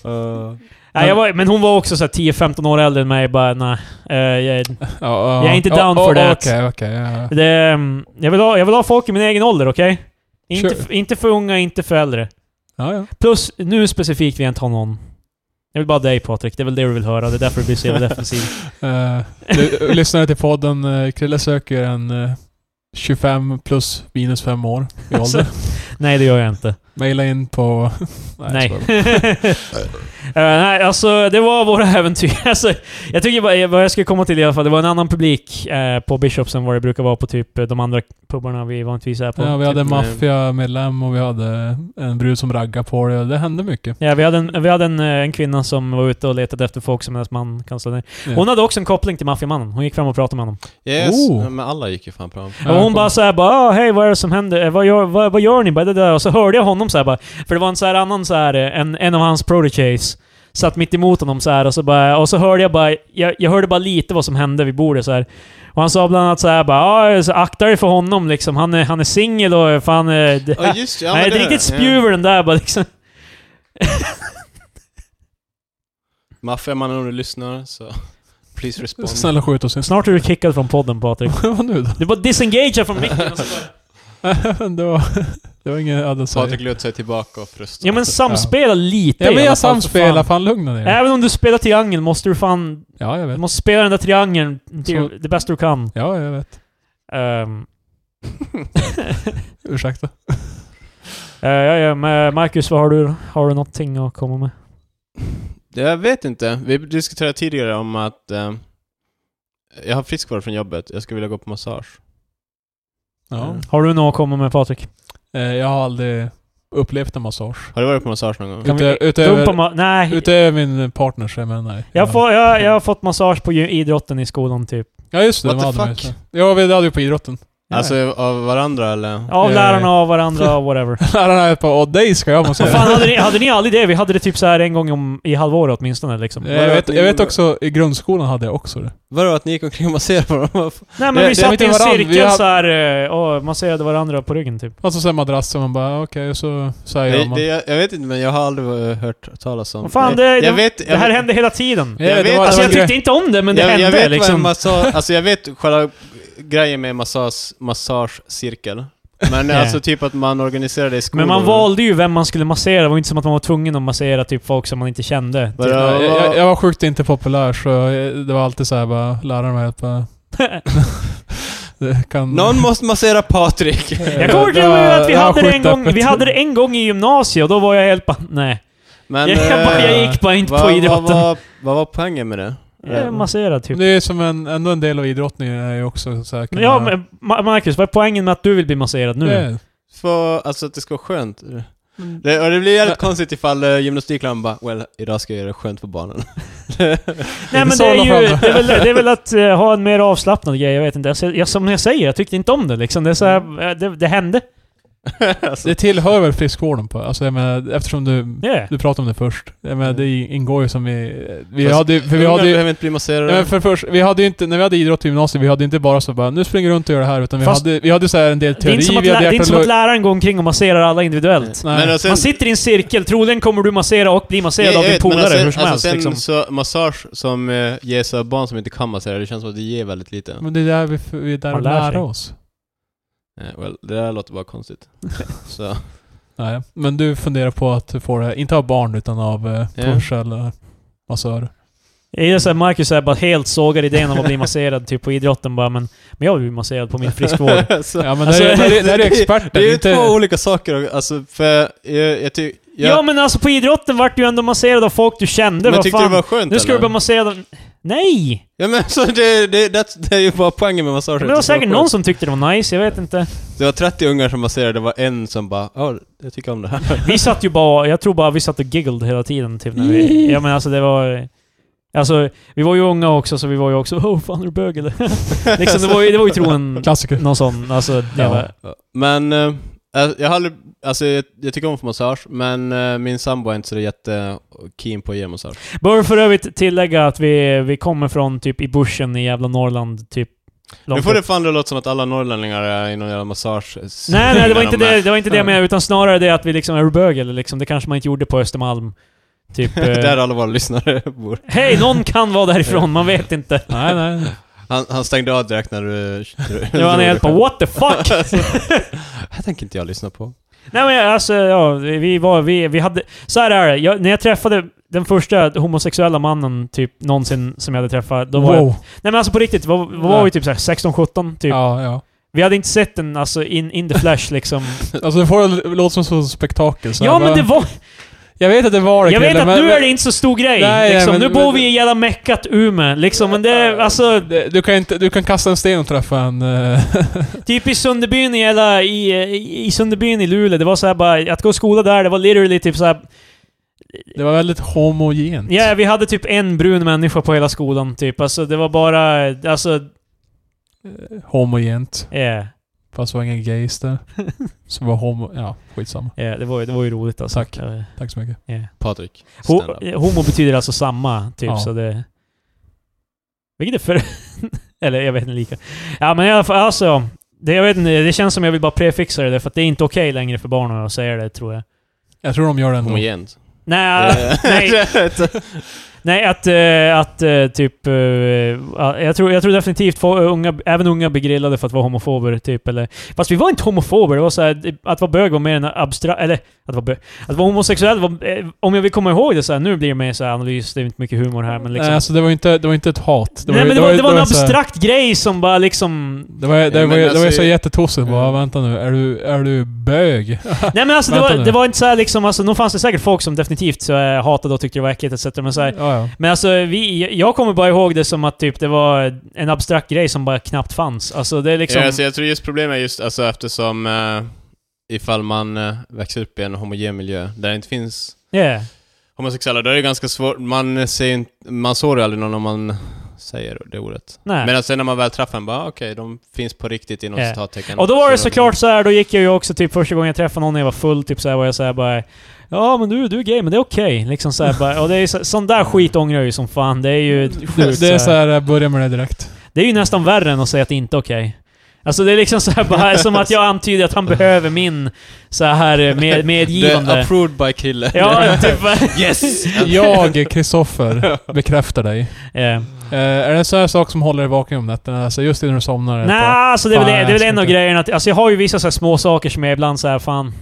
Speaker 1: Eh,
Speaker 3: Nej, jag var, men hon var också så här 10-15 år äldre än mig. Bara nej. eh, jag,
Speaker 1: (laughs) ja,
Speaker 3: Jag är inte down for that.
Speaker 1: Okej, okej. ja.
Speaker 3: Det, mm, jag, vill ha, jag vill ha folk i min egen ålder, okej? Inte,
Speaker 1: Sure.
Speaker 3: f- inte för unga, inte för äldre.
Speaker 1: Ja, ja.
Speaker 3: Plus, nu specifikt vill jag inte ha någon. Jag vill bara dig Patrik, det är väl det du vill höra. Det är därför du blir så jävla defensiv. (laughs)
Speaker 1: Eh, du- lyssnare till podden, eh, Krille söker en eh, 25 plus minus 5 år
Speaker 3: (laughs)
Speaker 1: i
Speaker 3: Alltså.
Speaker 1: ålder.
Speaker 3: Nej, det gör jag inte.
Speaker 1: Maila in på... (laughs)
Speaker 3: Nej.
Speaker 1: jag skojar.
Speaker 3: (laughs) Eh, nej, alltså det var våra (laughs) äventyr. Alltså, jag tycker bara, vad jag skulle komma till i alla fall, det var en annan publik eh, på Bishops än vad det brukar vara på typ de andra pubarna vi vanligtvis är på.
Speaker 1: Ja, vi hade en
Speaker 2: Typ, eh,
Speaker 1: maffiamedlem och vi hade en brud som raggade på det. Det hände mycket.
Speaker 3: Ja, vi hade, en, vi hade en, eh, en kvinna som var ute och letade efter folk som hennes man kan slå ner.
Speaker 1: Ja.
Speaker 3: Hon hade också en koppling till maffiamannen. Hon gick fram och pratade med honom.
Speaker 2: Yes,
Speaker 1: Oh.
Speaker 2: men alla gick ju fan på dem.
Speaker 3: och
Speaker 1: Äh,
Speaker 3: hon bara såhär bara "Ah, hej vad är det som händer? Eh, Vad gör, vad, vad gör ni? Bara, det där. Och så hörde jag honom såhär bara. För det var en såhär annan såhär, eh, en, en av hans protochase. Satt mitt emot honom såhär och så bara, och så hörde jag bara, jag, jag hörde bara lite vad som hände vid bordet såhär. Och han sa bland annat så här bara "Ja, så akta dig för honom liksom. Han är, han är singel och fan... eh, det-
Speaker 2: Ja, just ja, men
Speaker 3: Nej, det
Speaker 2: det
Speaker 3: är
Speaker 2: där.
Speaker 3: riktigt spjuver den där bara liksom.
Speaker 2: Ja. Maffiamannen om du lyssnar, så... Please respond.
Speaker 1: Snälla skjut oss inte.
Speaker 3: Snart är du kickad från podden Patrik.
Speaker 1: Vad nu då? (laughs)
Speaker 3: Du bara disengagear från micken och så bara...
Speaker 1: det var... Det var ingen annan
Speaker 2: Patrik
Speaker 1: sak.
Speaker 2: lutar sig tillbaka och frustrerar.
Speaker 3: Ja men samspela lite
Speaker 1: Ja
Speaker 3: i
Speaker 1: men
Speaker 3: alla
Speaker 1: jag
Speaker 3: fall, för
Speaker 1: samspelar,
Speaker 3: fan.
Speaker 1: fan lugna ner er.
Speaker 3: Även om du spelar triangeln måste du fan...
Speaker 1: Ja, jag
Speaker 3: Du
Speaker 1: vet.
Speaker 3: måste spela den där triangeln
Speaker 1: Så-
Speaker 3: till det bästa du kan.
Speaker 1: Ja, jag vet.
Speaker 3: Ehm,
Speaker 1: Ursäkta.
Speaker 3: eh, ja, ja, men Marcus, vad har du? Har du någonting att komma med?
Speaker 2: Jag vet inte. Vi diskuterade tidigare om att... Eh, jag har friskvård från jobbet. Jag skulle vilja gå på massage.
Speaker 1: Ja.
Speaker 3: Har du något att komma med Patrik?
Speaker 1: Eh, Jag har aldrig upplevt en massage.
Speaker 2: Har du varit på massage någon gång?
Speaker 3: Kan vi
Speaker 1: Utö-
Speaker 3: Dumpa
Speaker 1: utöver,
Speaker 3: ma- Nej.
Speaker 1: utöver min partner så jag menar nej.
Speaker 3: Jag, får, jag, jag har fått massage på ju- idrotten i skolan typ.
Speaker 1: Ja just det,
Speaker 2: What
Speaker 1: de
Speaker 2: the
Speaker 1: hade mig.
Speaker 2: fuck?
Speaker 1: Ja, vi hade ju på idrotten. (laughs)
Speaker 3: Ja.
Speaker 2: Alltså av varandra eller?
Speaker 3: Av
Speaker 1: Eh.
Speaker 3: lärarna, av varandra,
Speaker 1: (laughs)
Speaker 3: och whatever.
Speaker 1: Lärarna är på och dig ska jag måste
Speaker 3: Vad
Speaker 1: säga.
Speaker 3: fan, hade, ni, hade ni aldrig det? Vi hade det typ så här en gång om, i halvåret åtminstone liksom.
Speaker 1: Eh, Jag vet, jag vet också, i grundskolan hade jag också det.
Speaker 2: Vadå att ni gick omkring och masserade på dem? Vad fan?
Speaker 3: Nej men
Speaker 1: eh, det-
Speaker 3: vi
Speaker 1: det-
Speaker 3: satt
Speaker 1: inte
Speaker 3: i en
Speaker 1: varann, vi
Speaker 3: cirkel
Speaker 1: hade-
Speaker 3: så här eh, och masserade varandra på ryggen typ.
Speaker 1: Alltså sen madrass och man bara okej, så säger
Speaker 2: Det,
Speaker 1: man.
Speaker 2: det, jag, jag vet inte men jag har aldrig eh, hört talas om...
Speaker 3: Vad fan, det,
Speaker 2: jag,
Speaker 3: det,
Speaker 2: jag vet, jag,
Speaker 3: det här
Speaker 2: vet-
Speaker 3: hände hela tiden.
Speaker 1: Ja, det
Speaker 2: jag vet-
Speaker 1: var-
Speaker 3: Alltså
Speaker 1: det
Speaker 3: jag
Speaker 1: var en
Speaker 3: tyckte inte om det, men det
Speaker 2: jag,
Speaker 3: hände
Speaker 2: jag vet vad en
Speaker 3: liksom.
Speaker 2: massage... alltså jag vet själva grejen med massage, massagecirkel. Men
Speaker 3: (laughs) Ja.
Speaker 2: alltså typ att man organiserar det i skolor.
Speaker 3: Men man valde ju vem man skulle massera, det var inte som att man var tvungen att massera typ folk som man inte kände.
Speaker 2: Vadå?
Speaker 1: grej.
Speaker 2: jag,
Speaker 1: jag, jag, jag var sjukt inte populär så jag, det var alltid såhär bara, lärarna var helt
Speaker 3: (laughs)
Speaker 1: bara... (laughs) det kan...
Speaker 2: Någon måste massera Patrik! (laughs)
Speaker 3: Jag kommer
Speaker 1: Det
Speaker 3: till och med
Speaker 1: var-
Speaker 3: att vi
Speaker 1: det var
Speaker 3: hade det en gång,
Speaker 1: skitöppet.
Speaker 3: vi hade det en gång i gymnasiet och då var jag helt bara, nej.
Speaker 2: Men,
Speaker 3: Jag, jag, bara, jag
Speaker 2: eh,
Speaker 3: gick bara inte
Speaker 2: vad-
Speaker 3: på
Speaker 2: vad-
Speaker 3: idrotten.
Speaker 2: Vad, vad var poängen med det?
Speaker 3: Jag masserade typ.
Speaker 1: Det är som en, ändå en del av idrotten är ju också såhär... kunna-
Speaker 3: Ja, men Ma- Marcus, vad är poängen med att du vill bli masserad nu?
Speaker 1: Det-
Speaker 2: För, alltså att det ska vara skönt. Det, och det blir jävligt konstigt ifall uh, gymnastikläraren bara “Well, idag ska jag göra det skönt för barnen”. (laughs)
Speaker 3: Nej men
Speaker 1: Så
Speaker 3: det är
Speaker 1: håller
Speaker 3: ju...
Speaker 1: fram.
Speaker 3: Det är väl, det är väl att eh, ha en mer avslappnad grej, jag vet inte. Jag, jag, som jag säger, jag tyckte inte om det liksom. Det, är så här, eh, det, det hände.
Speaker 2: alltså,
Speaker 1: Det tillhör väl friskvården på, alltså jag menar, eftersom du...
Speaker 3: Yeah.
Speaker 1: Du pratade om det först. Jag menar, det ingår ju som vi... Vi
Speaker 2: Fast
Speaker 1: hade ju- för vi
Speaker 2: ungar
Speaker 1: hade ju...
Speaker 2: behöver inte bli masserade.
Speaker 1: Ja, men för först, vi hade ju inte, när vi hade idrott i gymnasiet, vi hade ju inte bara så bara nu springer du runt och gör det här, utan vi
Speaker 3: Fast-
Speaker 1: hade, vi hade så här en del
Speaker 3: Det är
Speaker 1: teori,
Speaker 3: inte som att,
Speaker 1: vi
Speaker 3: lä-
Speaker 1: hade
Speaker 3: det är inte som
Speaker 1: hjärt-
Speaker 3: att läraren går omkring och masserar alla individuellt.
Speaker 1: Nej.
Speaker 2: Men och sen,
Speaker 3: Man sitter i en cirkel, troligen kommer du massera och bli masserad
Speaker 2: Jag- jag
Speaker 3: av din
Speaker 2: vet, men
Speaker 3: polare
Speaker 2: alltså,
Speaker 3: hur som
Speaker 2: alltså,
Speaker 3: helst.
Speaker 2: sen
Speaker 3: Liksom.
Speaker 2: så, massage som uh, ges av barn som inte kan massera, det känns som att det ger väldigt lite.
Speaker 3: Mm.
Speaker 1: Men det är där vi, vi är där
Speaker 3: Man
Speaker 1: och
Speaker 3: lär sig.
Speaker 1: lär oss.
Speaker 2: Eh, well, det där låter bara konstigt. (laughs) så,
Speaker 1: Nej, men du funderar på att du får det, inte av barn utan av eh,
Speaker 2: Ja.
Speaker 1: Porsche eller
Speaker 3: (laughs)
Speaker 1: massör.
Speaker 3: Jag gillar såhär, Marcus är bara helt sågar idén om att bli masserad typ på idrotten bara, men, men jag vill bli masserad på
Speaker 2: (laughs)
Speaker 3: min friskvård.
Speaker 2: så.
Speaker 1: Ja men
Speaker 3: Alltså,
Speaker 1: där, är- där, är- där är
Speaker 2: det-
Speaker 1: experten,
Speaker 2: Det är ju
Speaker 1: inte...
Speaker 2: två olika saker, alltså för jag, jag tycker...
Speaker 3: Ja. men alltså på idrotten vart du ändå masserad av folk du kände,
Speaker 2: men
Speaker 3: vad
Speaker 2: tyckte du
Speaker 3: fan.
Speaker 2: det var skönt
Speaker 3: nu ska du
Speaker 2: eller?
Speaker 3: bli masserad av... Nej!
Speaker 2: Ja men så det, det, det, det är ju bara poängen med massage.
Speaker 3: Men det var säkert någon som tyckte det var nice, jag vet inte.
Speaker 2: Det var 30 ungar som masserade, det var en som bara ja, jag tycker om det här.
Speaker 3: (laughs) Vi satt ju bara, jag tror bara vi satt och giggled hela tiden typ när vi... Ja men alltså det var... Alltså, vi var ju unga också så vi var ju också (laughs) Åh fan är du bög eller? liksom, det var ju, det var ju troligen
Speaker 1: Klassiker.
Speaker 3: någon sån, alltså...
Speaker 1: Ja.
Speaker 3: Ja.
Speaker 2: Men eh, alltså, jag har aldrig, alltså jag, jag tycker om att få massage, men eh, min sambo är inte så jättekeen på att ge massage.
Speaker 3: Bör för övrigt tillägga att vi, vi kommer från typ i bushen i jävla Norrland, typ...
Speaker 2: Nu
Speaker 3: långt
Speaker 2: får
Speaker 3: upp.
Speaker 2: det fan det låta som att alla norrlänningar är i någon jävla massage...
Speaker 3: Nej, nej, det var inte
Speaker 2: de är. (laughs)
Speaker 3: det, det var inte det jag menade, utan snarare det att vi liksom är du bög eller liksom, det kanske man inte gjorde på Östermalm.
Speaker 2: (laughs)
Speaker 3: Typ...
Speaker 2: Där
Speaker 3: Eh,
Speaker 2: alla våra lyssnare bor.
Speaker 3: Hej, någon kan vara därifrån, man vet inte.
Speaker 1: Nej, nej.
Speaker 2: Han, han stängde av direkt när
Speaker 3: (laughs)
Speaker 2: du...
Speaker 3: Nu var han helt på what
Speaker 2: (laughs)
Speaker 3: the fuck?
Speaker 2: Det här tänker inte jag lyssna på.
Speaker 3: Nej men alltså, ja, vi vi var, vi, vi hade... Så här är det, jag, när jag träffade den första homosexuella mannen typ någonsin som jag hade träffat, då var jag...
Speaker 1: Wow.
Speaker 3: Nej men alltså på riktigt, var, var vi typ såhär 16-17 typ.
Speaker 1: Ja, ja.
Speaker 3: Vi hade inte sett den alltså in, in the
Speaker 1: (laughs)
Speaker 3: flash liksom.
Speaker 1: Alltså det får det låta som ett spektakel. Så
Speaker 3: ja
Speaker 1: här,
Speaker 3: men
Speaker 1: bara-
Speaker 3: det var...
Speaker 1: Jag vet att det var det
Speaker 3: Jag vet
Speaker 1: Krille,
Speaker 3: att
Speaker 1: men-
Speaker 3: nu är
Speaker 1: men-
Speaker 3: det inte så stor grej.
Speaker 1: Nej,
Speaker 3: liksom.
Speaker 1: men-
Speaker 3: nu
Speaker 1: men-
Speaker 3: bor vi i jävla meckat Umeå liksom, men det... Alltså,
Speaker 1: Det- Du kan, inte, du kan kasta en sten och träffa en... eh, (laughs)
Speaker 3: Typ i Sunderbyn i, hela, i, i, i Sunderbyn i Luleå, det var så här bara, att gå i skola där, det var literally typ så här.
Speaker 1: det var väldigt homogent.
Speaker 3: Ja, vi hade typ en brun människa på hela skolan typ. Alltså det var bara, alltså,
Speaker 1: Homogent. (laughs)
Speaker 3: ja. Yeah,
Speaker 1: Fast det var ingen gays där. Så var homo... Ja, skitsamma.
Speaker 3: yeah, det, var, ju- det var ju roligt alltså.
Speaker 1: Tack.
Speaker 3: Eh,
Speaker 1: Tack så mycket.
Speaker 3: yeah.
Speaker 2: Patrik,
Speaker 3: Ho,
Speaker 2: stand up.
Speaker 3: eh, homo betyder alltså samma, typ
Speaker 1: Ja.
Speaker 3: så det... Vilket är för... (laughs) Eller jag vet inte lika. Ja men i alla fall, alltså. Det, jag vet inte, det känns som jag vill bara prefixa det där, för att det är inte okej längre för barnen att säga det, tror jag.
Speaker 1: Jag tror de gör det ändå.
Speaker 2: Homogent.
Speaker 3: Nej,
Speaker 2: Eh.
Speaker 3: (laughs)
Speaker 2: (laughs)
Speaker 3: nej. Nej, att, eh, att eh, typ... eh, ja, jag, tror, jag tror definitivt få, eh, unga, även unga blir grillade för att vara homofober, typ. Eller, fast vi var inte homofober. Det var så här, eh, att vara bög var mer en abstrakt... Eller, att vara bög... Att vara homosexuell var... eh, Om jag vill komma ihåg det så här, nu blir det mer så här analys, det är inte mycket humor här, men liksom...
Speaker 1: Nej, alltså det var ju inte, det var inte ett hat.
Speaker 3: Nej, men det var, det var en
Speaker 1: så här-
Speaker 3: abstrakt grej som bara liksom... (laughs)
Speaker 1: Det var, det,
Speaker 2: Ja, men
Speaker 1: var, det var ju
Speaker 2: alltså-
Speaker 1: så jättetossigt bara,
Speaker 2: Ja.
Speaker 1: vänta nu, är du, är du bög?
Speaker 3: Nej men alltså det var,
Speaker 1: Vänta nu.
Speaker 3: det var inte så här liksom, alltså, nog fanns det säkert folk som definitivt så här, hatade och tyckte det var äckligt etc. Men så här,
Speaker 1: Ja, ja.
Speaker 3: Men alltså, vi, jag kommer bara ihåg det som att typ, det var en abstrakt grej som bara knappt fanns. Alltså det är liksom...
Speaker 2: Ja, alltså, jag tror just problemet är just alltså, eftersom eh, ifall man eh, växer upp i en homogen miljö där det inte finns
Speaker 3: yeah.
Speaker 2: homosexuella, då är det ganska svårt. Man, ser ju inte, man sårar ju aldrig någon om man säger det ordet.
Speaker 3: Nej.
Speaker 2: Men sen när man väl träffar en, bara "Ah, okej, de finns på riktigt inom
Speaker 3: Ja.
Speaker 2: citattecken.
Speaker 3: och då var det
Speaker 2: Så-
Speaker 3: såklart så här, då gick jag ju också typ första gången jag träffade någon när jag var full, typ så här var jag så här bara Ja men du, du är gay, men det är okej. Liksom så här bara, och det är ju så, sån där skit ångrar jag ju som fan. Det är ju sjukt
Speaker 1: Det, det är
Speaker 3: så
Speaker 1: så
Speaker 3: här.
Speaker 1: här, eh, börja med det direkt.
Speaker 3: Det är ju nästan värre än att säga att det inte är okej. Alltså det är liksom så
Speaker 1: (laughs)
Speaker 3: här bara, som att jag antyder att han behöver min så här
Speaker 1: (laughs)
Speaker 2: (laughs)
Speaker 3: eh, med,
Speaker 2: The
Speaker 3: medgivande.
Speaker 2: approved by kille. (laughs)
Speaker 3: Ja, typ. (laughs)
Speaker 2: Yes!
Speaker 1: Jag, Kristoffer, bekräftar dig.
Speaker 3: Yeah.
Speaker 1: Eh, är det så här saker som håller dig vaken om nätterna? Alltså just innan du somnar? eller
Speaker 3: Nej,
Speaker 1: på-
Speaker 3: alltså det är väl,
Speaker 1: Fan,
Speaker 3: det är väl
Speaker 1: jag
Speaker 3: en
Speaker 1: ska
Speaker 3: av
Speaker 1: inte-
Speaker 3: grejerna. Att, alltså jag har ju vissa så här små saker som jag ibland så här fan...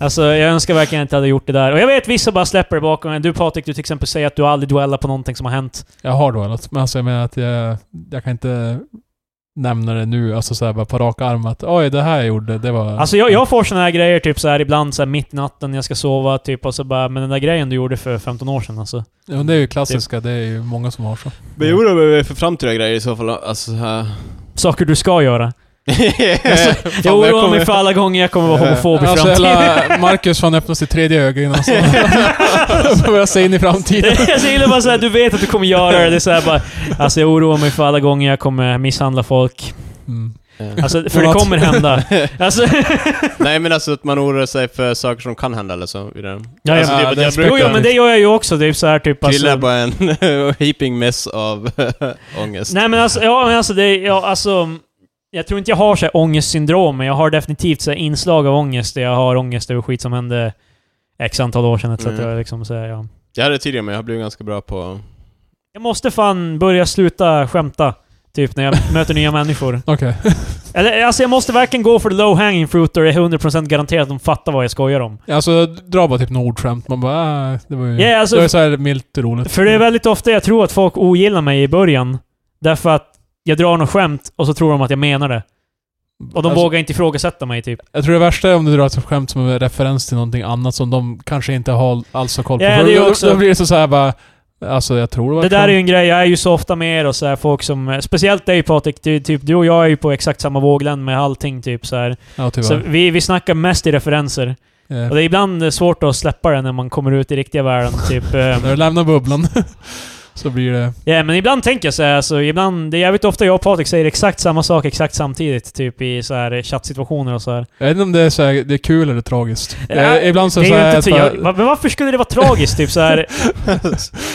Speaker 3: Alltså jag önskar verkligen inte jag hade gjort det där. Och jag vet vissa bara släpper det bakom en. Du Patrik, du till exempel säger att du aldrig duellar på någonting som har hänt.
Speaker 1: Jag har då något, men alltså jag menar att jag, jag kan inte nämna det nu, alltså så här bara på rak arm att oj, det här jag gjorde, det var...
Speaker 3: Alltså jag, jag får såna här grejer typ så här ibland så här mitt i natten när jag ska sova typ och så bara Men den där grejen du gjorde för 15 år sedan alltså.
Speaker 1: Ja, men det är ju klassiska, det är ju många som har så.
Speaker 2: Men jag oroar mig för framtida grejer i så fall. Alltså, (laughs) uh...
Speaker 3: Saker du ska göra. Alltså, Jag oroar mig för alla gånger jag kommer vara homofob i
Speaker 1: alltså
Speaker 3: framtiden.
Speaker 1: hela Marcus han öppnar sitt tredje alltså. öga innan han börjar se in i framtiden.
Speaker 3: (laughs) Jag gillar bara såhär, du vet att du kommer göra det. Det är så här bara, alltså jag oroar mig för alla gånger jag kommer misshandla folk.
Speaker 1: Mm.
Speaker 3: Alltså, för det
Speaker 1: Något.
Speaker 3: kommer hända. Alltså,
Speaker 2: Nej men alltså att man oroar sig för saker som kan hända eller så vidare.
Speaker 3: Ja,
Speaker 2: alltså,
Speaker 1: ja,
Speaker 2: typ att
Speaker 1: det
Speaker 2: jag
Speaker 1: spelar-
Speaker 2: brukar...
Speaker 3: jo, jo, men det gör jag ju också. Det är så här typ
Speaker 2: Krille är
Speaker 3: alltså,
Speaker 2: bara en (laughs) heaping mess av (laughs) ångest.
Speaker 3: Nej men alltså, ja men alltså det, ja, alltså... Jag tror inte jag har så här ångestsyndrom, men jag har definitivt så här inslag av ångest. där Jag har ångest över skit som hände x antal år sedan etc.
Speaker 2: Mm.
Speaker 3: Liksom, så här, ja.
Speaker 2: Jag hade det tidigare men jag har blivit ganska
Speaker 1: (laughs)
Speaker 2: bra på...
Speaker 3: Jag måste fan börja sluta skämta. Typ när jag (laughs) möter nya människor.
Speaker 1: Okej.
Speaker 3: Eller alltså jag måste verkligen gå för the low hanging fruit och det är 100% garanterat att de fattar vad jag skojar om.
Speaker 1: Alltså dra bara typ något ordskämt, man bara äh, det var ju...
Speaker 3: Ja, alltså-
Speaker 1: det var ju såhär milt och roligt.
Speaker 3: För det är väldigt ofta jag tror att folk ogillar mig i början. Därför att jag drar något skämt och så tror de att jag menar det. Och de
Speaker 1: Alltså,
Speaker 3: vågar inte ifrågasätta mig typ.
Speaker 1: Jag tror det värsta är om du drar ett skämt som är referens till någonting annat som de kanske inte har alls har koll på.
Speaker 3: Ja,
Speaker 1: För
Speaker 3: det är ju
Speaker 1: då-
Speaker 3: också-
Speaker 1: Då blir det så såhär bara... Alltså jag tror det var
Speaker 3: Det
Speaker 1: ett
Speaker 3: där är
Speaker 1: skämt.
Speaker 3: ju en grej, jag är ju så ofta med er och så här, folk som... eh, Speciellt dig Patrik, du, typ, du och jag är ju på exakt samma våglängd med allting typ så här.
Speaker 1: Ja, tyvärr.
Speaker 3: Så vi, vi snackar mest i referenser.
Speaker 1: Eh,
Speaker 3: Och det är ibland eh, svårt att släppa det när man kommer ut i riktiga världen typ. eh.
Speaker 1: När du lämnar bubblan (laughs) så blir det...
Speaker 3: Ja, men ibland tänker jag så här, alltså, ibland... Det är jävligt ofta jag och Patrik säger exakt samma sak exakt samtidigt typ i så här eh, chattsituationer och så här.
Speaker 1: Jag vet inte om det är, så här, det är kul eller tragiskt.
Speaker 3: Ja,
Speaker 1: Eh, ibland så,
Speaker 3: Det
Speaker 1: så
Speaker 3: är
Speaker 1: här,
Speaker 3: ju inte,
Speaker 1: bara-
Speaker 3: jag, va- men varför skulle det vara tragiskt? typ
Speaker 1: (laughs)
Speaker 3: så här.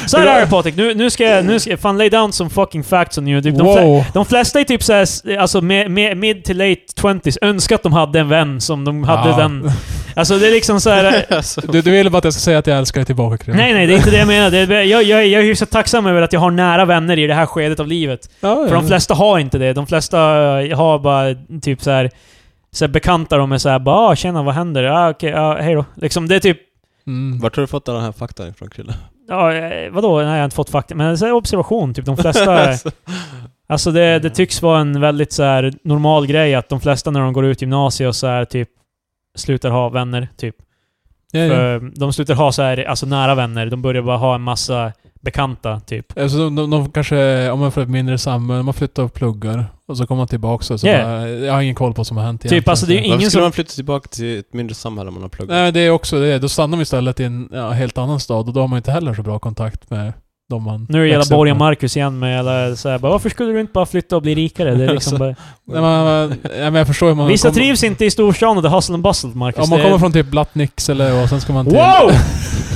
Speaker 3: Så här är det Patrik, nu, nu ska jag... Nu ska, jag- fan, lay down some fucking facts on you. Typ, de, flä,
Speaker 1: wow.
Speaker 3: de flesta är typ så här, s- alltså med, med, mid till late 20s, önskar att de hade en vän som de hade
Speaker 1: Ja.
Speaker 3: den... Alltså det är liksom
Speaker 1: (laughs)
Speaker 3: så här.
Speaker 2: alltså,
Speaker 1: Du, du vill bara att jag ska säga att jag älskar dig tillbaka Chrille?
Speaker 3: Nej, nej, det är inte det jag menar. Det är, jag, jag, är- jag är hyfsat tacksam över att jag har nära vänner i det här skedet av livet.
Speaker 1: Ja, ja.
Speaker 3: För de flesta har inte det. De flesta eh, har bara typ så här, så här bekanta de är så här, bara ah, “Tjena, vad händer?” ah, “Okej, ah, hej då”. Liksom, det är typ
Speaker 1: Mm.
Speaker 2: Vart har du fått alla den här faktan ifrån Krille?
Speaker 3: Ja, eh, vadå? Nej, jag har inte fått fakta. Men så här observation, typ
Speaker 1: (laughs)
Speaker 2: (laughs)
Speaker 3: de flesta...
Speaker 1: Alltså.
Speaker 3: alltså det, det tycks vara en väldigt så här normal grej att de flesta när de går ut gymnasiet och så här typ slutar ha vänner, typ.
Speaker 1: Ja, ja.
Speaker 3: För eh, de slutar ha så här, alltså nära vänner. De börjar bara ha en massa bekanta, typ.
Speaker 1: Alltså, de, de, de kanske, om man får ett mindre samhälle, man flyttar och pluggar och så kommer man tillbaka och så
Speaker 3: Yeah.
Speaker 1: bara, jag har ingen koll på vad som har hänt
Speaker 3: Typ,
Speaker 1: egentligen."
Speaker 3: alltså, det är ju
Speaker 2: Varför
Speaker 3: Ingen
Speaker 2: skulle
Speaker 3: som-
Speaker 2: man flytta tillbaka till ett mindre samhälle om man har pluggat?
Speaker 1: Nej, det är också det. Då stannar man istället i en ja, helt annan stad och då har man inte heller så bra kontakt med de man
Speaker 3: Nu är
Speaker 1: växte
Speaker 3: det jävla
Speaker 1: upp
Speaker 3: Borg och
Speaker 1: med.
Speaker 3: Marcus igen med alla så här, bara, varför skulle du inte bara flytta och bli rikare? Det
Speaker 1: (laughs)
Speaker 3: är liksom bara,
Speaker 1: Nej, men, men, ja, men jag förstår ju. Man
Speaker 3: vissa
Speaker 1: kommer-
Speaker 3: trivs inte i storstan och the hustle and bustle, Marcus.
Speaker 1: Om man
Speaker 3: Det-
Speaker 1: kommer från (laughs) typ Blattnix eller och sen ska man till...
Speaker 3: Wow!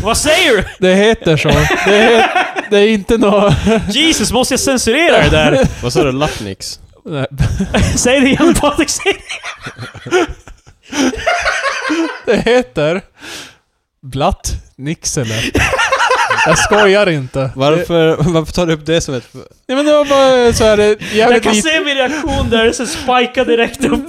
Speaker 3: Vad säger du?
Speaker 1: Det heter så. Det, het, det är inte något...
Speaker 3: Jesus, måste jag censurera
Speaker 1: (laughs)
Speaker 3: det där?
Speaker 2: Vad sa du? Lappnix?
Speaker 1: Nej,
Speaker 3: Säg det igen Patrik, säg det!
Speaker 1: (laughs) Det heter... Blatt Nixele. Jag skojar inte. (laughs) Det,
Speaker 2: Varför, varför tar du upp det som ett...
Speaker 1: nej men det var bara så här, det, är
Speaker 3: Jag
Speaker 1: jävligt
Speaker 3: kan
Speaker 1: lit,
Speaker 3: se min reaktion där, så spikar direkt upp.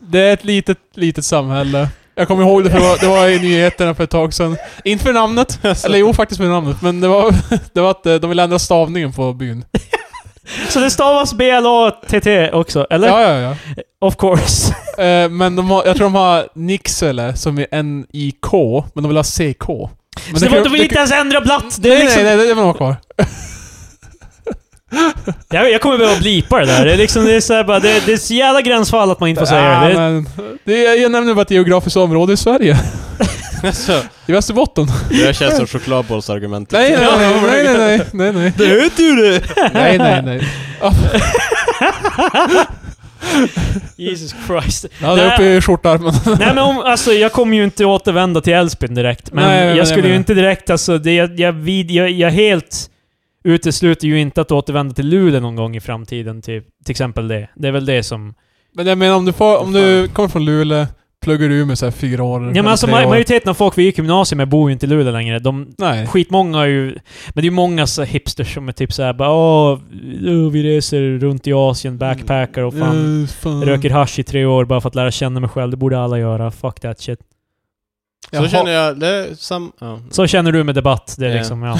Speaker 1: det är ett litet, litet samhälle. Jag kommer ihåg det för det var, det var i nyheterna för ett tag sedan. Inte för namnet, eller jo faktiskt för namnet, men det var, (laughs) det var att eh, de ville ändra stavningen på byn.
Speaker 3: Så det stavas B-L-A-T-T också, eller?
Speaker 1: Ja, ja, ja.
Speaker 3: Of course.
Speaker 1: Eh, men de har, jag tror de har Nixele som är N-I-K, men de vill ha CK. Men
Speaker 3: så det var,
Speaker 1: kan-
Speaker 3: de vill inte
Speaker 1: kan-
Speaker 3: ens ändra blatt. Det är
Speaker 1: Nej,
Speaker 3: liksom,
Speaker 1: nej, nej, det det var nog kvar.
Speaker 3: Jag, jag kommer behöva blipa det där. Det är liksom, det är så här bara, det, det är så jävla gränsfall att man inte får säga
Speaker 1: Ja,
Speaker 3: det. det.
Speaker 1: men, det är, jag nämner bara ett geografiskt område i Sverige.
Speaker 2: (laughs) Alltså,
Speaker 1: I
Speaker 3: (laughs)
Speaker 1: Västerbotten.
Speaker 2: det där känns som chokladbollsargumentet.
Speaker 1: Nej, nej, nej, nej, nej, nej, nej, nej,
Speaker 2: (laughs) Det vet ju det!
Speaker 1: nej, nej, nej.
Speaker 3: Jesus Christ.
Speaker 1: Jag hade
Speaker 3: Nej.
Speaker 1: uppe i skjortarmen.
Speaker 3: Nej men om, alltså jag kommer ju inte återvända till Älvsbyn direkt. Men
Speaker 1: Nej, men
Speaker 3: jag
Speaker 1: jag
Speaker 3: skulle ju
Speaker 1: menar-
Speaker 3: inte direkt, alltså det, jag, jag, vid, jag, jag helt utesluter ju inte att återvända till Luleå någon gång i framtiden. Till, till exempel det. Det är väl det som...
Speaker 1: Men jag menar om du, får, om du kommer från Luleå, pluggar du med så här fyra år
Speaker 3: Ja men
Speaker 1: eller
Speaker 3: alltså
Speaker 1: tre
Speaker 3: ma-
Speaker 1: år.
Speaker 3: majoriteten av folk vi gick i gymnasiet med bor ju inte i Luleå längre. De,
Speaker 1: Nej.
Speaker 3: Skitmånga är ju... Men det är ju många så här hipsters som är typ såhär bara åh, oh, vi reser runt i Asien, backpackar och fan
Speaker 1: Eh, fan.
Speaker 3: röker hasch i tre år bara för att lära känna mig själv. Det borde alla göra. Fuck that shit.
Speaker 1: Jag
Speaker 2: Så
Speaker 1: har-
Speaker 2: känner jag, det är sam... Ja.
Speaker 3: Så känner du med debatt. Det är
Speaker 2: Ja.
Speaker 3: liksom, ja.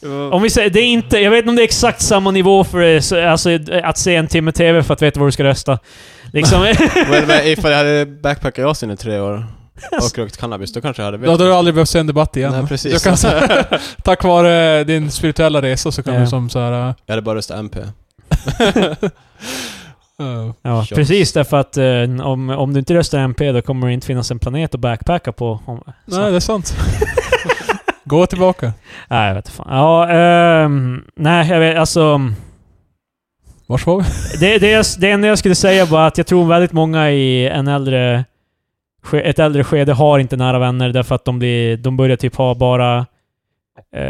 Speaker 2: Det var-
Speaker 3: Om vi säger, det är inte, jag vet inte om det är exakt samma nivå för eh, så- alltså, eh, att se en timme TV för att veta vad du ska rösta. Liksom. (laughs)
Speaker 2: Men- men Ifall jag hade backpackat i Asien i tre år och rökt cannabis, då kanske jag hade
Speaker 1: Då hade du aldrig behövt se en debatt igen.
Speaker 2: Nej, precis.
Speaker 1: Du kan, så här-
Speaker 2: (laughs)
Speaker 1: tack vare din spirituella resa så kan
Speaker 3: Ja.
Speaker 1: du som så här.
Speaker 2: Jag hade bara röstat MP.
Speaker 1: eh,
Speaker 3: ja,
Speaker 2: Shots.
Speaker 3: precis. Därför att eh, om, om du inte röstar MP då kommer det inte finnas en planet att backpacka på. Om, så.
Speaker 1: nej, det är sant. Gå tillbaka.
Speaker 3: (laughs) Nej, jag vet fan. Ja, ehm, nej, jag vet, alltså...
Speaker 1: Vars var vi?
Speaker 3: Det, det, jag, det enda jag skulle säga var att jag tror väldigt många i en äldre, ske- ett äldre skede har inte nära vänner därför att de, blir, de börjar typ ha bara... Eh,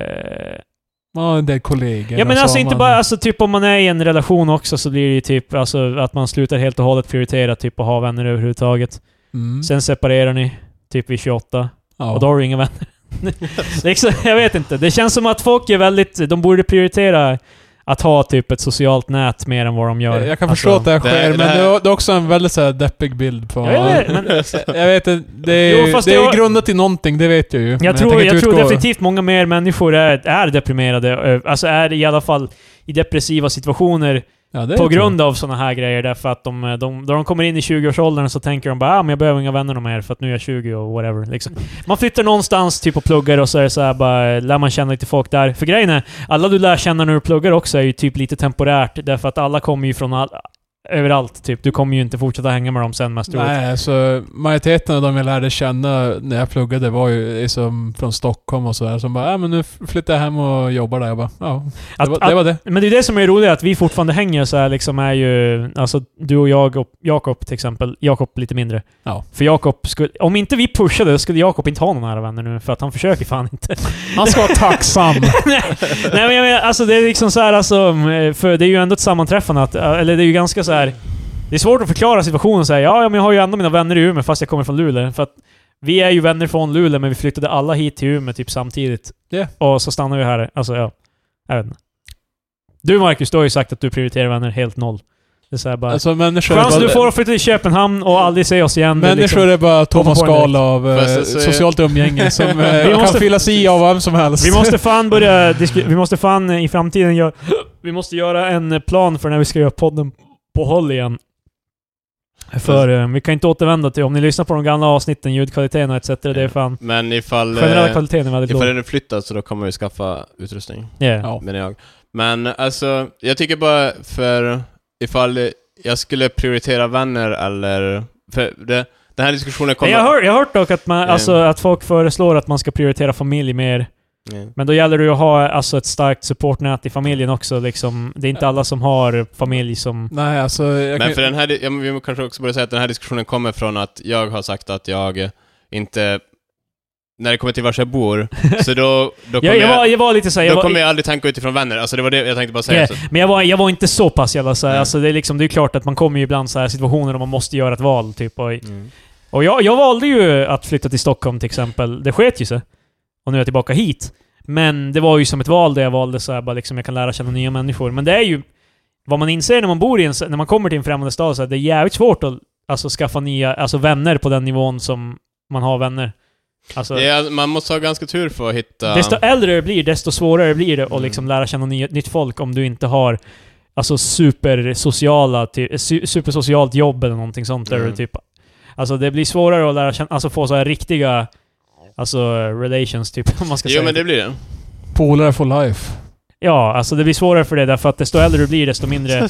Speaker 1: Man har en del kollegor.
Speaker 3: ja men
Speaker 1: och så
Speaker 3: alltså
Speaker 1: har
Speaker 3: inte
Speaker 1: man-
Speaker 3: bara, alltså typ om man är i en relation också så blir det ju typ alltså att man slutar helt och hållet prioritera typ att ha vänner överhuvudtaget.
Speaker 1: Mm.
Speaker 3: Sen separerar ni, typ vid 28.
Speaker 1: ja.
Speaker 3: Och då har du inga vänner. (laughs) liksom, jag vet inte. Det känns som att folk är väldigt... De borde prioritera att ha typ ett socialt nät mer än vad de gör.
Speaker 1: Jag, jag kan
Speaker 3: Alltså,
Speaker 1: förstå att det här
Speaker 2: det-
Speaker 1: sker,
Speaker 2: det
Speaker 1: men
Speaker 2: här-
Speaker 1: det är det är också en väldigt så här deppig bild på...
Speaker 3: Ja, jag vet, men
Speaker 1: Jag vet inte, det är,
Speaker 3: Jo,
Speaker 1: ju-
Speaker 3: fast
Speaker 1: det är
Speaker 3: jag-
Speaker 1: ju grundat i någonting, det vet jag ju. Men
Speaker 3: jag tror,
Speaker 1: tänker
Speaker 3: jag,
Speaker 1: inte
Speaker 3: tror
Speaker 1: utgå-
Speaker 3: definitivt många mer människor är, är deprimerade. ö, Alltså är i alla fall i depressiva situationer
Speaker 1: Ja, det
Speaker 3: på
Speaker 1: tror jag.
Speaker 3: grund av sådana här grejer. Därför att de, eh, de, då de kommer in i 20-årsåldern så tänker de bara ah, men jag behöver inga vänner mer för att nu är jag 20 och whatever. Liksom. Man flyttar någonstans typ och pluggar och så är det så här, bara, eh, lär man känna lite folk där. För grejen är, alla du lär känna när du pluggar också är ju typ lite temporärt. Därför att alla kommer ju från all, överallt. Typ. Du kommer ju inte fortsätta hänga med dem sen mest troligt.
Speaker 1: Nej, så majoriteten av de jag lärde känna när jag pluggade var ju liksom från Stockholm och sådär. Som bara, ja men nu flyttar jag hem och jobbar där. Jag bara, ja. Det,
Speaker 3: Att-
Speaker 1: var,
Speaker 3: att-
Speaker 1: det var det.
Speaker 3: Men det är det som är roligt, att vi fortfarande hänger så här liksom är ju... Alltså du och jag och Jakob till exempel. Jakob lite mindre.
Speaker 1: Ja.
Speaker 3: För Jakob skulle... Om inte vi pushade skulle Jakob inte ha någon nära vänner nu, för att han försöker fan inte.
Speaker 1: Han ska vara tacksam.
Speaker 3: (laughs) Nej men jag menar, alltså det är liksom så här alltså... eh, För det är ju ändå ett sammanträffande att... eh, Eller det är ju ganska så här... Det är svårt att förklara situationen så här. Ja, ja, men jag har ju ändå mina vänner i Umeå fast jag kommer från Luleå. För att vi är ju vänner från Luleå men vi flyttade alla hit till Umeå typ samtidigt.
Speaker 1: Ja.
Speaker 3: Och så stannar vi här. Alltså ja, jag vet inte. Du Marcus, du har ju sagt att du prioriterar vänner helt noll. Det är så här bara...
Speaker 1: alltså människor är
Speaker 3: Chans du
Speaker 1: bara,
Speaker 3: får att flytta till Köpenhamn och aldrig se oss igen. det är
Speaker 1: människor
Speaker 3: liksom-
Speaker 1: är bara tomma
Speaker 3: Kommer på en
Speaker 1: skal av eh,
Speaker 2: Fast alltså,
Speaker 1: socialt umgänge som
Speaker 3: Vi
Speaker 1: eh,
Speaker 3: måste-
Speaker 1: kan fyllas i av vem som helst.
Speaker 3: Vi måste fan börja disku- Vi måste fan eh, i framtiden göra... Vi måste göra en eh, plan för när vi ska göra podden på håll igen. För eh, vi kan inte återvända till... Om ni lyssnar på de gamla avsnitten, ljudkvaliteten och etc. Det är fan...
Speaker 2: Men ifall... eh,
Speaker 3: Generella kvaliteten är väldigt
Speaker 2: Ifall
Speaker 3: låg.
Speaker 2: den är flyttad så då kommer vi skaffa utrustning,
Speaker 3: Yeah.
Speaker 1: (laughs) Ja.
Speaker 2: menar jag. Men alltså, jag tycker bara för ifall jag skulle prioritera vänner eller... För det, den här diskussionen
Speaker 3: Men
Speaker 2: kommer...
Speaker 3: jag har jag har hört dock att, man,
Speaker 2: Eh.
Speaker 3: alltså, att folk föreslår att man ska prioritera familj mer.
Speaker 2: Ja.
Speaker 3: Men då gäller det ju att ha alltså, ett starkt supportnät i familjen också. Liksom. Det är inte alla som har familj som...
Speaker 1: Nej, alltså... Jag
Speaker 2: Men
Speaker 1: kan,
Speaker 2: för den här, ja, men vi kanske också borde säga att den här diskussionen kommer från att jag har sagt att jag inte när det kommer till vars jag
Speaker 3: (laughs)
Speaker 2: bor, så då, då kommer
Speaker 3: Jag, jag, var, jag var lite såhär...
Speaker 2: jag,
Speaker 3: Jag
Speaker 2: då
Speaker 3: var,
Speaker 2: kommer jag aldrig tänka utifrån vänner. Alltså det var det jag tänkte bara säga.
Speaker 3: Ja,
Speaker 2: Så,
Speaker 3: men jag var, jag var inte så pass jävla såhär.
Speaker 2: Nej.
Speaker 3: Alltså, det, är liksom, det är klart att man kommer ju ibland såhär situationer där man måste göra ett val typ. Och,
Speaker 2: mm.
Speaker 3: och jag, jag valde ju att flytta till Stockholm till exempel. Det sket ju sig. Och nu är jag tillbaka hit. Men det var ju som ett val där jag valde så här, bara liksom jag kan lära känna nya människor. Men det är ju... Vad man inser när man bor i en, när man kommer till en främmande stad så här, det är jävligt svårt att alltså, skaffa nya, alltså vänner på den nivån som man har vänner. Alltså,
Speaker 2: ja, man måste ha ganska tur för att hitta...
Speaker 3: Desto äldre du blir, desto svårare blir det att
Speaker 2: Mm.
Speaker 3: liksom lära känna nya, nytt folk om du inte har alltså supersociala, typ, su- supersocialt jobb eller någonting sånt. Där
Speaker 2: Mm.
Speaker 3: du typ, alltså det blir svårare att lära känna, alltså få så här riktiga alltså relations typ, (laughs) om man ska
Speaker 2: jo
Speaker 3: säga.
Speaker 2: men det blir det.
Speaker 1: Polare for life.
Speaker 3: Ja, alltså det blir svårare för det därför att desto äldre du blir,
Speaker 2: (laughs)
Speaker 3: desto mindre...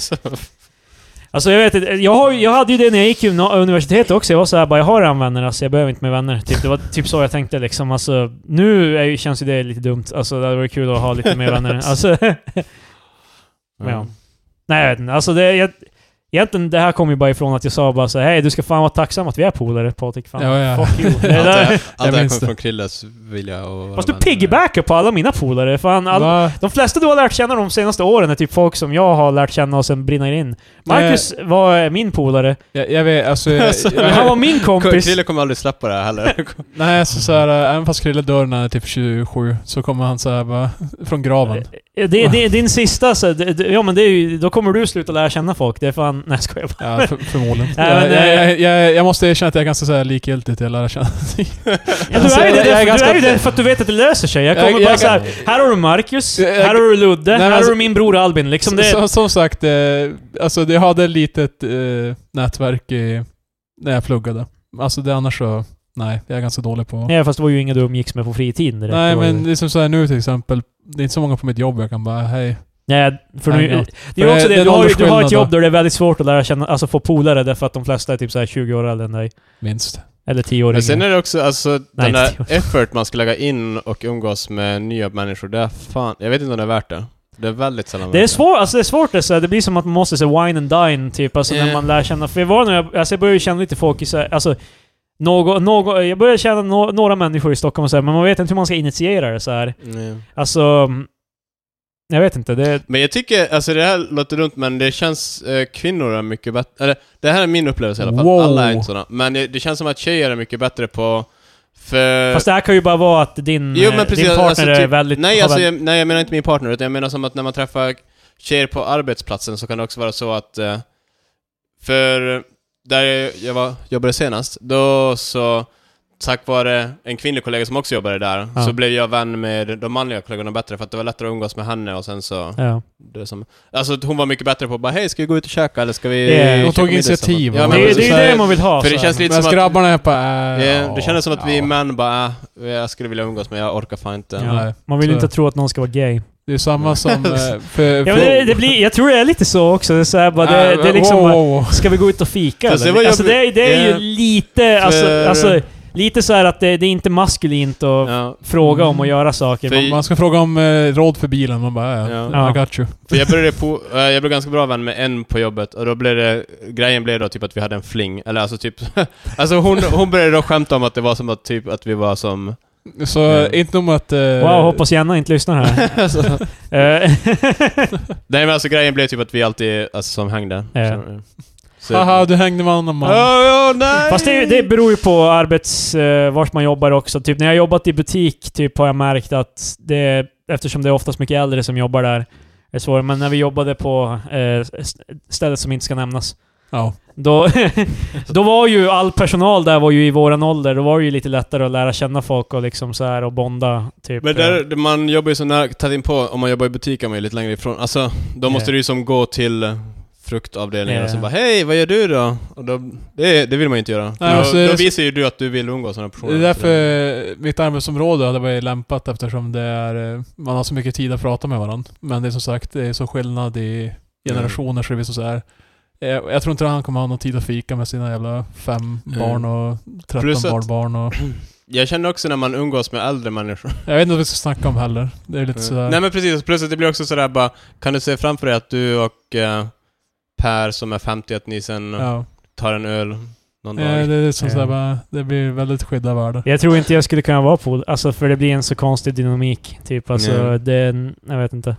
Speaker 3: Alltså jag vet inte, jag, har, ju- jag hade ju det när jag gick gymna- universitetet också. Jag var så här, bara jag har redan vänner, alltså jag behöver inte mer vänner. Typ, det var typ så jag tänkte liksom. Alltså, nu är, ju- känns ju det lite dumt. Alltså det hade varit kul att ha lite
Speaker 1: (laughs)
Speaker 3: mer vänner. Alltså, (laughs) Men ja. nej jag vet inte. Alltså det, jag, egentligen det här kom ju bara ifrån att jag sa bara så här, hej du ska fan vara tacksam att vi är polare Patrik. Fan,
Speaker 1: Ja, (laughs) ja.
Speaker 3: fuck you. Det
Speaker 2: Allt det
Speaker 3: där-
Speaker 2: här, allt det här
Speaker 1: minns
Speaker 2: kommer
Speaker 1: det.
Speaker 2: från Krilles vilja och... vara
Speaker 3: Fast du
Speaker 2: vänner.
Speaker 3: piggybackar på alla mina polare. Fan, all,
Speaker 1: Va?
Speaker 3: De flesta du har lärt känna de senaste åren är typ folk som jag har lärt känna och sen brinner in. Marcus
Speaker 1: Eh.
Speaker 3: var min polare.
Speaker 1: Jag, jag vet,
Speaker 3: (laughs)
Speaker 1: alltså... Jag,
Speaker 2: Alltså,
Speaker 1: jag,
Speaker 3: Han var min kompis.
Speaker 2: Krille kommer aldrig släppa det här heller.
Speaker 1: nej, alltså så här, äh, även fast Krille dör när han är typ 27, så kommer han så här bara, från graven.
Speaker 3: Det, det, det är din sista, så det, det, ja men det är ju, då kommer du sluta lära känna folk. Det är fan... Nej jag skojar bara.
Speaker 1: Ja, för, förmodligen.
Speaker 3: Nej, men,
Speaker 1: jag,
Speaker 3: eh,
Speaker 1: jag, jag, jag, jag måste erkänna att jag är ganska så här likgiltig till att lära (laughs) känna.
Speaker 3: Ja, du
Speaker 1: Alltså,
Speaker 3: är ju det,
Speaker 1: jag- jag är
Speaker 3: därför- du
Speaker 1: ganska-
Speaker 3: är ju det för att du vet att det löser sig. Jag kommer
Speaker 1: Jag-
Speaker 3: bara
Speaker 1: jag-
Speaker 3: så här, här har du Marcus,
Speaker 1: Jag- jag-
Speaker 3: här har du Ludde,
Speaker 1: men
Speaker 3: här har
Speaker 1: alltså-
Speaker 3: du min bror Albin. Liksom det,
Speaker 1: som, som sagt, eh, alltså jag hade ett litet eh, nätverk i, när jag pluggade. Alltså det annars så, nej, jag är ganska dålig på...
Speaker 3: nej fast det var ju inga du umgicks med på fritiden direkt.
Speaker 1: nej
Speaker 3: Det var ju-
Speaker 1: men liksom så här nu till exempel, det är inte så många på mitt jobb jag kan bara hej.
Speaker 3: Nej, för
Speaker 1: Nej,
Speaker 3: nu,
Speaker 1: ja.
Speaker 3: det är ju
Speaker 1: För det- det
Speaker 3: också det,
Speaker 1: är
Speaker 3: du
Speaker 1: en
Speaker 3: har, ju- du har ett
Speaker 1: åldersskillnad då.
Speaker 3: jobb där det är väldigt svårt att lära känna, alltså få polare därför att de flesta är typ så här 20 år äldre än dig.
Speaker 1: Minst.
Speaker 3: Eller 10 år
Speaker 2: Men sen
Speaker 3: yngre.
Speaker 2: är det också alltså
Speaker 3: Nej,
Speaker 2: den där
Speaker 3: inte
Speaker 2: effort man ska lägga in och umgås med nya människor. Det är fan... Jag vet inte om det är värt det. Det är väldigt sällan värt
Speaker 3: Det är svårt, alltså det är svårt det, är så här, det blir som att man måste så här, wine and dine typ, alltså när
Speaker 2: Eh.
Speaker 3: man lär känna... För jag var när jag, alltså jag började ju känna lite folk i så här, alltså... Någon, någon, jag började känna no, några människor i Stockholm och så här, men man vet inte hur man ska initiera det så här.
Speaker 2: Nej.
Speaker 3: Alltså... Jag vet inte, det...
Speaker 2: Men jag tycker, alltså det här låter runt men det känns, eh, kvinnor är mycket bättre, eller det här är min upplevelse i alla fall,
Speaker 1: Wow.
Speaker 2: alla är inte sådana. Men det, det känns som att tjejer är mycket bättre på, för...
Speaker 3: Fast det här kan ju bara vara att din,
Speaker 2: Jo,
Speaker 3: eh,
Speaker 2: men precis,
Speaker 3: din partner
Speaker 2: alltså,
Speaker 3: är
Speaker 2: typ-
Speaker 3: väldigt...
Speaker 2: nej,
Speaker 3: har
Speaker 2: alltså,
Speaker 3: väldigt-
Speaker 2: jag, nej, jag menar inte min partner, utan jag menar som att när man träffar tjejer på arbetsplatsen så kan det också vara så att, eh, för där jag- jag var, jobbade senast, då så Tack vare en kvinnlig kollega som också jobbade där,
Speaker 3: Ja.
Speaker 2: så blev jag vän med de manliga kollegorna bättre för att det var lättare att umgås med henne och sen så...
Speaker 3: ja.
Speaker 2: Det är som, alltså att hon var mycket bättre på att bara hej, ska vi gå ut och käka eller ska vi...
Speaker 3: Yeah. Hon
Speaker 2: käka
Speaker 1: tog
Speaker 2: middag
Speaker 1: initiativ,
Speaker 2: tillsammans?" Ja,
Speaker 1: va?
Speaker 2: men
Speaker 3: det, är-
Speaker 2: precis.
Speaker 3: det är det man vill ha.
Speaker 2: För det
Speaker 3: så här.
Speaker 2: känns lite
Speaker 1: Medan
Speaker 2: som att...
Speaker 1: grabbarna är på äh,
Speaker 2: Ja, det kändes som att vi
Speaker 1: ja.
Speaker 2: män bara, äh, jag skulle vilja umgås men jag orkar fan inte.
Speaker 3: Ja.
Speaker 1: Nej,
Speaker 3: Man vill
Speaker 1: så-
Speaker 3: inte tro att någon ska vara gay.
Speaker 1: Det är
Speaker 2: Mm.
Speaker 1: samma
Speaker 2: (laughs)
Speaker 1: som... eh, för,
Speaker 3: Ja, men det, det blir, jag tror det är lite så också. Det är, så här, bara, det,
Speaker 2: Ja,
Speaker 3: det är liksom
Speaker 1: wow,
Speaker 3: bara,
Speaker 1: Äh, wow, wow.
Speaker 3: Ska vi gå ut och fika
Speaker 2: Fast det
Speaker 3: eller?
Speaker 2: var
Speaker 3: Alltså det, är- det är ju
Speaker 2: Ja.
Speaker 3: lite, alltså,
Speaker 2: För-
Speaker 3: alltså, lite så här att det, det är inte maskulint att
Speaker 2: Ja.
Speaker 3: fråga om att göra saker.
Speaker 2: För-
Speaker 3: Man-
Speaker 1: Man ska fråga om eh, råd för bilen, man bara äh,
Speaker 2: Ja.
Speaker 1: I got you.
Speaker 2: För jag började på, eh, jag blev ganska bra vän med en på jobbet och då blev det, grejen blev då typ att vi hade en fling, eller alltså typ, (laughs) alltså hon, hon började då skämta om att det var som att typ att vi var som...
Speaker 1: Så
Speaker 2: Ja.
Speaker 1: inte nog med att... eh,
Speaker 3: Wow, hoppas Jenna inte lyssnar här.
Speaker 2: (laughs) alltså,
Speaker 3: Eh, (laughs)
Speaker 2: nej men alltså grejen blev typ att vi alltid, alltså som hängde.
Speaker 3: Ja.
Speaker 2: Så- Så,
Speaker 1: Haha, du hängde med annan man.
Speaker 2: Ja, ja, nej!
Speaker 3: Fast det, det beror ju på arbets... eh, vart man jobbar också. Typ när jag har jobbat i butik typ, har jag märkt att det... Eftersom det är oftast mycket äldre som jobbar där. Det är svårare. Men när vi jobbade på eh, st- stället som inte ska nämnas.
Speaker 1: Ja.
Speaker 3: Då, (laughs) då var ju all personal där var ju i våran ålder. Då var det ju lite lättare att lära känna folk och liksom så här och bonda. Typ.
Speaker 2: Men där, man jobbar ju så nära, tätt in på om man jobbar i butik är man ju lite längre ifrån. Alltså, då måste
Speaker 3: Ja.
Speaker 2: du ju som gå till eh, fruktavdelningen och så
Speaker 3: Ja.
Speaker 2: bara Hej, vad gör du då? Och då det, det vill man ju inte göra.
Speaker 1: Nej,
Speaker 2: då,
Speaker 1: alltså,
Speaker 2: då
Speaker 1: det-
Speaker 2: visar ju du att du vill umgås med sådana
Speaker 1: Det
Speaker 2: personer.
Speaker 1: är
Speaker 2: Så det-
Speaker 1: därför mitt arbetsområde hade varit lämpat eftersom det är, eh, man har så mycket tid att prata med varandra. Men det är som sagt, det är så skillnad i generationer så det blir så här. eh, Jag tror inte han kommer ha någon tid att fika med sina jävla fem
Speaker 2: Mm.
Speaker 1: barn och
Speaker 2: Plus
Speaker 1: 13
Speaker 2: att-
Speaker 1: barnbarn och...
Speaker 2: Jag känner också när man umgås med äldre människor.
Speaker 1: Jag vet inte vad vi ska snacka om heller. Det är lite sådär...
Speaker 2: Eh, Nej men precis, plus att det blir också sådär bara, kan du se framför dig att du och eh, Per som är 50, att ni sen
Speaker 1: ja.
Speaker 2: tar en öl? någon dag.
Speaker 1: Eh, det är som
Speaker 3: Ja.
Speaker 1: sådär bara, det blir väldigt skydda världar.
Speaker 3: Jag tror inte jag skulle kunna vara på alltså för det blir en så konstig dynamik. Typ alltså,
Speaker 2: Nej.
Speaker 3: det är en, jag vet inte.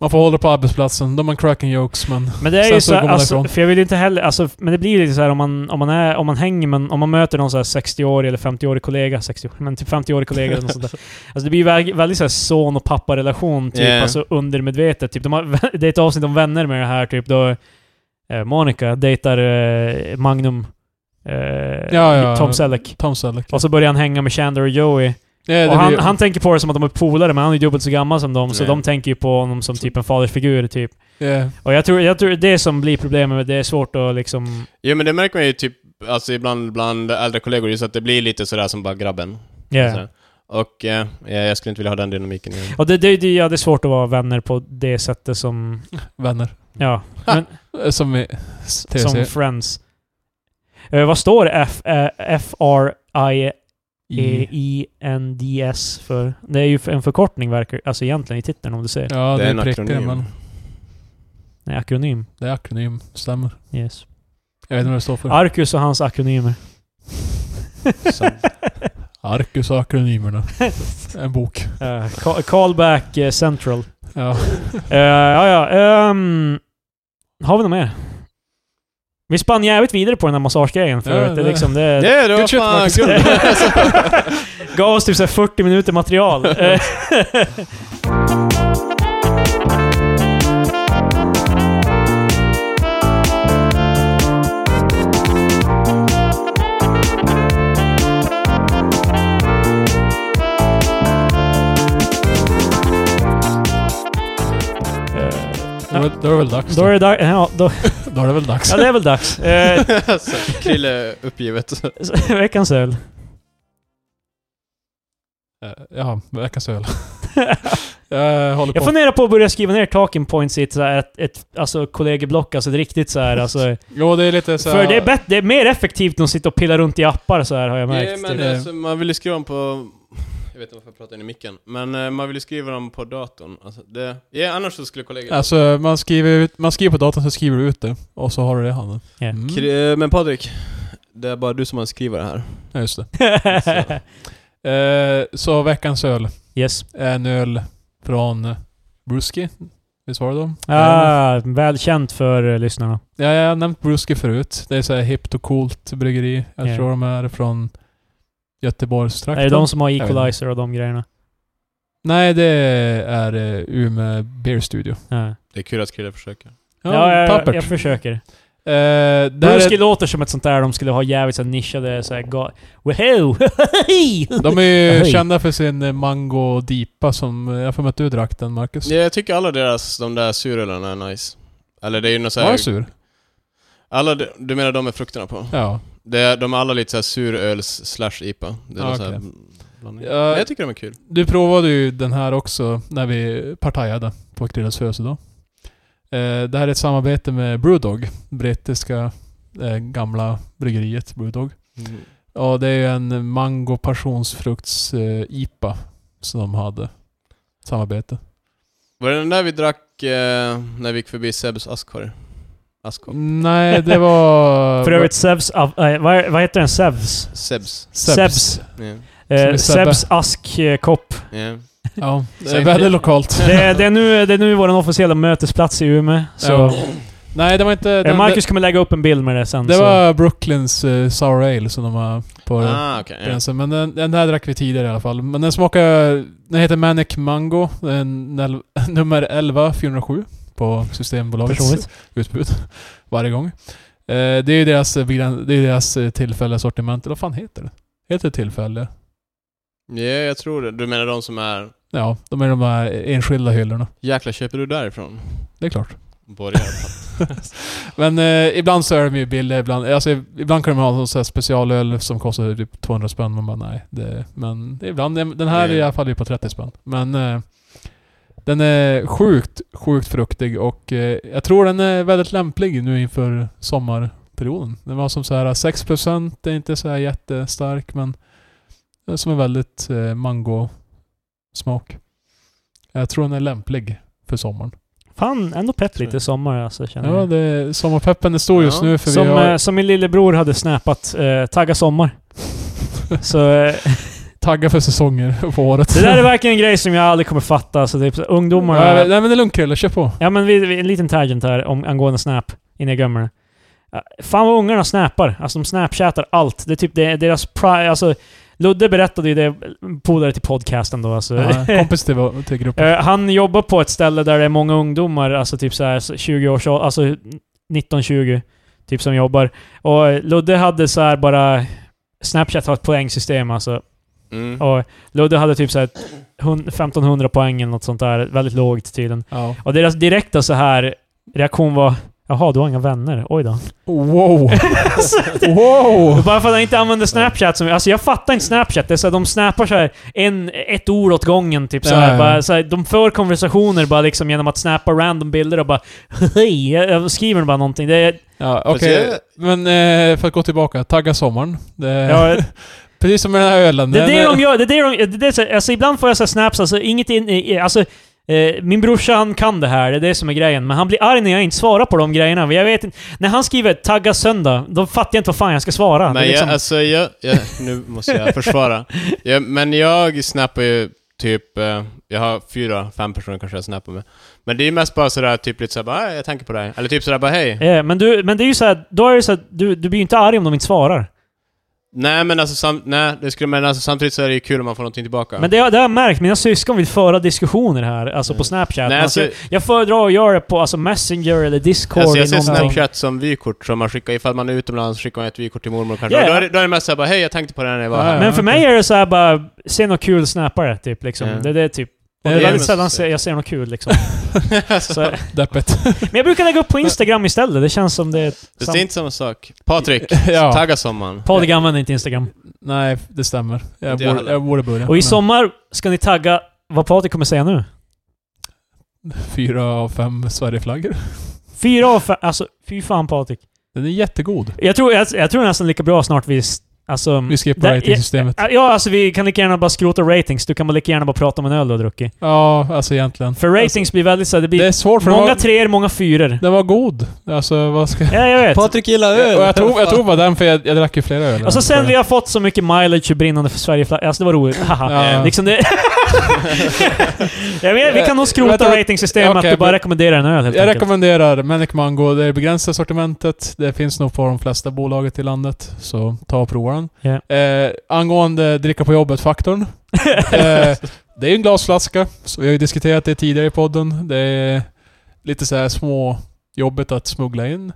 Speaker 1: Man får hålla på arbetsplatsen, de är cracking jokes men...
Speaker 3: Men det är
Speaker 1: Sen
Speaker 3: ju
Speaker 1: så
Speaker 3: så här,
Speaker 1: går man
Speaker 3: alltså,
Speaker 1: därifrån.
Speaker 3: för jag vill inte heller, alltså, men det blir ju lite så här om man, om man är, om man hänger men om man möter någon så här 60-årig eller 50-årig kollega, 60 men typ 50-årig kollega eller något sånt
Speaker 1: (laughs)
Speaker 3: där. Alltså det blir ju vä- väldigt så här son och pappa-relation typ,
Speaker 2: Ja.
Speaker 3: alltså undermedvetet. Typ, de har, det är ett avsnitt om vänner med det här typ, då eh, Monica dejtar eh, Magnum, eh,
Speaker 1: Ja, ja.
Speaker 3: Tom Selleck.
Speaker 1: Tom Selleck.
Speaker 3: Och så börjar han hänga med Chandler och Joey.
Speaker 1: Ja, det
Speaker 3: Och han,
Speaker 1: blir-
Speaker 3: han tänker på det som att de är polare, men han är ju dubbelt så gammal som dem, så
Speaker 2: Nej.
Speaker 3: de tänker ju på honom som typ en fadersfigur, typ.
Speaker 1: ja.
Speaker 3: Och jag tror, jag tror det som blir problemet, med det är svårt att liksom...
Speaker 2: Jo men det märker man ju typ, alltså ibland bland äldre kollegor, just att det blir lite sådär som bara grabben.
Speaker 3: Yeah.
Speaker 2: Så. Och eh, ja, jag skulle inte vilja ha den dynamiken
Speaker 1: Eh,
Speaker 2: igen.
Speaker 3: Och det, det, det, ja, det är svårt att vara vänner på det sättet som...
Speaker 1: Vänner.
Speaker 3: Ja,
Speaker 1: Eh, Som i
Speaker 3: som
Speaker 1: TC.
Speaker 3: friends. Eh, vad står F, E eh,
Speaker 1: I-
Speaker 3: F-R-I-E-N-D-S för? Det är ju en förkortning, verkar alltså egentligen, i titeln om du ser.
Speaker 1: Ja, det,
Speaker 2: är
Speaker 1: är
Speaker 2: en
Speaker 1: prickar
Speaker 2: akronym.
Speaker 1: men
Speaker 3: Nej, akronym.
Speaker 1: det är akronym. Stämmer.
Speaker 3: Yes.
Speaker 1: Jag vet inte vad det står för.
Speaker 3: Arcus och hans akronymer. (laughs)
Speaker 2: Så.
Speaker 1: Arcus och akronymerna. En bok.
Speaker 3: Eh, ca- callback eh, central.
Speaker 1: Ja.
Speaker 3: Eh, ja, ja. ehm, har vi något mer? Vi spann jävligt vidare på den här massagegrejen för
Speaker 1: Ja,
Speaker 3: att det,
Speaker 1: det-
Speaker 3: liksom, det,
Speaker 2: Ja, det var
Speaker 1: Good shit,
Speaker 2: fan
Speaker 1: Marcus.
Speaker 2: kul!
Speaker 3: (laughs)
Speaker 1: (laughs)
Speaker 2: (laughs)
Speaker 3: gav oss typ så här 40 minuter (laughs) material. Eh, eh,
Speaker 1: Då är det- då är det väl dags
Speaker 3: Då
Speaker 1: då.
Speaker 3: är det dags. Ja, då,
Speaker 1: Då är det väl dags.
Speaker 3: ja, det är väl dags. Eh, (laughs)
Speaker 2: Så, Krille uppgivet.
Speaker 3: veckans öl.
Speaker 1: Eh, Ja, veckans
Speaker 3: (laughs)
Speaker 1: öl. Jag eh, håller på.
Speaker 3: Jag funderar på att börja skriva ner talking points i ett, så här, ett, ett alltså, kollegieblock, alltså ett riktigt så
Speaker 1: (laughs)
Speaker 3: här, alltså,
Speaker 1: Jo, det är lite så
Speaker 3: För det är, bett, det är mer effektivt än att sitta och pilla runt i appar så här har jag märkt.
Speaker 2: Ja, men
Speaker 1: det.
Speaker 2: alltså, man vill ju skriva dem på... Jag vet inte varför jag pratar in i micken. Men eh, man vill ju skriva dem på datorn. Alltså, det... Ja, annars så skulle kollegor...
Speaker 1: Alltså, man skriver, ut, man skriver på datorn, så skriver du ut det. Och så har du det i handen.
Speaker 3: Ja.
Speaker 1: Mm.
Speaker 2: Kri- eh, Men Patrik, det är bara du som har en skrivare här.
Speaker 1: Ja, just det. Eh, så veckans öl
Speaker 3: (laughs) yes.
Speaker 1: är en öl från Bruski. Visst var det då?
Speaker 3: Ah, välkänt för eh, lyssnarna.
Speaker 1: Ja, jag har nämnt Bruski förut. Det är så här hippt och coolt bryggeri. Jag
Speaker 3: Ja.
Speaker 1: tror de är från
Speaker 3: är det
Speaker 1: Göteborgstrakten.
Speaker 3: de som har
Speaker 1: Jag vet
Speaker 3: equalizer och de grejerna?
Speaker 1: Nej, det är eh, Umeå Beer Studio.
Speaker 3: Ja,
Speaker 2: Det är kul att Krille försöker.
Speaker 1: Ja,
Speaker 3: jag,
Speaker 1: tappert.
Speaker 3: jag, jag försöker.
Speaker 1: Eh, där
Speaker 3: Bruski
Speaker 1: är,
Speaker 3: låter som ett sånt där de skulle ha jävligt så här nischade så här ga- Woho! (laughs)
Speaker 1: de är ju
Speaker 3: Hej.
Speaker 1: kända för sin eh, mango dipa som... eh, Jag har för mig att du drack den, Marcus.
Speaker 2: Ja, jag tycker alla deras, de där surölarna är nice. Eller det är ju något så
Speaker 1: Var
Speaker 2: här,
Speaker 1: den sur?
Speaker 2: Alla, de- du menar de med frukterna på?
Speaker 1: Ja.
Speaker 2: Det är, de är alla lite såhär suröls slash IPA. Det är
Speaker 1: Ja,
Speaker 2: någon så här
Speaker 1: Ah, okej.
Speaker 2: blandning.
Speaker 1: Ja.
Speaker 2: Men jag tycker de är kul.
Speaker 1: Du provade ju den här också när vi partajade på Grillas födelsedag. Eh, det här är ett samarbete med Brewdog. Brittiska eh, gamla bryggeriet Brewdog. Ja, det är ju en mango passionsfrukts eh, IPA som de hade. Samarbete.
Speaker 2: Var det den där vi drack eh, när vi gick förbi Sebs askkorg? Askkopp?
Speaker 1: Mm. Nej, det var...
Speaker 3: (laughs) för övrigt Sevs... av- eh, vad, vad heter den? Sevs?
Speaker 2: Sebs.
Speaker 3: Sebs.
Speaker 2: Ja.
Speaker 1: Som är
Speaker 3: Eh,
Speaker 1: Sebbe.
Speaker 3: Sebs askkopp.
Speaker 2: Ja.
Speaker 1: Ja, det är väldigt lokalt.
Speaker 3: Det, är- det, är nu, det är nu vår officiella mötesplats i Umeå. Så.
Speaker 1: Ja. Nej, det var inte...
Speaker 3: Eh,
Speaker 1: Den,
Speaker 3: Marcus kommer lägga upp en bild med det sen.
Speaker 1: det
Speaker 3: så.
Speaker 1: var Brooklyns eh, Sour Ale som de har på...
Speaker 2: Ah, okej. ja.
Speaker 1: gränsen. Men den, den här drack vi tidigare i alla fall. Men den smakar... Den heter Manic Mango. Den är nel- (laughs) nummer 11407 på Systembolagets
Speaker 3: Personligt.
Speaker 1: utbud. (laughs) Varje gång. Eh, det är ju deras, eh, begräns- det är deras eh, tillfälliga sortiment. Eller vad fan heter det? Heter det tillfälle?
Speaker 2: Ja, jag tror det. Du menar de som är...
Speaker 1: Ja, de är de här enskilda hyllorna.
Speaker 2: Jäklar, köper du därifrån?
Speaker 1: Det är klart.
Speaker 2: Borgare.
Speaker 1: (laughs) Men eh, ibland så är de ju billiga, ibland, alltså, ibland kan de ha sån här specialöl som kostar typ 200 spänn. Man bara nej. Det, men ibland, den här är i alla fall är på 30 spänn. Men eh, den är sjukt, sjukt fruktig och eh, jag tror den är väldigt lämplig nu inför sommarperioden. Den var som så här 6%, det är inte så här jättestark men den är som en väldigt eh, mango-smak. Jag tror den är lämplig för sommaren.
Speaker 3: Fan, ändå pepp lite i sommar alltså känner
Speaker 1: Ja,
Speaker 3: jag.
Speaker 1: det, sommarpeppen är stor just
Speaker 2: Ja.
Speaker 1: nu för
Speaker 3: Som,
Speaker 1: vi har
Speaker 3: eh, som min lillebror hade snäpat. Eh, tagga sommar.
Speaker 1: (laughs)
Speaker 3: så eh, (laughs)
Speaker 1: taggar för säsonger (laughs) på året.
Speaker 3: det där är verkligen en grej som jag aldrig kommer fatta. Så det är, så- ungdomarna...
Speaker 1: Nej, men- nej men det är lugnt Krille, kör på.
Speaker 3: Ja men vi, vi, en liten tangent här om, angående Snap, innan jag glömmer det. Ja, Fan vad ungarna snappar. Alltså de snapchattar allt. Det är typ det, deras pri- Alltså, Ludde berättade ju det, polare till podcasten då alltså. (laughs)
Speaker 1: Ja, kompis till, vår- till gruppen.
Speaker 3: Eh, Han jobbar på ett ställe där det är många ungdomar, alltså typ så här 20 års alltså 19-20, typ som jobbar. Och eh, Ludde hade så här bara... Snapchat har ett poängsystem alltså.
Speaker 2: Mm.
Speaker 3: Och Ludde hade typ så här 100 1500 poäng eller något sånt där. Väldigt lågt tydligen.
Speaker 1: Ja.
Speaker 3: Och deras direkta så här reaktion var Jaha, du har inga vänner? Oj då. (laughs)
Speaker 1: Wow! wow!
Speaker 3: Bara för att han inte använder Snapchat som... Alltså jag fattar inte Snapchat. Det är så här, de snappar så här en, ett ord åt gången typ så
Speaker 1: Ja,
Speaker 3: här,
Speaker 1: ja.
Speaker 3: bara, så här, De för konversationer bara liksom genom att snappa random bilder och bara Hej! Jag Skriver bara någonting. Det är...
Speaker 1: Ja, okej.
Speaker 2: Fast
Speaker 1: Men eh, för att gå tillbaka, tagga sommaren. Det,
Speaker 3: Ja,
Speaker 1: (laughs) Precis som med den här ölen.
Speaker 3: Det är
Speaker 1: Den-
Speaker 3: det de gör. Det är det de, det är så, alltså ibland får jag så här snaps, alltså inget in, i- alltså eh, min brorsa han kan det här, det är det som är grejen. Men han blir arg när jag inte svarar på de grejerna. Men Jag vet inte, när han skriver 'tagga söndag', då fattar jag inte vad fan jag ska svara. Det är
Speaker 2: Men
Speaker 3: liksom,
Speaker 2: jag, alltså jag, jag, nu måste jag
Speaker 3: (laughs)
Speaker 2: försvara. Jag, men jag snappar ju typ, eh, jag har fyra, fem personer kanske jag snappar med. Men det är ju mest bara sådär typ lite såhär bara, "Ah, jag tänker på dig. Eller typ sådär bara, hej.
Speaker 3: eh, men, du, men det är ju så här, då är det så här, du, du blir ju inte arg om de inte svarar.
Speaker 2: Nej men alltså, sam, nej, det skulle, men alltså samtidigt så är det ju kul om man får någonting tillbaka.
Speaker 3: Men det, har- det har jag märkt, mina syskon vill föra diskussioner här, alltså på Snapchat.
Speaker 2: Nej,
Speaker 3: alltså,
Speaker 2: alltså-
Speaker 3: jag föredrar att göra det på alltså, Messenger eller Discord.
Speaker 2: Alltså
Speaker 3: eller
Speaker 2: jag ser
Speaker 3: någonting.
Speaker 2: Snapchat som vykort som man skickar, ifall man är utomlands skickar man ett vykort till mormor kanske.
Speaker 3: Ja,
Speaker 2: Och Då,
Speaker 3: ja.
Speaker 2: är det, då är det mest såhär bara, hej jag tänkte på det här när jag var
Speaker 1: Ja,
Speaker 2: här.
Speaker 3: Men för
Speaker 1: okej.
Speaker 3: mig är det så här bara, se något kul snappare typ liksom.
Speaker 2: Ja.
Speaker 3: Det, det är typ. Och
Speaker 1: Ja,
Speaker 3: det är
Speaker 1: det är
Speaker 3: väldigt
Speaker 2: mest-
Speaker 3: sällan se- jag ser något kul
Speaker 2: (laughs)
Speaker 3: liksom. Så, men
Speaker 1: Deppigt.
Speaker 3: jag brukar lägga upp på Instagram istället, det känns som det är...
Speaker 2: Det
Speaker 3: sam-
Speaker 2: är inte samma sak. (laughs) Patrik,
Speaker 1: (laughs) Ja.
Speaker 2: tagga sommaren.
Speaker 3: Patrik använder inte Instagram.
Speaker 1: Nej, det stämmer. Jag
Speaker 2: Inte jag
Speaker 1: borde,
Speaker 2: heller.
Speaker 1: jag borde börja.
Speaker 3: Och i sommar ska ni tagga vad Patrik kommer säga nu.
Speaker 1: Fyra av fem Sverigeflaggor.
Speaker 3: Fyra av fem, alltså fy fan Patrik.
Speaker 1: Den är jättegod.
Speaker 3: Jag tror, jag, jag tror nästan lika bra snart vi... s- Alltså,
Speaker 1: Vi skippar
Speaker 3: där-
Speaker 1: ratingsystemet.
Speaker 3: Ja, ja, alltså vi kan lika gärna bara skrota ratings. Du kan bara lika gärna bara prata om en öl du har druckit.
Speaker 1: Ja, alltså egentligen.
Speaker 3: För ratings blir väldigt så det
Speaker 1: Det
Speaker 3: blir
Speaker 1: är svårt för den
Speaker 3: många
Speaker 1: var,
Speaker 3: treor, många fyror.
Speaker 1: den var god. Alltså vad ska jag...
Speaker 3: Ja, jag vet.
Speaker 4: Patrik gillar öl.
Speaker 1: Och jag tror, jag tror bara den för jag, jag drack ju flera öl.
Speaker 3: Och så sen vi har fått så mycket mileage och brinnande för Sverige Alltså det var roligt. Haha.
Speaker 1: Ja.
Speaker 3: Liksom det... (laughs) jag vet, vi kan nog skrota
Speaker 1: Vänta,
Speaker 3: ratingsystemet
Speaker 1: okej,
Speaker 3: att du bara
Speaker 1: men-
Speaker 3: rekommenderar en öl helt
Speaker 1: Jag
Speaker 3: enkelt.
Speaker 1: rekommenderar Manic Mango. Det är begränsat sortimentet. Det finns nog på de flesta bolaget i landet. Så ta och prova den.
Speaker 3: Ja.
Speaker 1: Eh, angående dricka på
Speaker 3: (laughs)
Speaker 1: jobbet-faktorn. eh, det är ju en glasflaska. Så vi har ju diskuterat det tidigare i podden. Det är lite så här små jobbigt att smuggla in.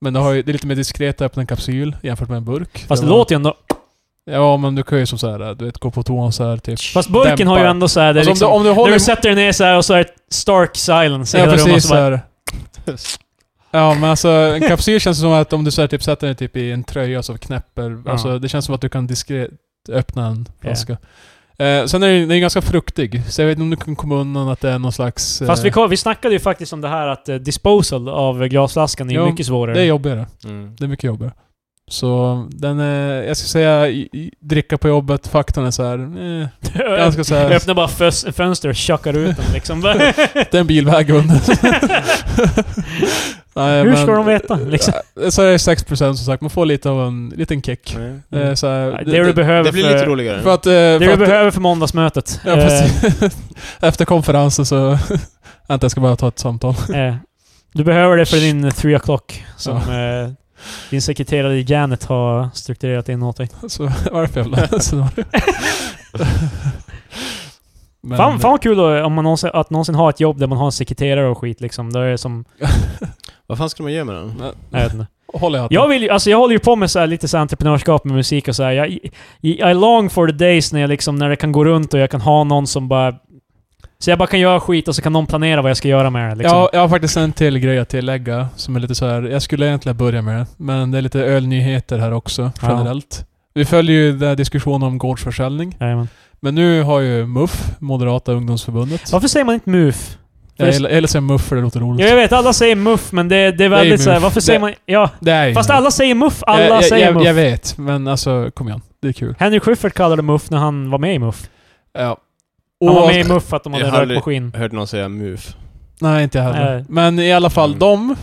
Speaker 1: Men det, har ju, det är lite mer diskret att öppna en kapsyl jämfört med en burk.
Speaker 3: Fast det
Speaker 1: var-
Speaker 3: låter ju ändå...
Speaker 1: Ja, men du kan ju som så här, äh, du vet, gå på toan så här typ.
Speaker 3: Fast burken
Speaker 1: Dämpar.
Speaker 3: har ju ändå såhär...
Speaker 1: Alltså,
Speaker 3: liksom,
Speaker 1: om, du, om du
Speaker 3: när
Speaker 1: håller...
Speaker 3: du sätter dig ner såhär och så är det stark silence i
Speaker 1: ja,
Speaker 3: hela rummet. och
Speaker 1: precis
Speaker 3: så
Speaker 1: så
Speaker 3: bara-
Speaker 1: här. Ja, men alltså en kapsyl känns som att om du så här, typ, sätter den typ i en tröja så knäpper...
Speaker 3: Ja.
Speaker 1: Alltså det känns som att du kan diskret öppna en flaska. Eh, sen är den den är ganska fruktig, så jag vet inte om du kan komma undan att det är någon slags... eh,
Speaker 3: Fast vi, kom- vi snackade ju faktiskt om det här att eh, disposal av glasflaskan är ju
Speaker 1: Jo,
Speaker 3: mycket svårare.
Speaker 1: det är jobbigare.
Speaker 2: Mm.
Speaker 1: Det är mycket jobbigare. Så den är... Jag skulle säga i, i, dricka på jobbet, faktorn är så här... Eh, ganska så
Speaker 3: (laughs)
Speaker 1: här
Speaker 3: Öppnar bara fös- fönster och tjockar ut den (laughs) liksom. Hur
Speaker 1: det är en bilväg
Speaker 3: (laughs)
Speaker 1: under. Nej,
Speaker 3: ska
Speaker 1: men-
Speaker 3: de veta liksom?
Speaker 1: Ja, Så är det 6% som sagt, man får lite av en liten kick. Eh, Så här,
Speaker 3: Mm. Det, du behöver
Speaker 2: Det blir
Speaker 3: för...
Speaker 2: lite roligare.
Speaker 1: För att... eh, för
Speaker 3: Det du
Speaker 1: att
Speaker 3: behöver Eh. för måndagsmötet.
Speaker 1: ja, precis. (laughs) Efter konferensen så... (laughs) Vänta, jag ska bara ta ett samtal. (laughs)
Speaker 3: Eh, eh, du behöver det för din 3 o'clock som eh, din sekreterare Janet har strukturerat in åt dig.
Speaker 1: Så (laughs) varför jag
Speaker 3: (laughs)
Speaker 1: blev så var det. Men-
Speaker 3: fan, fan vad kul då, om man någonsin, att någonsin ha ett jobb där man har en sekreterare och skit liksom. Då är det som...
Speaker 2: Vad fan skulle man göra med den?
Speaker 3: Jag vet inte.
Speaker 1: Håller jag
Speaker 3: Jag, vill, ju- alltså jag håller ju på med så här, lite så här entreprenörskap med musik och så här. Jag, I I long for the days när, jag liksom, när det kan gå runt och jag kan ha någon som bara... Så jag bara kan göra skit och så kan någon planera vad jag ska göra med det. Liksom.
Speaker 1: jag, jag har faktiskt en till grej att tillägga som är lite så här. jag skulle egentligen börja med det, men det är lite ölnyheter här också,
Speaker 3: Ja.
Speaker 1: generellt. Vi följer ju den här diskussionen om gårdsförsäljning,
Speaker 3: Jajamän.
Speaker 1: men nu har ju MUF, Moderata ungdomsförbundet,
Speaker 3: Varför säger man inte MUF?
Speaker 1: Jag gillar, jag gillar att säga muff för det låter roligt.
Speaker 3: Ja, jag vet, alla säger muff, men det, det är väldigt
Speaker 1: muff.
Speaker 3: såhär, varför säger
Speaker 1: Det-
Speaker 3: man... Ja,
Speaker 1: det är ju
Speaker 3: fast
Speaker 1: muff.
Speaker 3: alla säger muff, alla
Speaker 1: jag, jag,
Speaker 3: säger
Speaker 1: jag,
Speaker 3: muff.
Speaker 1: jag vet, men alltså kom igen. Det är kul.
Speaker 3: Henry Schyffert kallade det muff när han var med i muff.
Speaker 1: Ja.
Speaker 3: Han var
Speaker 1: Och-
Speaker 3: med i muff för att de hade
Speaker 2: Jag
Speaker 3: en
Speaker 2: har aldrig-
Speaker 3: rökmaskin.
Speaker 2: Jag hörde någon säga MUF.
Speaker 1: Nej, inte jag heller.
Speaker 3: Nej.
Speaker 1: Men i alla fall,
Speaker 2: Mm.
Speaker 1: de,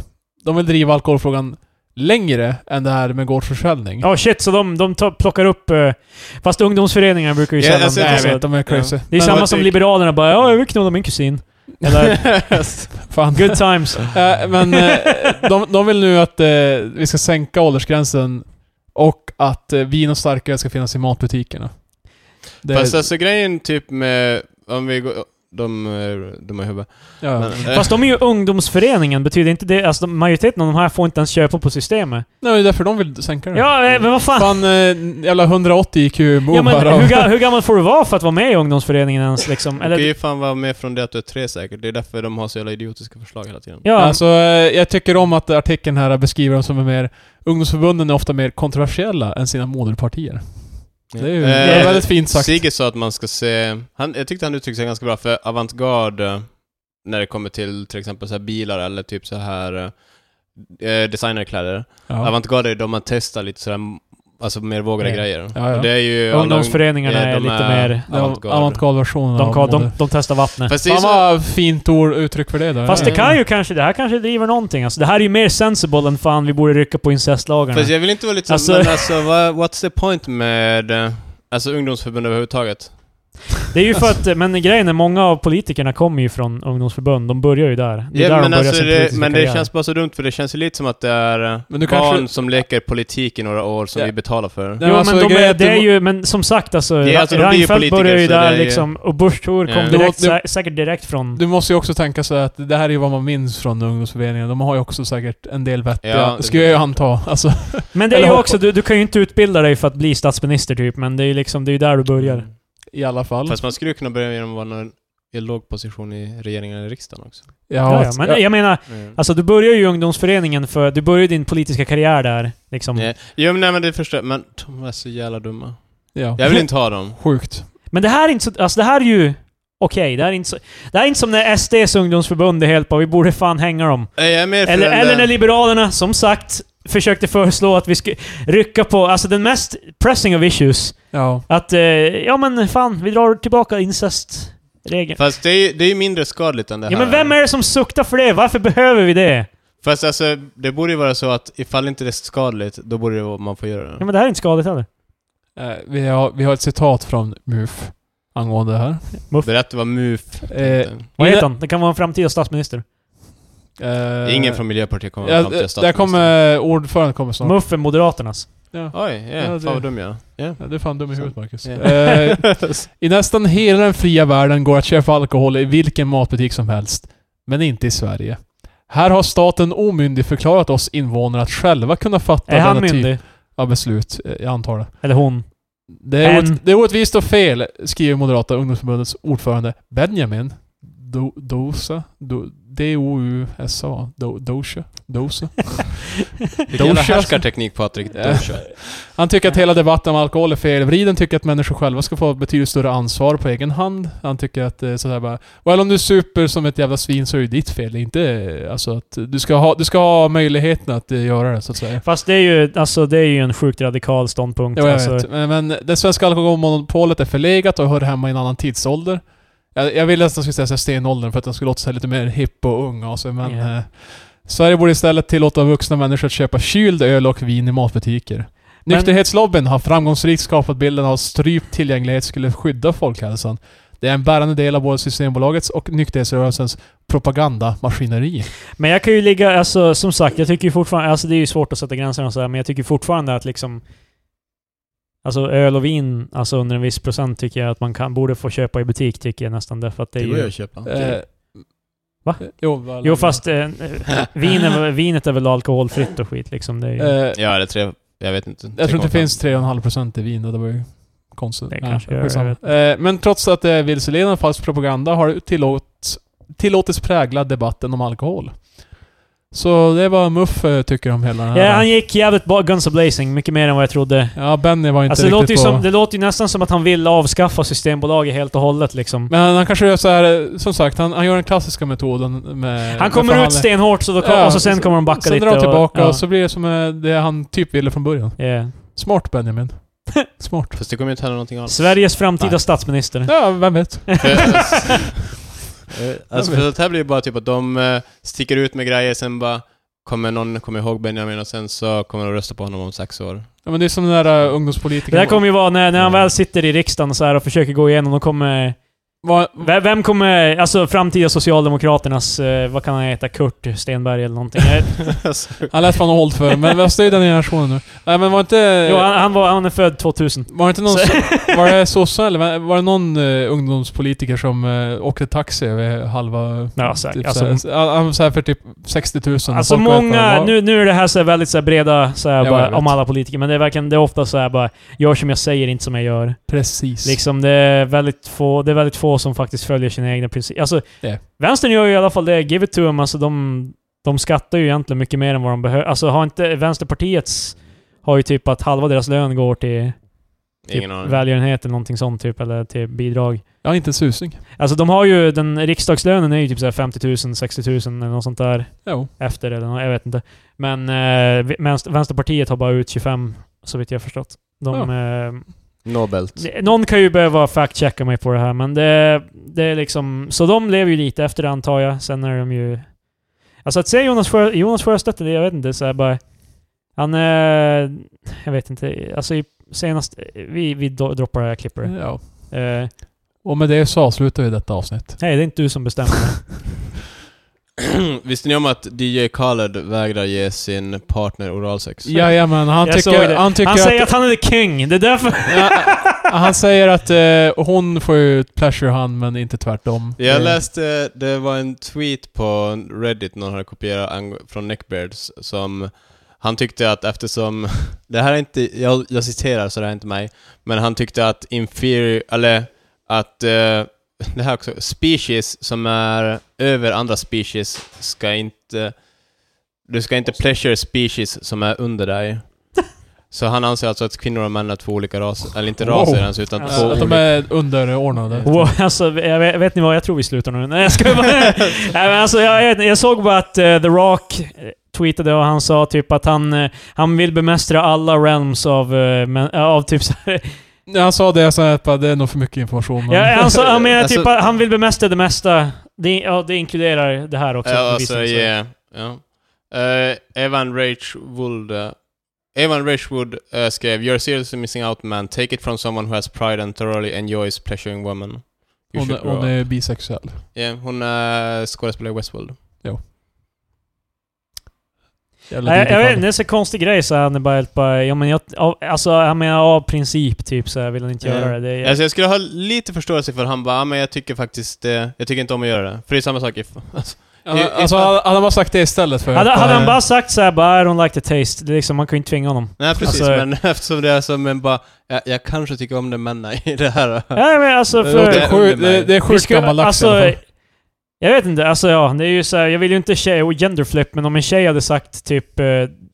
Speaker 1: de vill driva alkoholfrågan längre än det här med gårdsförsäljning.
Speaker 3: Ja, shit, så de, de tar- plockar upp... eh, Fast ungdomsföreningar brukar ju
Speaker 2: Ja,
Speaker 3: sällan...
Speaker 2: alltså,
Speaker 3: det,
Speaker 2: jag
Speaker 1: Nej,
Speaker 2: vet.
Speaker 1: jag vet, de är crazy.
Speaker 3: det är
Speaker 1: Men-
Speaker 3: samma
Speaker 2: vad
Speaker 3: som
Speaker 2: tycker-
Speaker 3: Liberalerna bara ja, jag vill knulla min kusin. Eller,
Speaker 1: (laughs) Fan.
Speaker 2: (laughs)
Speaker 3: good times.
Speaker 1: Eh, men eh, de, de vill nu att eh, vi ska sänka åldersgränsen och att eh, vin och starkare ska finnas i matbutikerna. Det,
Speaker 2: Fast alltså grejen typ med... Om vi går... De är dumma i huvudet.
Speaker 1: ja,
Speaker 2: Men, eh,
Speaker 3: Fast de är ju ungdomsföreningen, betyder inte det... Alltså de- majoriteten av de här får inte ens köpa på systemet.
Speaker 1: nej, det är därför de vill sänka
Speaker 2: Mm.
Speaker 1: det.
Speaker 3: Ja, eh, men vad fan!
Speaker 1: Fan, eh, jävla 180 IQ
Speaker 3: Ja,
Speaker 1: ja,
Speaker 3: men
Speaker 1: bara.
Speaker 3: hur, ga- hur gammal får du vara för att vara med i ungdomsföreningen ens liksom?
Speaker 2: Du kan
Speaker 3: Eller,
Speaker 2: ju fan vara med från det att du är tre säkert. Det är därför de har så jävla idiotiska förslag hela tiden.
Speaker 3: ja,
Speaker 1: Alltså, eh, jag tycker om att artikeln här beskriver dem som är mer... Ungdomsförbunden är ofta mer kontroversiella än sina moderpartier. Det är ju det är
Speaker 3: Eh,
Speaker 1: väldigt fint sagt.
Speaker 2: Sigge sa att man ska se... Han, jag tyckte han uttryckte sig ganska bra för avantgarde eh, när det kommer till till exempel så här bilar eller typ så här eh, designerkläder.
Speaker 1: ja.
Speaker 2: Avantgarde är de man testar lite sådär, m- alltså mer vågade
Speaker 3: Ja.
Speaker 2: grejer.
Speaker 1: Ja, ja.
Speaker 2: Och det är ju...
Speaker 3: ungdomsföreningarna
Speaker 2: ja,
Speaker 3: är
Speaker 2: de
Speaker 3: lite
Speaker 2: är-
Speaker 3: mer...
Speaker 1: Det var
Speaker 2: avantgarde.
Speaker 1: avantgarde-versionen
Speaker 3: De,
Speaker 1: av
Speaker 3: kan, de,
Speaker 1: mode.
Speaker 3: de testar vattnet.
Speaker 2: Fast det är
Speaker 1: Fan
Speaker 2: så...
Speaker 1: vad fint ord, uttryck för det då.
Speaker 3: Fast
Speaker 1: Ja.
Speaker 3: det kan ju kanske, det här kanske driver någonting alltså. Det här är ju mer sensible än fan vi borde rycka på incestlagarna.
Speaker 2: Fast jag vill inte vara lite så,
Speaker 3: Alltså-
Speaker 2: men alltså vad, what's the point med eh, alltså ungdomsförbund överhuvudtaget?
Speaker 3: Det är ju för att, men grejen är många av politikerna kommer ju från ungdomsförbund, de börjar ju där. Det
Speaker 2: Ja,
Speaker 3: är där
Speaker 2: men alltså
Speaker 3: de börjar sin
Speaker 2: det,
Speaker 3: politiska
Speaker 2: men det
Speaker 3: karriär.
Speaker 2: känns bara så dumt för det känns ju lite som att det är eh,
Speaker 1: Men du
Speaker 2: barn
Speaker 1: kanske-
Speaker 2: som leker politik i några år som
Speaker 1: Ja.
Speaker 2: vi betalar för.
Speaker 1: Nej,
Speaker 3: Jo
Speaker 1: alltså,
Speaker 3: men de
Speaker 1: grejen
Speaker 3: är,
Speaker 1: att du
Speaker 3: det är
Speaker 1: må-
Speaker 3: ju, men som sagt alltså,
Speaker 2: Ja, alltså, de blir ju
Speaker 3: Reinfeldt
Speaker 2: politiker,
Speaker 3: började ju
Speaker 2: så
Speaker 3: där
Speaker 2: det är ju-
Speaker 3: liksom, och Bush Thor kom
Speaker 2: Ja.
Speaker 3: direkt,
Speaker 1: Det var-
Speaker 3: sä- säkert direkt från...
Speaker 1: Mm. Du måste ju också tänka så att det här är ju vad man minns från ungdomsföreningen. De har ju också säkert en del vettiga,
Speaker 2: Ja, det-
Speaker 1: skulle jag ju anta. Alltså,
Speaker 3: Men det är ju
Speaker 1: Eller hop-
Speaker 3: också, du, du kan ju inte utbilda dig för att bli statsminister typ, men det är ju liksom, det är ju där du börjar.
Speaker 1: i alla fall.
Speaker 2: Fast man skulle ju kunna börja genom att vara någon- i en låg position i regeringen eller riksdagen också.
Speaker 3: Ja, ja, men
Speaker 1: ja.
Speaker 3: jag menar,
Speaker 2: Mm.
Speaker 3: alltså du börjar ju i ungdomsföreningen för, du börjar ju din politiska karriär där. Liksom.
Speaker 2: Nej. Jo men nej men det förstår jag. men de är så jävla dumma.
Speaker 1: ja.
Speaker 2: Jag vill inte ha dem.
Speaker 1: Sjukt.
Speaker 3: Men det här är inte så... Alltså det här är ju... Okej, det här är inte så... Det här är inte som när SDs ungdomsförbund är helt på. vi borde fan hänga dem.
Speaker 2: Nej, Jag är mer för
Speaker 3: Eller,
Speaker 2: den
Speaker 3: eller
Speaker 2: där-
Speaker 3: när Liberalerna, som sagt, försökte föreslå att vi skulle rycka på... Alltså den mest pressing of issues.
Speaker 1: Ja.
Speaker 3: Att, eh, ja men fan, vi drar tillbaka incestregeln.
Speaker 2: Fast det är ju det är ju mindre skadligt än det här.
Speaker 3: Ja men vem är det som suktar för det? Varför behöver vi det?
Speaker 2: Fast alltså, det borde ju vara så att ifall inte det är skadligt, då borde det vara, man får göra
Speaker 3: Ja
Speaker 2: det.
Speaker 3: men det här är inte skadligt heller.
Speaker 1: Eh, vi, har, vi har ett citat från MUF angående det här.
Speaker 2: Berätta vad MUF
Speaker 1: Eh,
Speaker 2: tänkte.
Speaker 3: Vad heter
Speaker 1: Inne-
Speaker 3: han? Det kan vara en framtida statsminister.
Speaker 1: Eh,
Speaker 2: Ingen från Miljöpartiet kommer
Speaker 1: ja, eh,
Speaker 2: fram till
Speaker 1: Där
Speaker 2: statsministern.
Speaker 1: kommer... Ordföranden kommer snart.
Speaker 3: Muff är Moderaternas.
Speaker 1: Ja.
Speaker 2: Oj, yeah,
Speaker 1: Ja, det-
Speaker 2: fan vad dum jag är. Ja.
Speaker 1: Ja, du är fan dum i huvudet Marcus.
Speaker 2: Ja.
Speaker 1: Eh, I nästan hela den fria världen går att köpa alkohol i vilken matbutik som helst. Men inte i Sverige. Här har staten omyndigförklarat oss invånare att själva kunna fatta
Speaker 3: Är han
Speaker 1: denna typ
Speaker 3: myndig?
Speaker 1: av beslut. Eh, Jag antar det. (laughs)
Speaker 3: Eller hon?
Speaker 1: Det är,
Speaker 3: En-
Speaker 1: orätt, det är orättvist och fel, skriver Moderata ungdomsförbundets ordförande Benjamin Do, Dosa. Do, D-O-U-S-A. Do, Dosa. Dosa.
Speaker 2: (laughs) Vilken jävla
Speaker 1: Doja.
Speaker 2: härskarteknik Patrik.
Speaker 1: Ja.
Speaker 2: Doja.
Speaker 1: Han tycker att hela debatten om alkohol är felvriden, tycker att människor själva ska få betydligt större ansvar på egen hand. Han tycker att eh, sådär bara... Well, om du super som ett jävla svin så är det ditt fel. Det är inte... eh, Alltså att du ska ha, du ska ha möjligheten att eh, göra det, så att säga.
Speaker 3: Fast det är ju, alltså, det är ju en sjukt radikal ståndpunkt.
Speaker 1: Jo, jag
Speaker 3: alltså,
Speaker 1: vet. Men, men det svenska alkoholmonopolet är förlegat och hör hemma i en annan tidsålder. Jag, jag ville nästan skulle säga så här stenåldern för att den skulle låta sig lite mer hipp och ung av sig, men...
Speaker 3: Ja.
Speaker 1: Eh, Sverige borde istället tillåta vuxna människor att köpa kyld öl och vin i matbutiker.
Speaker 3: Men-
Speaker 1: Nykterhetslobbyn har framgångsrikt skapat bilden av att strypt tillgänglighet skulle skydda folkhälsan. Det är en bärande del av både Systembolagets och nykterhetsrörelsens propagandamaskineri.
Speaker 3: Men jag kan ju ligga, alltså som sagt, jag tycker ju fortfarande, alltså det är ju svårt att sätta gränser och så här, men jag tycker fortfarande att liksom Alltså öl och vin, alltså under en viss procent tycker jag att man kan, borde få köpa i butik tycker jag nästan därför att det är ju...
Speaker 2: köpa.
Speaker 1: Eh,
Speaker 3: Va?
Speaker 1: Jo, vad-
Speaker 3: Jo fast eh, eh, vin är, väl- vinet är väl alkoholfritt och skit liksom. Det är ju,
Speaker 1: Eh,
Speaker 2: Ja, eller tre... Jag vet inte.
Speaker 1: Jag tror inte det
Speaker 2: 3,5.
Speaker 1: finns 3,5% i vin och det var ju konstigt.
Speaker 3: Det kanske gör,
Speaker 1: skitsamma.
Speaker 3: jag
Speaker 1: Eh, Men trots att det är vilseledande och falsk propaganda har det tillåts, tillåtits prägla debatten om alkohol. Så det är vad Muff eh, tycker om hela den här.
Speaker 3: ja, han gick jävligt ba- guns a blazing, mycket mer än vad jag trodde.
Speaker 1: Ja, Benny var inte
Speaker 3: Alltså det
Speaker 1: riktigt
Speaker 3: låter, ju
Speaker 1: på...
Speaker 3: som, det låter ju nästan som att han vill avskaffa Systembolaget helt och hållet liksom.
Speaker 1: Men han kanske gör så här, eh, som sagt, han, han gör den klassiska metoden med...
Speaker 3: Han
Speaker 1: med
Speaker 3: kommer ut
Speaker 1: förhandling.
Speaker 3: stenhårt så då kom,
Speaker 1: eh, Ja,
Speaker 3: och så sen kommer de backa
Speaker 1: sen
Speaker 3: lite.
Speaker 1: drar han tillbaka och,
Speaker 3: ja.
Speaker 1: så blir det som eh, det han typ ville från början.
Speaker 3: Yeah.
Speaker 1: Smart
Speaker 3: (laughs)
Speaker 1: Benjamin. Smart.
Speaker 2: (laughs) Fast det kommer ju inte hända någonting alls.
Speaker 3: Sveriges framtida
Speaker 2: Nej.
Speaker 3: statsminister.
Speaker 1: Ja, vem vet?
Speaker 2: För- Eh, Alltså för sånt här blir ju bara typ att de eh, sticker ut med grejer, sen bara kommer någon komma ihåg Benjamin och sen så kommer de rösta på honom om sex år.
Speaker 1: Ja, men det är som den där uh,
Speaker 3: Det
Speaker 1: ungdomspolitikern.
Speaker 3: där kommer ju vara när, när han väl sitter i riksdagen och, så här och försöker gå igenom, då kommer...
Speaker 1: Va-
Speaker 3: Ve- Vem kommer... Alltså framtida Socialdemokraternas... eh, Vad kan han heta? Kurt Stenberg
Speaker 1: (laughs)
Speaker 3: eller någonting?
Speaker 2: (laughs)
Speaker 3: Jag-
Speaker 2: Alltså.
Speaker 1: han lät fan hållt för men vad är den generationen nu? Nej men var inte...
Speaker 3: jo, han, han, var, han är född 2000.
Speaker 1: Var inte någon...
Speaker 3: Så-
Speaker 1: so- Var det sossar eller var- var det någon eh, ungdomspolitiker som eh, åkte taxi över halva...
Speaker 3: Ja, säkert.
Speaker 1: Typ
Speaker 3: Alltså,
Speaker 1: såhär, han- han var såhär för typ 60 000.
Speaker 3: Alltså
Speaker 1: Folk vet vad
Speaker 3: många,
Speaker 1: det var.
Speaker 3: nu, nu är det här så här väldigt så här breda, så här
Speaker 1: Ja, jag
Speaker 3: bara,
Speaker 1: vet.
Speaker 3: om alla politiker, men det är verkligen, det är ofta så här bara, gör som jag säger, inte som jag gör.
Speaker 1: Precis.
Speaker 3: Liksom det är väldigt få, det är väldigt få som faktiskt följer sina egna principer. Alltså,
Speaker 1: Det.
Speaker 3: vänstern gör ju i alla fall det, give it to them, alltså de, de skattar ju egentligen mycket mer än vad de behöver. Alltså har inte, Vänsterpartiets har ju typ att halva deras lön går till typ
Speaker 2: Ingen aning.
Speaker 3: välgörenhet eller någonting sånt typ, eller till bidrag.
Speaker 1: Jag har inte en susning.
Speaker 3: Alltså de har ju, den riksdagslönen är ju typ så här 50 000, 60 000 eller något sånt där
Speaker 1: Jo.
Speaker 3: efter eller nå- jag vet inte. Men eh, vi- vänster, Vänsterpartiet har bara ut 25, så vitt jag har förstått. De, eh,
Speaker 2: Nobelt.
Speaker 3: det- någon kan ju behöva fact-checka mig på det här, men det, det är liksom... Så de lever ju lite efter det antar jag. Sen är de ju... Alltså att se Jonas, Sjö, Jonas Sjöstedt, det- jag vet inte, så här bara... Han eh, Jag vet inte, alltså i senast... Vi, vi do- droppar det här klippet.
Speaker 1: Ja.
Speaker 3: Eh,
Speaker 1: Och med det så avslutar vi detta avsnitt.
Speaker 3: nej, det är inte du som (laughs) bestämmer.
Speaker 2: (clears throat) Visste ni om att DJ Khaled vägrar ge sin partner oralsex?
Speaker 1: Jajamän, han
Speaker 3: Jag såg
Speaker 1: tycker...
Speaker 3: det.
Speaker 1: Han, tycker
Speaker 3: han säger
Speaker 1: att,
Speaker 3: att han är the king, det är därför...
Speaker 1: Ja, han säger att eh, hon får ju pleasure han, men inte tvärtom.
Speaker 2: Jag
Speaker 1: Eh,
Speaker 2: läste, det var en tweet på Reddit någon hade kopierat ang- från Neckbeards som han tyckte att eftersom, (laughs) det här är inte, jag, jag citerar så det här är inte mig, men han tyckte att inferior, eller att, eh, (laughs) det här också, species som är över andra species ska inte, du ska inte pleasure species som är
Speaker 1: (laughs)
Speaker 2: under dig. Så han anser alltså att kvinnor och män är två olika raser, eller inte
Speaker 1: Wow.
Speaker 2: raser ens, utan
Speaker 3: Alltså,
Speaker 2: två
Speaker 1: Att de
Speaker 2: olika-
Speaker 1: är underordnade.
Speaker 3: Wow, alltså, jag vet, vet ni vad? Jag tror vi slutar nu. Nej, jag skojar bara. (laughs) Nej, men alltså, jag, jag, jag såg bara att eh, The Rock eh, tweetade och han sa typ att han, eh, han vill bemästra alla realms av, eh, men, av typ så här.
Speaker 1: När han sa det, jag sa att bara, det är nog för mycket information. Men...
Speaker 3: Ja, han, sa, han menar
Speaker 2: Alltså-
Speaker 3: typ att han vill bemästra det mesta. Det, ja, det inkluderar det här också.
Speaker 2: Ja,
Speaker 3: bevisligen,
Speaker 2: alltså,
Speaker 3: så.
Speaker 2: yeah. ja. Eh, Evan Rachwood, eh, Evan Rachwood eh, skrev “You're seriously missing out man, take it from someone who has pride and thoroughly enjoys pleasuring women”. You
Speaker 1: hon,
Speaker 2: should grow
Speaker 1: hon
Speaker 2: up."
Speaker 1: är bisexuell.
Speaker 2: Yeah, hon är skådespelare i Westworld.
Speaker 1: Jävla
Speaker 3: Nej, jag, jag
Speaker 1: diddy
Speaker 3: vet
Speaker 1: fan.
Speaker 3: inte, det är så konstig grej så han är bara helt bara, ja, men jag, av, alltså han menar av princip typ så här, vill han inte
Speaker 2: Ja.
Speaker 3: göra det. det är,
Speaker 2: Alltså jag skulle ha lite förståelse för han bara "Ah, men jag tycker faktiskt eh, jag tycker inte om att göra det. För det är samma sak if... Alltså,
Speaker 1: Han-
Speaker 2: I-
Speaker 1: Alltså,
Speaker 2: ifall-
Speaker 1: hade han bara sagt det istället för...
Speaker 3: hade,
Speaker 1: att,
Speaker 3: hade han
Speaker 1: eh,
Speaker 3: bara sagt såhär bara I don't like the taste, det är liksom, man kan ju inte tvinga honom.
Speaker 2: nej precis,
Speaker 3: Alltså-
Speaker 2: men (laughs) eftersom det är så, men bara, jag, jag kanske tycker om det men nej, (laughs) det här. eh."
Speaker 3: Ja, men alltså
Speaker 1: Det
Speaker 3: för...
Speaker 1: låter sjukt,
Speaker 2: Under mig.
Speaker 1: det, det är
Speaker 3: Vi
Speaker 1: sjukt
Speaker 3: ska- alltså, eh,
Speaker 1: gammal lax i alla fall.
Speaker 3: Jag vet inte, alltså ja, det är ju så här, jag vill ju inte tjej och genderflip, men om en tjej hade sagt typ, eh,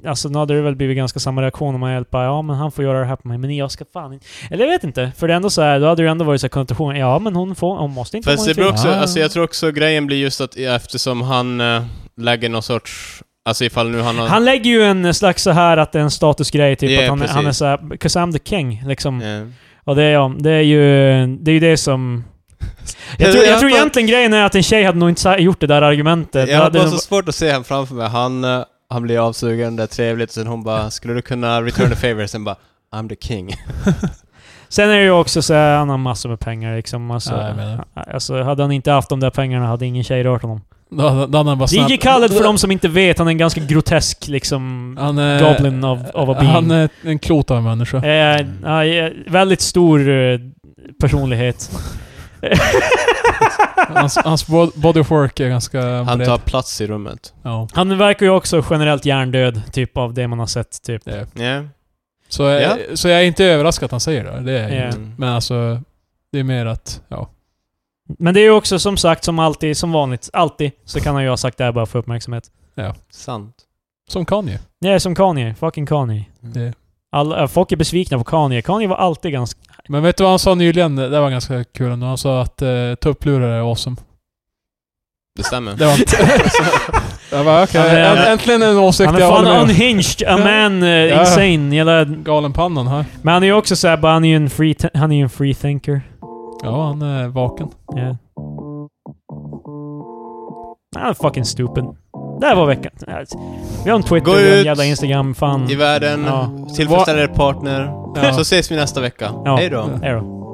Speaker 3: alltså nu hade det väl blivit ganska samma reaktion om man hjälper, ja men han får göra det här på mig, men jag ska fan inte. Eller jag vet inte, för det är ändå så här, då hade det ju ändå varit så här konnotation, ja men hon får, hon måste inte
Speaker 2: Fast
Speaker 3: hon
Speaker 2: det beror också,
Speaker 1: Ah.
Speaker 2: alltså jag tror också grejen blir just att eftersom han äh, lägger någon sorts, alltså ifall nu han har...
Speaker 3: Han lägger ju en slags så här att det är en statusgrej, typ
Speaker 2: Ja,
Speaker 3: att han,
Speaker 2: precis.
Speaker 3: han är så här, 'cause I'm the king' liksom.
Speaker 2: Eh.
Speaker 3: Och det, är- ja, det är ju, det är ju det som... Jag tror, jag tror egentligen grejen är att en tjej hade nog inte sa- gjort det där
Speaker 2: Jag
Speaker 3: argumentet. Då
Speaker 2: har
Speaker 3: hade
Speaker 2: bara
Speaker 3: nog-
Speaker 2: så svårt att se han framför mig. Han, eh, han blir avsugen, det är trevligt, sen hon bara 'Skulle du kunna return the favor?' Sen bara 'I'm the king'
Speaker 3: Sen är det ju också så här, han har massor med pengar liksom. Alltså,
Speaker 1: Ja, jag menar.
Speaker 3: alltså, hade han inte haft de där pengarna hade ingen tjej rört honom.
Speaker 1: Då hade- då hade han bara snabb-
Speaker 3: DJ Khaled, för de som inte vet, han är en ganska grotesk liksom...
Speaker 1: Han är...
Speaker 3: Goblin of- of a being.
Speaker 1: Han är en klot av en människa.
Speaker 3: Eh, ja, ja, väldigt stor eh, personlighet.
Speaker 1: Hans, hans bo- body of work är ganska
Speaker 2: Han
Speaker 1: bred.
Speaker 2: tar plats i rummet.
Speaker 1: Ja.
Speaker 3: Han verkar ju också generellt hjärndöd, typ av det man har sett. Typ.
Speaker 1: Det är.
Speaker 2: Yeah.
Speaker 1: Så, jag,
Speaker 2: Ja.
Speaker 1: så jag är inte överraskad att han säger det. det är jag
Speaker 3: Ja.
Speaker 1: inte.
Speaker 2: Mm.
Speaker 1: Men alltså, det är mer att... Ja.
Speaker 3: Men det är ju också som sagt, som alltid, som vanligt, alltid, så kan han ju ha sagt det här bara för uppmärksamhet.
Speaker 2: Sant.
Speaker 1: Som Kanye.
Speaker 3: Det är som Kanye, fucking Kanye.
Speaker 1: Det.
Speaker 3: Alla, eh, folk är besvikna på Kanye. Kanye var alltid ganska...
Speaker 1: Men vet du vad han sa nyligen? Det var ganska kul ändå. Han sa att eh, tupplurar är awesome.
Speaker 2: Det stämmer.
Speaker 1: Det var (laughs) inte... jag bara, okej.
Speaker 3: Han är-
Speaker 1: Änt- Äntligen en åsikt
Speaker 3: Han är
Speaker 1: jag håller
Speaker 3: fan
Speaker 1: med om.
Speaker 3: unhinged, a man, eh,
Speaker 1: Ja.
Speaker 3: insane, jävla
Speaker 1: Galenpannan här.
Speaker 3: Men han är ju också såhär, bara han är ju en free, han är ju en free thinker.
Speaker 1: Ja, han är vaken.
Speaker 3: Ja. I'm fucking stupid. Där var veckan. Alltså, Vi har en Twitter,
Speaker 2: Gå
Speaker 3: vi har en
Speaker 2: ut
Speaker 3: jävla Instagram,
Speaker 2: (laughs)
Speaker 3: fan.
Speaker 2: I världen,
Speaker 3: Ja.
Speaker 2: tillfredsställ er partner.
Speaker 1: Ja.
Speaker 2: Så ses vi nästa vecka.
Speaker 3: Ja.
Speaker 2: Hej då.
Speaker 3: Hej då.